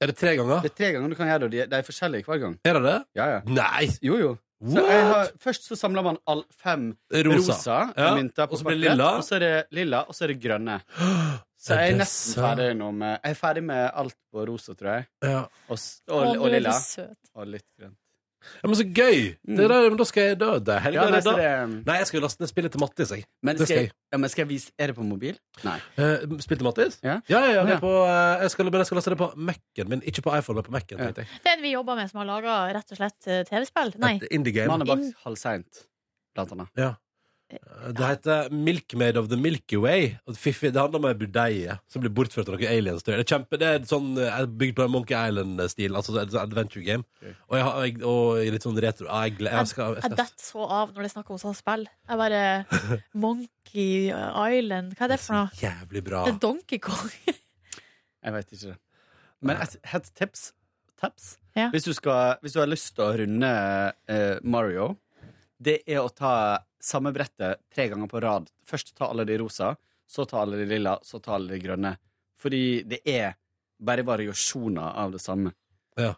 Speaker 2: Er det tre ganger?
Speaker 7: Det er tre ganger du kan gjøre det, og de, de er forskjellige hver gang.
Speaker 2: Er det det?
Speaker 7: Ja, ja.
Speaker 2: Nei!
Speaker 7: Jo, jo. Så jeg har, først så samler man all fem
Speaker 2: Rosa.
Speaker 7: rosa,
Speaker 2: Ja.
Speaker 7: mynter på
Speaker 2: Og så blir det
Speaker 7: papperet,
Speaker 2: lilla.
Speaker 7: og så er det lilla, og så er det
Speaker 2: [gasps]
Speaker 7: grønne. Så
Speaker 2: Er
Speaker 7: jeg er
Speaker 2: det
Speaker 7: nesten
Speaker 2: sant?
Speaker 7: ferdig nå med Jeg er ferdig med alt på rosa, tror jeg.
Speaker 2: Ja.
Speaker 7: Og, s- og,
Speaker 2: Å,
Speaker 7: og,
Speaker 2: du er
Speaker 7: lilla.
Speaker 2: så søt.
Speaker 7: Og litt grønt.
Speaker 2: Ja, men så gøy! Det er der, men da skal jeg dø. Det er helga,
Speaker 7: Ja, nei,
Speaker 2: Mm. det er
Speaker 7: så
Speaker 2: da.
Speaker 7: det- um,
Speaker 2: Nei, jeg skal jo laste ned spillet til Mattis, jeg.
Speaker 7: Men
Speaker 2: det
Speaker 7: skal
Speaker 2: skal
Speaker 7: jeg, ja, men skal jeg vise Er det på mobil? Nei.
Speaker 2: Uh, spill til Mattis?
Speaker 7: Ja,
Speaker 2: ja, ja, det
Speaker 7: Ja.
Speaker 2: er på, eh, jeg, skal, men jeg skal laste det på Mac-en min, ikke på iPhone, men på Mac-en. tenkte jeg.
Speaker 3: Den vi jobber med, som har laga rett og slett eh, TV-spill. Nei.
Speaker 2: Et Indie game.
Speaker 7: Mannen bak halv seint, blant annet.
Speaker 2: Ja. Det heter Milkmaid of the Milky Way. Og det fiffig, det handler om ei budeie som blir bortført av noen aliens. tror jeg. Det er, kjempe, det er sånn, eh, bygd på en Monkey Island-stil. Altså et sånt adventure game. Og, jeg, har- og jeg, og i litt sånn retro ah, jeg, gle- jeg, skal,
Speaker 3: Jeg
Speaker 2: jeg skal
Speaker 3: detter så av når det er snakk om sånne spill. Jeg bare
Speaker 7: [laughs]
Speaker 3: Monkey Island, hva er det for noe?
Speaker 2: Jævlig bra.
Speaker 3: Det er Donkey Kong.
Speaker 7: Jeg veit ikke det. Men et, et tips, tips.
Speaker 3: Ja.
Speaker 7: Hvis, du skal, hvis du har lyst til å runde eh, Mario, det er å ta samme brettet tre ganger på rad. Først ta alle de rosa, så ta alle de lilla, så ta alle de grønne. Fordi det er bare variasjoner av det samme.
Speaker 2: Ja.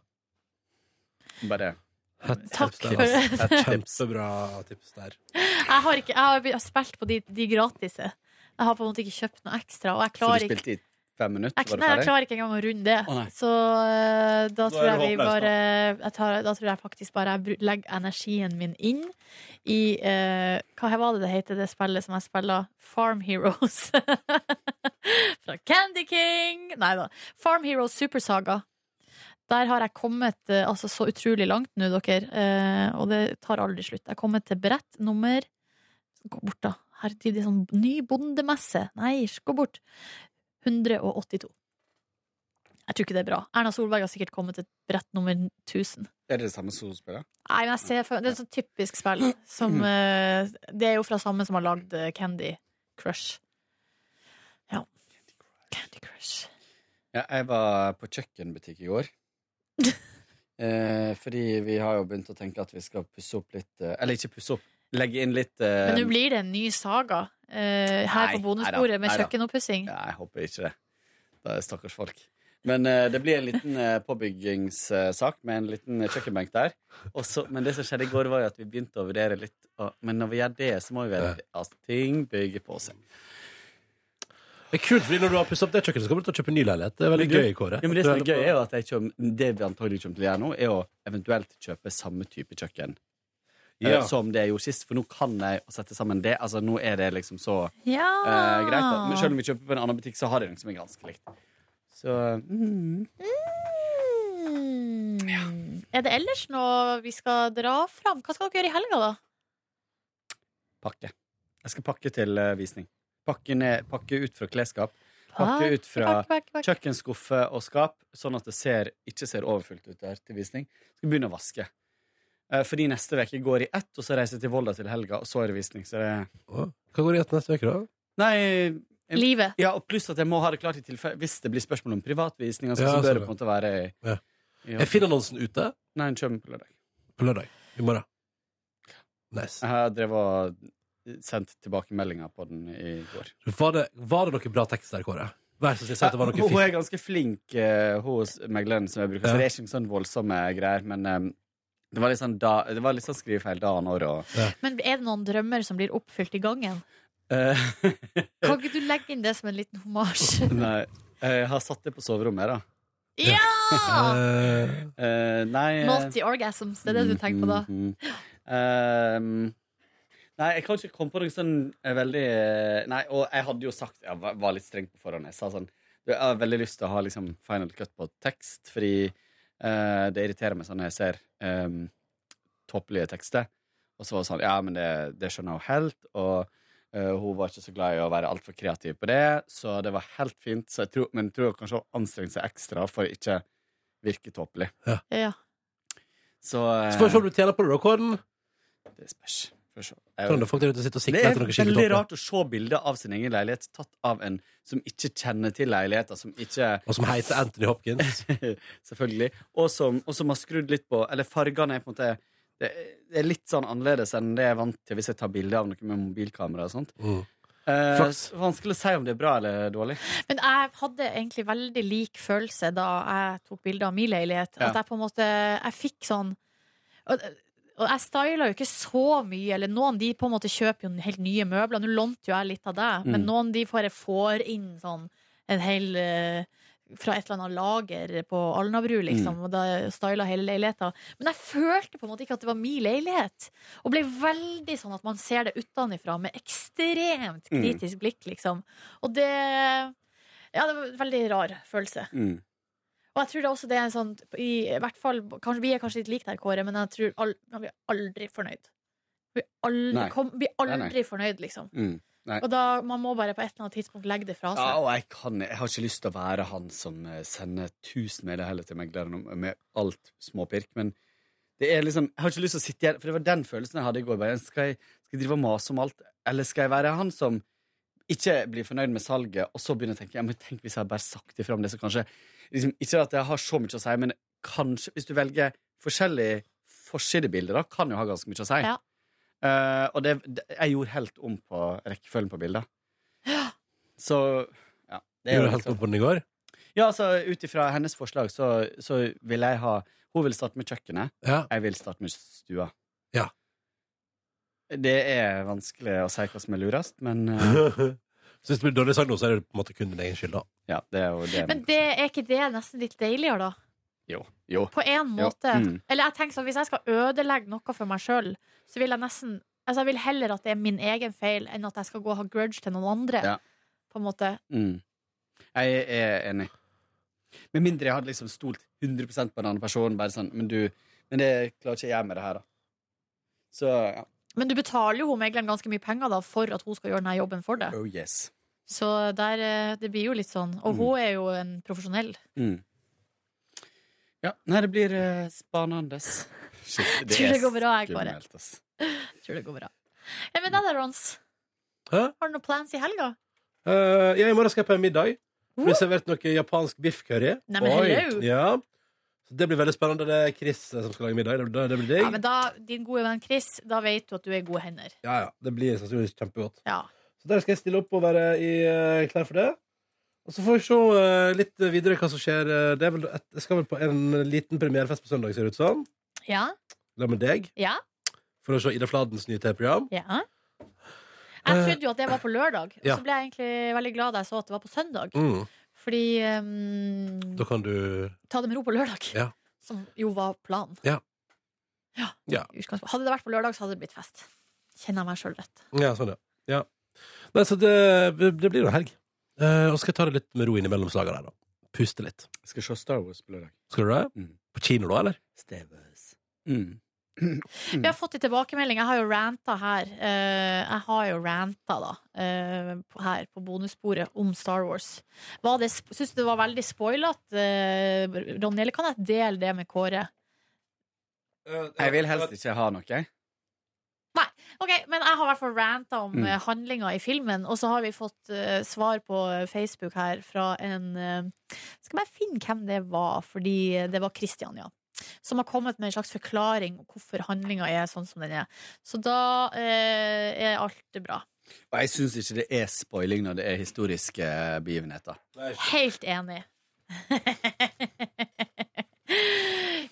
Speaker 7: Bare
Speaker 3: Takk
Speaker 7: tips der,
Speaker 3: for-
Speaker 7: altså.
Speaker 3: [laughs]
Speaker 7: Et tips.
Speaker 2: Kjempebra tips der.
Speaker 3: [laughs] Jeg har, ikke, jeg har be- spilt på de, de gratise. Jeg har på en måte ikke kjøpt noe ekstra. Og jeg
Speaker 7: Så
Speaker 3: klarer
Speaker 7: du
Speaker 3: ikke
Speaker 7: spilte i fem minutter?
Speaker 3: jeg,
Speaker 7: Var du
Speaker 3: nei, jeg
Speaker 7: ferdig?
Speaker 3: klarer ikke engang å runde det.
Speaker 7: Å, nei.
Speaker 3: så eh, da
Speaker 7: Da
Speaker 3: tror
Speaker 7: er
Speaker 3: jeg
Speaker 7: det
Speaker 3: vi
Speaker 7: håpløst, da.
Speaker 3: bare jeg tar, Da tror jeg faktisk bare jeg bru- legger energien min inn i eh, Hva var det det heter, det spillet som jeg spiller? Farm Heroes. [laughs] Fra Candy King! Nei da. Farm Heroes Supersaga. Der har jeg kommet eh, altså, så utrolig langt nå, dere. eh, og det tar aldri slutt. Jeg har kommet til brett nummer Gå bort, da. Herregud, det er sånn ny bondemesse. Nei, hysj, gå bort. 182. Jeg tror ikke det er bra. Erna Solberg har sikkert kommet til brett nummer 1000.
Speaker 7: Er det det samme solospillet?
Speaker 3: Nei, men jeg ser for, Det er et sånt typisk spill. Som, eh, det er jo fra samme som har lagd eh, Candy Crush. Ja. Candy Crush. [laughs]
Speaker 7: Ja, jeg var på kjøkkenbutikk i går. Eh, fordi vi har jo begynt å tenke at vi skal pusse opp litt eh, Eller ikke pusse opp, legge inn litt eh,
Speaker 3: Men nå blir det en ny saga eh, her
Speaker 7: Nei,
Speaker 3: på bonusbordet
Speaker 7: neida,
Speaker 3: med
Speaker 7: neida.
Speaker 3: kjøkkenoppussing.
Speaker 7: Nei, jeg håper ikke det. Da er det stakkars folk. Men eh, det blir en liten eh, påbyggingssak med en liten kjøkkenbenk der. Og så- men det som skjedde i går, var jo at vi begynte å vurdere litt å, Men når vi gjør det, så må vi vurdere at ting bygger på seg.
Speaker 2: Det er kult, fordi når du har pusset opp det kjøkkenet, så kommer du til å kjøpe ny leilighet. Det er veldig
Speaker 7: Men du-
Speaker 2: gøy, Kåre.
Speaker 7: Ja, men det som er
Speaker 2: Du
Speaker 7: gøy, er jo at jeg kommer, det vi antagelig kommer til å gjøre nå, er å eventuelt kjøpe samme type kjøkken. eh,
Speaker 2: Ja.
Speaker 7: Som det jeg gjorde sist, for nå kan jeg sette sammen det. Altså, nå er det liksom så
Speaker 3: Ja.
Speaker 7: eh, greit. Da. Men selv om vi kjøper på en annen butikk, så har jeg noe som er ganske likt. Så
Speaker 3: Mm. Er det ellers noe vi skal dra fram? Hva skal dere gjøre i helga, da?
Speaker 7: pakke. Jeg skal pakke til eh, visning. Pakke, ned, pakke ut fra klesskap. Pakke
Speaker 3: Pakke,
Speaker 7: ut fra
Speaker 3: pakke, pakke, pakke.
Speaker 7: kjøkkenskuffe og skap, sånn at det ser, ikke ser overfylt ut der til visning. Skal begynne å vaske. Eh, Fordi neste uke går i ett, og så reiser jeg til Volda til helga, og så er det visning. Så det
Speaker 2: Hva går i ett neste uke, da?
Speaker 7: Nei jeg-
Speaker 3: Livet.
Speaker 7: Ja, og pluss at jeg må ha det klart i tilfelle Hvis det blir spørsmål om privatvisning, altså,
Speaker 2: Ja,
Speaker 7: så
Speaker 2: sånn,
Speaker 7: bør
Speaker 2: ja.
Speaker 7: det på en måte være i,
Speaker 2: Ja.
Speaker 7: i
Speaker 2: Er Finn-annonsen ute?
Speaker 7: Nei, den kommer på lørdag.
Speaker 2: På lørdag. I morgen. Nice.
Speaker 7: Jeg har drevet og sendt tilbakemeldinger på den i går.
Speaker 2: Var det, var det noen bra tekst der, Kåre? Vær så snill, si at det var
Speaker 7: Ja, [laughs]
Speaker 2: noe
Speaker 7: Hun er
Speaker 2: fint.
Speaker 7: ganske flink eh, hos megleren som jeg bruker,
Speaker 2: Ja.
Speaker 7: så det er ikke noen sånn voldsomme greier, men eh, det var litt sånn, da, det var litt sånn skrivefeil da og når og
Speaker 3: Men er det noen drømmer som blir oppfylt i gangen?
Speaker 7: Eh,
Speaker 2: [laughs]
Speaker 3: Kan ikke du legge inn det som en liten homasj?
Speaker 7: Nei. Eh, Jeg har satt det på soverommet, da.
Speaker 3: Ja!
Speaker 7: Eh, nei eh,
Speaker 3: Multi orgasms, det er det du tenker på da?
Speaker 7: mhm. Ehm, nei, jeg kan ikke komme på noe sånn eh, veldig eh, Nei, og jeg hadde jo sagt Jeg var- var litt streng på forhånd. Jeg sa sånn du, Jeg har veldig lyst til å ha liksom final cut på tekst, fordi eh, det irriterer meg sånn når jeg ser um, tåpelige tekster. Og så var det sånn Ja, men det, det skjønner hun helt. Og eh, hun var ikke så glad i å være altfor kreativ på det, så det var helt fint. Så jeg tror, men jeg tror kanskje hun anstrengte seg ekstra for å ikke virke tåpelig.
Speaker 3: Ja.
Speaker 7: Så eh,
Speaker 2: Så får vi se om du tjener på det, da, Kåren.
Speaker 7: Det spørs. Får vi se. Jeg-
Speaker 2: Trønder folk der ute sitter og
Speaker 7: Det
Speaker 2: sikler
Speaker 7: er
Speaker 2: etter noe skikkelig topp,
Speaker 7: veldig
Speaker 2: da.
Speaker 7: rart å se bilder av sin egen leilighet tatt av en som ikke kjenner til leiligheter, som ikke [laughs]
Speaker 2: Og som heter Anthony Hopkins.
Speaker 7: Selvfølgelig. Og som, og som har skrudd litt på Eller fargene er på en måte det, det er litt sånn annerledes enn det jeg er vant til hvis jeg tar bilde av noe med mobilkamera og sånt.
Speaker 2: Mm.
Speaker 7: Eh,
Speaker 2: Flaks.
Speaker 7: så vanskelig å si om det er bra eller dårlig.
Speaker 3: Men jeg hadde egentlig veldig lik følelse da jeg tok bilde av min leilighet.
Speaker 7: Ja.
Speaker 3: At jeg på en måte Jeg fikk sånn Og, og jeg styla jo ikke så mye, eller noen de på en måte kjøper jo helt nye møbler. Nå lånte jo jeg litt av deg, men
Speaker 7: Mm.
Speaker 3: noen de får, får inn sånn en hel eh, fra et eller annet lager på Alnabru, liksom.
Speaker 7: Mm.
Speaker 3: Og da styla hele leiligheta. Men jeg følte på en måte ikke at det var min leilighet. Og ble veldig sånn at man ser det utenfra med ekstremt
Speaker 7: Mm.
Speaker 3: kritisk blikk, liksom. Og det Ja, det var en veldig rar følelse.
Speaker 7: Mm.
Speaker 3: Og jeg tror det også det er en sånn i, hvert fall, kanskje, Vi er kanskje litt like der, Kåre, men jeg tror al man blir aldri fornøyd. Blir aldri,
Speaker 7: Nei.
Speaker 3: kom, blir
Speaker 7: Nei,
Speaker 3: aldri
Speaker 7: nei.
Speaker 3: fornøyd, liksom.
Speaker 7: Mm. Nei.
Speaker 3: Og da, Man må bare på et eller annet tidspunkt legge det fra seg.
Speaker 7: Ja, og jeg, kan, jeg har ikke lyst til å være han som eh, sender tusen mailer heller til megleren om- med alt småpirk, men det er liksom, jeg har ikke lyst til å sitte igjen, for det var den følelsen jeg hadde i går. Bare, skal, jeg, skal jeg drive og mase om alt, eller skal jeg være han som ikke blir fornøyd med salget, og så begynner jeg å tenke ja, men tenk hvis jeg hadde bare sagt ifra om det, så kanskje liksom, Ikke at jeg har så mye å si, men kanskje Hvis du velger forskjellige forsidebilder, da kan jo ha ganske mye å si.
Speaker 3: Ja.
Speaker 7: Eh, og det, det, jeg gjorde helt om på rekkefølgen på bilder. Så ja. det er jo
Speaker 2: Gjorde du
Speaker 7: liksom-
Speaker 2: helt opp på den i går?
Speaker 7: ja, altså ut ifra hennes forslag så, så vil jeg ha Hun vil starte med kjøkkenet,
Speaker 2: Ja.
Speaker 7: jeg vil starte med stua.
Speaker 2: Ja.
Speaker 7: Det er vanskelig å si hva som er lurest,
Speaker 2: [laughs]
Speaker 7: men eh,
Speaker 2: Så hvis det blir dårlig sagt nå, så er det på en måte kun din egen skyld, da.
Speaker 7: ja, det er jo det.
Speaker 3: Men det, er ikke det nesten litt deiligere, da?
Speaker 7: Jo. jo.
Speaker 3: På en
Speaker 7: Ja,
Speaker 3: måte.
Speaker 7: mm.
Speaker 3: Eller jeg tenker sånn, Hvis jeg skal ødelegge noe for meg sjøl, så vil jeg nesten Altså jeg vil heller at det er min egen feil, enn at jeg skal gå og ha grudge til noen andre.
Speaker 7: Ja.
Speaker 3: På en måte.
Speaker 7: Mm. Jeg er enig. Med mindre jeg hadde liksom stolt 100 på den andre personen. Bare sånn, men, du, men det klarer ikke jeg med det her, da. Så ja.
Speaker 3: Men du betaler jo hun megleren ganske mye penger da for at hun skal gjøre denne jobben for deg.
Speaker 7: Oh yes.
Speaker 3: Så der, eh, det blir jo litt sånn. Og
Speaker 7: Mm.
Speaker 3: hun er jo en profesjonell.
Speaker 7: Mm. Ja. Nei, det blir uh, spanende. Shit,
Speaker 3: Tror det går bra, jeg, Kåre.
Speaker 7: skummelt, ass.
Speaker 3: Tror det går bra. Ja, men det der, Rons.
Speaker 2: Hæ?
Speaker 3: Har du noen plans i helga?
Speaker 2: Eh, ja, i morgen skal jeg på en middag. Det blir servert noe japansk biff curry.
Speaker 3: Nei, men
Speaker 2: Oi.
Speaker 3: hello.
Speaker 2: Ja. Så det blir veldig spennende. Det er Chris eh, som skal lage middag. Det, det blir
Speaker 3: Ja,
Speaker 2: digg.
Speaker 3: men da, din gode venn Chris, da vet du at du er i gode hender.
Speaker 2: Ja, ja. Det blir sannsynligvis kjempegodt.
Speaker 3: Ja.
Speaker 2: Så der skal jeg stille opp og være i, eh, klar for det. Og så får vi se eh, litt videre hva som skjer. Eh, Det er vel et, jeg skal vel på en liten premierefest på søndag, ser det ut som.
Speaker 3: Ja?
Speaker 2: Sammen med deg.
Speaker 3: Ja?
Speaker 2: For å se Ida Fladens nye TV-program.
Speaker 3: ja. Jeg trodde jo at det var på lørdag, og
Speaker 2: Eh, Ja.
Speaker 3: så ble jeg egentlig veldig glad da jeg så at det var på søndag.
Speaker 2: Mm.
Speaker 3: Fordi ehm,
Speaker 2: Da kan du
Speaker 3: Ta det med ro på lørdag,
Speaker 2: Ja.
Speaker 3: som jo var planen.
Speaker 2: Ja. Ja.
Speaker 3: Hadde det vært på lørdag, så hadde det blitt fest. Kjenner jeg meg sjøl rett.
Speaker 2: Ja, sånn, ja. ja. Nei, så det, det blir jo helg. Eh, og så skal jeg ta det litt med ro innimellom slagene her, da. Puste litt.
Speaker 7: Jeg skal se Star Wars på lørdag.
Speaker 2: Skal du det? På kino, da, eller?
Speaker 7: Mm.
Speaker 3: Vi har fått en tilbakemelding. Jeg har jo ranta her. eh, jeg har jo ranta, da, eh, på- her på bonussporet om Star Wars. Var det, syns du det var veldig spoilete, uh, Ronny, eller kan jeg dele det med Kåre?
Speaker 7: Jeg vil helst ikke ha noe.
Speaker 3: Ok, men jeg har i hvert fall ranta om
Speaker 7: Mm.
Speaker 3: mm. handlinga i filmen, og så har vi fått eh, svar på eh, Facebook her fra en eh, Skal bare finne hvem det var, fordi eh, det var Christian, ja. Som har kommet med en slags forklaring om hvorfor handlinga er sånn som den er. Så da eh, er alt bra.
Speaker 7: Og jeg syns ikke det er spoiling når det er historiske eh, begivenheter.
Speaker 3: Helt enig. [laughs]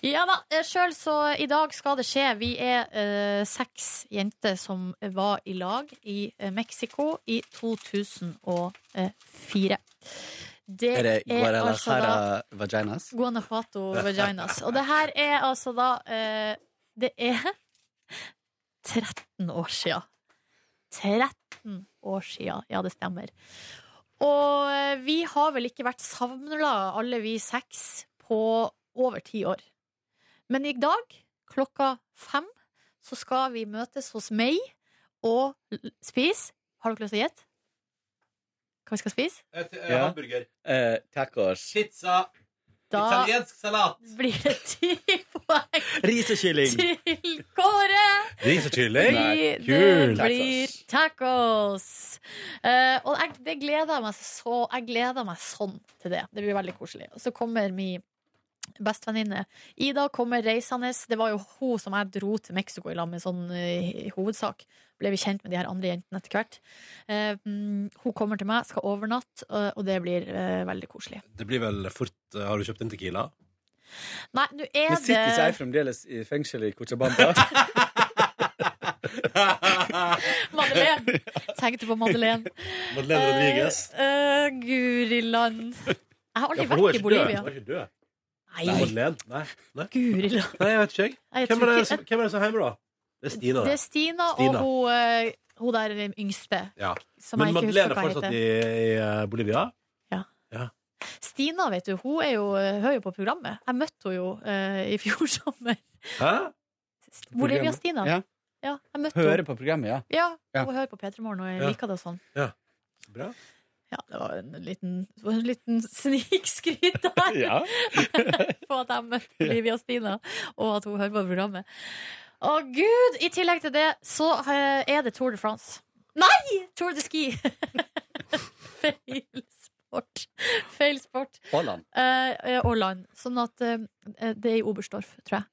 Speaker 3: ja da. Sjøl så i dag skal det skje. Vi er eh, seks jenter som var i lag i eh, Mexico i 2004. eh, Det
Speaker 7: Er det
Speaker 3: er altså da
Speaker 7: Guadalajara vaginas?
Speaker 3: Guanajuato vaginas. Og det her er altså da eh, Det er [laughs] 13 år sia. 13 år sia, ja, det stemmer. Og eh, vi har vel ikke vært samla, alle vi seks, på over ti år. Men i dag, klokka fem, så skal vi møtes hos meg og l- spise Har dere lyst til å gjette? Hva vi skal spise?
Speaker 7: Ja.
Speaker 2: Hamburger.
Speaker 7: Eh, tacos.
Speaker 2: Pizza.
Speaker 3: Da
Speaker 2: salat.
Speaker 3: blir det ti [laughs] poeng
Speaker 7: Ris og kylling.
Speaker 3: til Kåre!
Speaker 2: Ris og kylling.
Speaker 3: Fordi
Speaker 2: Kult.
Speaker 3: Det blir tacos. Eh, og jeg, det gleder jeg meg så Jeg gleder meg sånn til det. Det blir veldig koselig. Og så kommer min bestevenninne Ida kommer reisende. Det var jo hun som jeg dro til Mexico i lag med, sånn eh, i hovedsak. Ble vi kjent med de her andre jentene etter hvert. Eh, mm, hun kommer til meg, skal overnatte, eh, og det blir eh, veldig koselig.
Speaker 2: Det blir vel fort eh, Har du kjøpt en Tequila?
Speaker 3: Nei, nå er
Speaker 7: Men sitter ikke jeg
Speaker 3: det
Speaker 7: fremdeles i fengsel i
Speaker 3: [laughs]
Speaker 7: Cochabamba? [laughs]
Speaker 3: Madeleine! Tenkte på Madeleine.
Speaker 2: Madeleine Rodriguez.
Speaker 3: Eh, eh, Guri land. Jeg har aldri vært i Bolivia.
Speaker 2: Hun er ikke død.
Speaker 3: Nei.
Speaker 2: Madeleine? Nei. Nei.
Speaker 3: Guri land.
Speaker 2: Nei, jeg vet ikke, jeg.
Speaker 3: Nei, jeg
Speaker 2: Hvem er
Speaker 3: tror
Speaker 2: det
Speaker 3: ikke-
Speaker 2: som- hvem er det som er hjemme, da? Det er Stina.
Speaker 3: Det er Stina,
Speaker 2: Stina.
Speaker 3: og hun, eh, hun der er den yngste.
Speaker 2: Ja.
Speaker 3: Som
Speaker 2: Men
Speaker 3: jeg ikke
Speaker 2: Madeleine er
Speaker 3: husker hva
Speaker 2: fortsatt i,
Speaker 3: heter.
Speaker 2: i eh, Bolivia?
Speaker 3: Stina, vet du, hun er jo, eh, hører jo på programmet. Jeg møtte henne jo eh, i fjor [laughs] sommer.
Speaker 2: Hæ?
Speaker 3: Bolivia-Stina.
Speaker 7: Ja.
Speaker 3: Ja, jeg møtte
Speaker 7: Hører
Speaker 3: henne.
Speaker 7: på programmet, ja.
Speaker 3: Ja,
Speaker 7: Ja.
Speaker 3: hun hører på P3 Morgen, og jeg
Speaker 7: Ja.
Speaker 3: liker det sånn.
Speaker 2: Ja. Så bra.
Speaker 3: Ja, det var en liten, det var en
Speaker 2: [laughs]
Speaker 3: liten snikskryt der
Speaker 7: Ja.
Speaker 3: [laughs] på at jeg møtte Bolivia-Stina, og at hun hører på programmet. Å gud! I tillegg til det så eh, er det Tour de France. Nei! Tour de Ski! [laughs] Feil sport. Feil sport.
Speaker 7: Haaland.
Speaker 3: Eh, eh, og land. Sånn at eh, det er i Oberstdorf, tror jeg.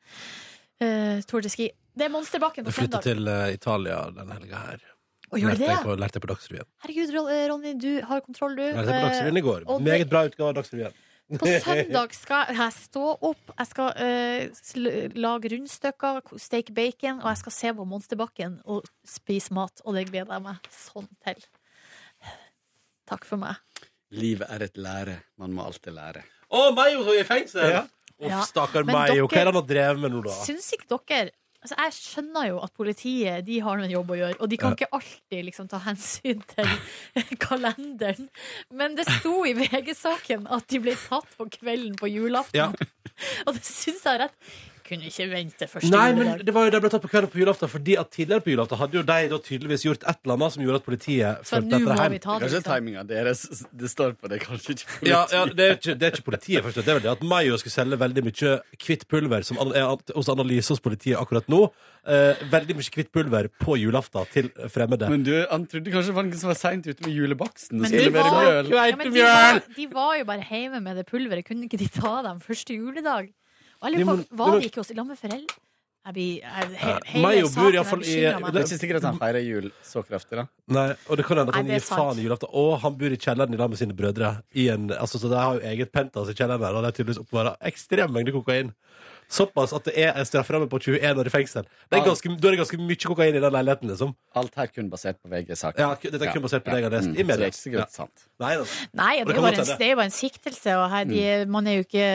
Speaker 3: Eh, Tour de Ski. Det er Monsterbakken på
Speaker 2: Jeg flytta
Speaker 3: søndag.
Speaker 2: til eh, Italia den helga her.
Speaker 3: Å, gjorde
Speaker 2: lærte,
Speaker 3: det?
Speaker 2: jeg på, lærte jeg på Dagsrevyen.
Speaker 3: Herregud, Ron- eh, Ronny, du har kontroll, du.
Speaker 2: Lærte jeg på
Speaker 3: Eh,
Speaker 2: Dagsrevyen i går.
Speaker 3: og det-
Speaker 2: Meget bra utgave av Dagsrevyen.
Speaker 3: På søndag skal jeg stå opp, jeg skal eh, sl- lage rundstykker, steke bacon, og jeg skal se på Monsterbakken og spise mat. Og det gleder jeg meg sånn til. Takk for meg.
Speaker 7: Livet er et lære. Man må alltid lære.
Speaker 2: Å, Mayo som er i fengsel!
Speaker 7: Ja.
Speaker 2: Uff,
Speaker 3: Ja,
Speaker 2: stakkar
Speaker 3: men
Speaker 2: Mayo. Hva er
Speaker 3: dere-
Speaker 2: det han har drevet med nå, da?
Speaker 3: Syns ikke dere altså Jeg skjønner jo at politiet de har en jobb å gjøre, og de kan
Speaker 2: Ja.
Speaker 3: ikke alltid liksom, ta hensyn til [laughs] kalenderen. Men det sto i VG-saken at de ble tatt på kvelden på julaften,
Speaker 2: Ja.
Speaker 3: [laughs] og det syns jeg er rett. Kunne ikke vente første
Speaker 2: Nei,
Speaker 3: juledag.
Speaker 2: men det var jo det ble tatt på kvelden på julaften fordi at tidligere på julaften hadde jo de da tydeligvis gjort et eller annet som gjorde at politiet
Speaker 3: Så
Speaker 2: fulgte
Speaker 3: nå
Speaker 2: etter
Speaker 3: må
Speaker 2: hjem.
Speaker 3: vi ta det, liksom.
Speaker 7: Kanskje timinga deres Det står på det, kanskje
Speaker 3: [laughs]
Speaker 7: ikke på
Speaker 2: Ja, ja det, er ikke, det er ikke politiet, først. Det er vel det at Mayo skulle selge veldig mye kvitt pulver som an- er an- hos analyse hos politiet akkurat nå. Eh, veldig mye kvitt pulver på julaften til fremmede.
Speaker 7: Men du, han trodde kanskje det var noen som var seint ute med julebaksten. og
Speaker 3: Men de
Speaker 7: skulle levere
Speaker 3: var,
Speaker 7: mjøl.
Speaker 3: ja, men de, var, de var jo bare hjemme med det pulveret. Kunne ikke de ta dem første juledag? Og Og jeg lurer
Speaker 2: Jo, men-
Speaker 3: på, Var
Speaker 2: men-
Speaker 3: de ikke også i lag med foreldre? Jeg blir, jeg, he,
Speaker 2: Ja,
Speaker 3: hele
Speaker 2: meg og Bur i
Speaker 3: saken
Speaker 2: hvert
Speaker 3: her
Speaker 2: fall i-
Speaker 3: bekymrer meg.
Speaker 10: Jeg syns ikke at han feirer jul så kraftig, da.
Speaker 2: Nei, og det kan hende at
Speaker 3: Nei,
Speaker 2: han
Speaker 3: det er
Speaker 2: gir
Speaker 3: sant.
Speaker 2: faen i julaften. Og han bor i kjelleren i lag med sine brødre. I en, altså, så de har jo eget penthouse i kjelleren der, og de har tydeligvis oppbevart ekstrem mengde kokain. Såpass at det er en strafferamme på 21 år i fengsel. Det er
Speaker 10: Ja.
Speaker 2: ganske, da er det ganske mye kokain i den leiligheten, liksom.
Speaker 10: Alt her kun basert på VG-saken.
Speaker 2: Ja, ku- dette er kun basert på det jeg har lest
Speaker 7: Mm.
Speaker 2: i media.
Speaker 10: Så det er ikke sikkert
Speaker 2: Ja.
Speaker 10: sant.
Speaker 2: Nei, da.
Speaker 3: Nei,
Speaker 2: Og
Speaker 3: det,
Speaker 2: det
Speaker 3: er jo
Speaker 2: kan
Speaker 3: bare
Speaker 2: godt
Speaker 3: en,
Speaker 2: hende. Mm.
Speaker 3: det er jo bare en siktelse, og her, de, man, er jo ikke,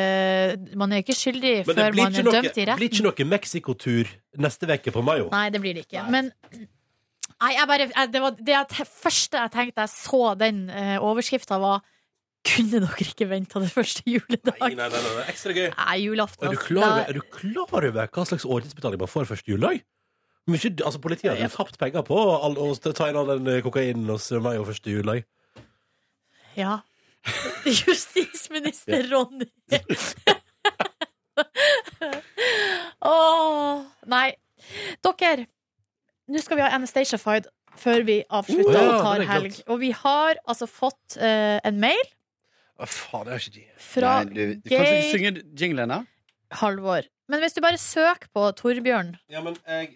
Speaker 3: man er jo ikke skyldig
Speaker 2: Men det
Speaker 3: før
Speaker 2: blir
Speaker 3: man
Speaker 2: ikke
Speaker 3: er
Speaker 2: noe,
Speaker 3: dømt i
Speaker 2: blir
Speaker 3: retten.
Speaker 2: ikke noe Mexico-tur neste uke på Mayo.
Speaker 3: Nei, det blir det ikke. Men nei, jeg bare, jeg, det, var, det jeg te- første jeg tenkte da jeg så den uh, overskrifta, var Kunne dere ikke venta det første juledag?
Speaker 2: Nei, nei, nei, nei. Ekstra gøy.
Speaker 3: Nei, julaften.
Speaker 2: Er du
Speaker 3: altså,
Speaker 2: klar
Speaker 3: da-
Speaker 2: over, er du klar over hva slags årtidsbetaling man får første juledag? Mykje, altså Politiet har jo tapt penger på å all- å ta inn all den eh, kokainen hos meg og første juledag.
Speaker 3: Ja. Justisminister Ronny. Åh, nei. Dere, nå skal vi ha Anastatiafied før vi
Speaker 2: Oh,
Speaker 3: avslutter
Speaker 2: ja,
Speaker 3: og tar
Speaker 2: det er
Speaker 3: helg.
Speaker 2: godt.
Speaker 3: Og vi har altså fått eh, en mail
Speaker 2: Å, faen, det er ikke de.
Speaker 3: fra
Speaker 10: Nei, du, du, kanskje du
Speaker 3: Gay
Speaker 10: synger jinglen, da?
Speaker 3: Halvor. Men hvis du bare søker på Torbjørn
Speaker 2: Ja, men jeg,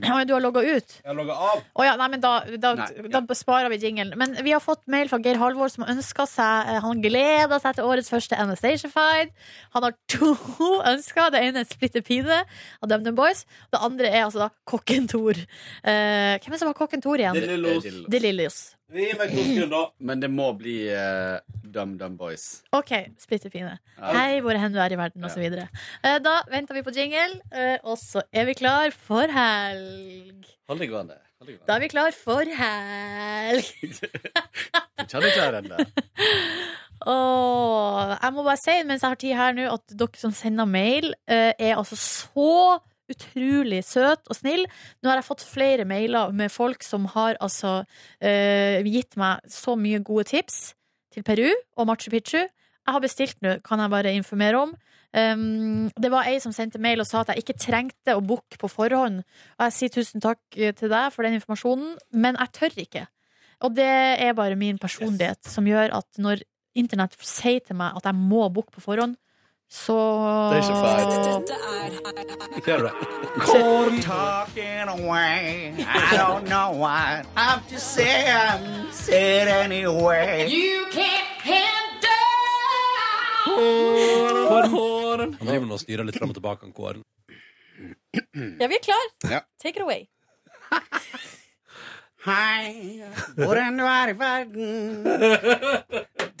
Speaker 3: Ja, Du har logga ut?
Speaker 2: jeg logger av.
Speaker 3: Å ja, nei, men da, da,
Speaker 2: Nei,
Speaker 3: da besparer vi jingelen. Men vi har fått mail fra Geir Halvor, som ønsker seg eh, Han gleder seg til årets første Anastatiafied. Han har to [laughs] ønsker. Det ene er Splitter Pine av DumDum Boys. Det andre er altså da Kokken Tor. Eh, hvem er det som var Kokken Tor igjen?
Speaker 10: De Lillos.
Speaker 7: Eh,
Speaker 3: De Lillos.
Speaker 10: Men det må bli eh, Dum Dum Boys.
Speaker 3: OK, Splitter Pine.
Speaker 10: Ja.
Speaker 3: Hei, hvor hen du er i verden, osv. Uh, da venter vi på jingle, eh, og så er vi klar for helg.
Speaker 10: Hold deg gående. Hold deg gående.
Speaker 3: Da er vi klar for helg.
Speaker 10: Ikke hadde klar ennå.
Speaker 3: Åh, jeg må bare si mens jeg har tid her nå, at dere som sender mail, eh, er altså så utrolig søt og snill. Nå har jeg fått flere mailer med folk som har altså eh, gitt meg så mye gode tips til Peru og Machu Picchu. Jeg har bestilt nå, kan jeg bare informere om. Um, det var ei som sendte mail og sa at jeg ikke trengte å booke på forhånd. Og jeg sier tusen takk eh, til deg for den informasjonen, men jeg tør ikke. Og det er bare min personlighet som gjør at når internett sier til meg at jeg må booke på forhånd, så
Speaker 10: Det er ikke feil.
Speaker 2: Ser du det?
Speaker 7: Corn talking away. I don't know why. I'm just saying, say it anyway.
Speaker 13: You can't handle.
Speaker 2: Kåren. Han driver nå og styrer litt fram og tilbake, han Kåren.
Speaker 3: Ja, vi er klar.
Speaker 10: Ja.
Speaker 3: Take it away.
Speaker 7: Hei, hvor enn du er i verden.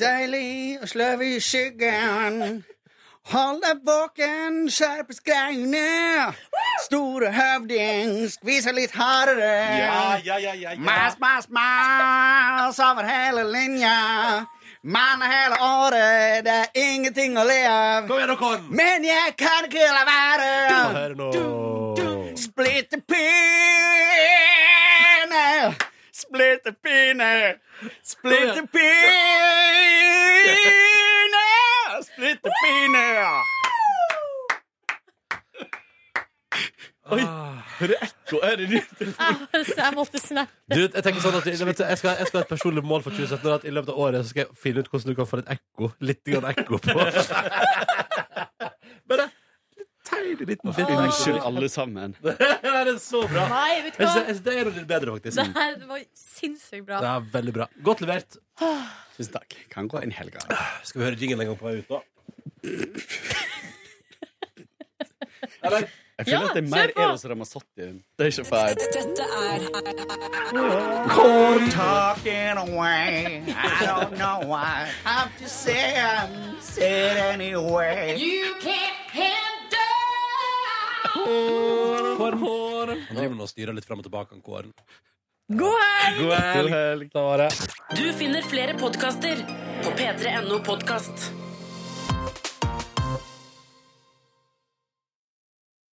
Speaker 7: Deilig å sløve i skyggen. Hold deg våken, skjerp skreiene. Store høvding, skviser litt hardere.
Speaker 4: ja, ja, ja,
Speaker 7: Mas, mas, mas over hele linja. Mann hele året, det er ingenting å le av. Men jeg kan ikke la være.
Speaker 2: Hør nå.
Speaker 7: Splitte pinne. Splitte pinne. Splitte pinne. Splitte pinne.
Speaker 10: Oi, er det ekko? Er det nytt?
Speaker 3: Så jeg [laughs] måtte snappe.
Speaker 2: Du, jeg tenker sånn at jeg, vet, du, jeg, skal, jeg skal ha et personlig mål for 2017 og at i løpet av året så skal jeg finne ut hvordan du kan få litt ekko. Litt grann ekko [laughs] på Bare teilig liten film.
Speaker 10: Unnskyld, alle sammen.
Speaker 2: Det er så bra.
Speaker 3: Nei, vet du
Speaker 2: Jeg
Speaker 3: hva?
Speaker 2: synes- jeg synes Det er noe litt bedre, faktisk.
Speaker 3: Det her var sinnssykt bra.
Speaker 2: Det er veldig bra. Godt levert.
Speaker 10: Tusen takk. Kan gå inn helga.
Speaker 7: altså.
Speaker 2: Skal vi høre jingelen en gang på vei ut, da? Eller?
Speaker 10: Jeg føler
Speaker 3: Ja,
Speaker 10: at det er mer
Speaker 3: kjør på!
Speaker 10: Eros Ramazzotti. Det er ikke feil.
Speaker 13: Dette er
Speaker 7: Corn talking away. I don't know why. I'm just saying, say it anyway.
Speaker 13: You can't handle.
Speaker 2: Han driver nå og styrer litt frem og tilbake, han Kåren.
Speaker 10: sånn.
Speaker 3: God helg!
Speaker 2: God helg.
Speaker 10: God helg.
Speaker 2: Da var det.
Speaker 1: Du finner flere podkaster på p3.no podkast.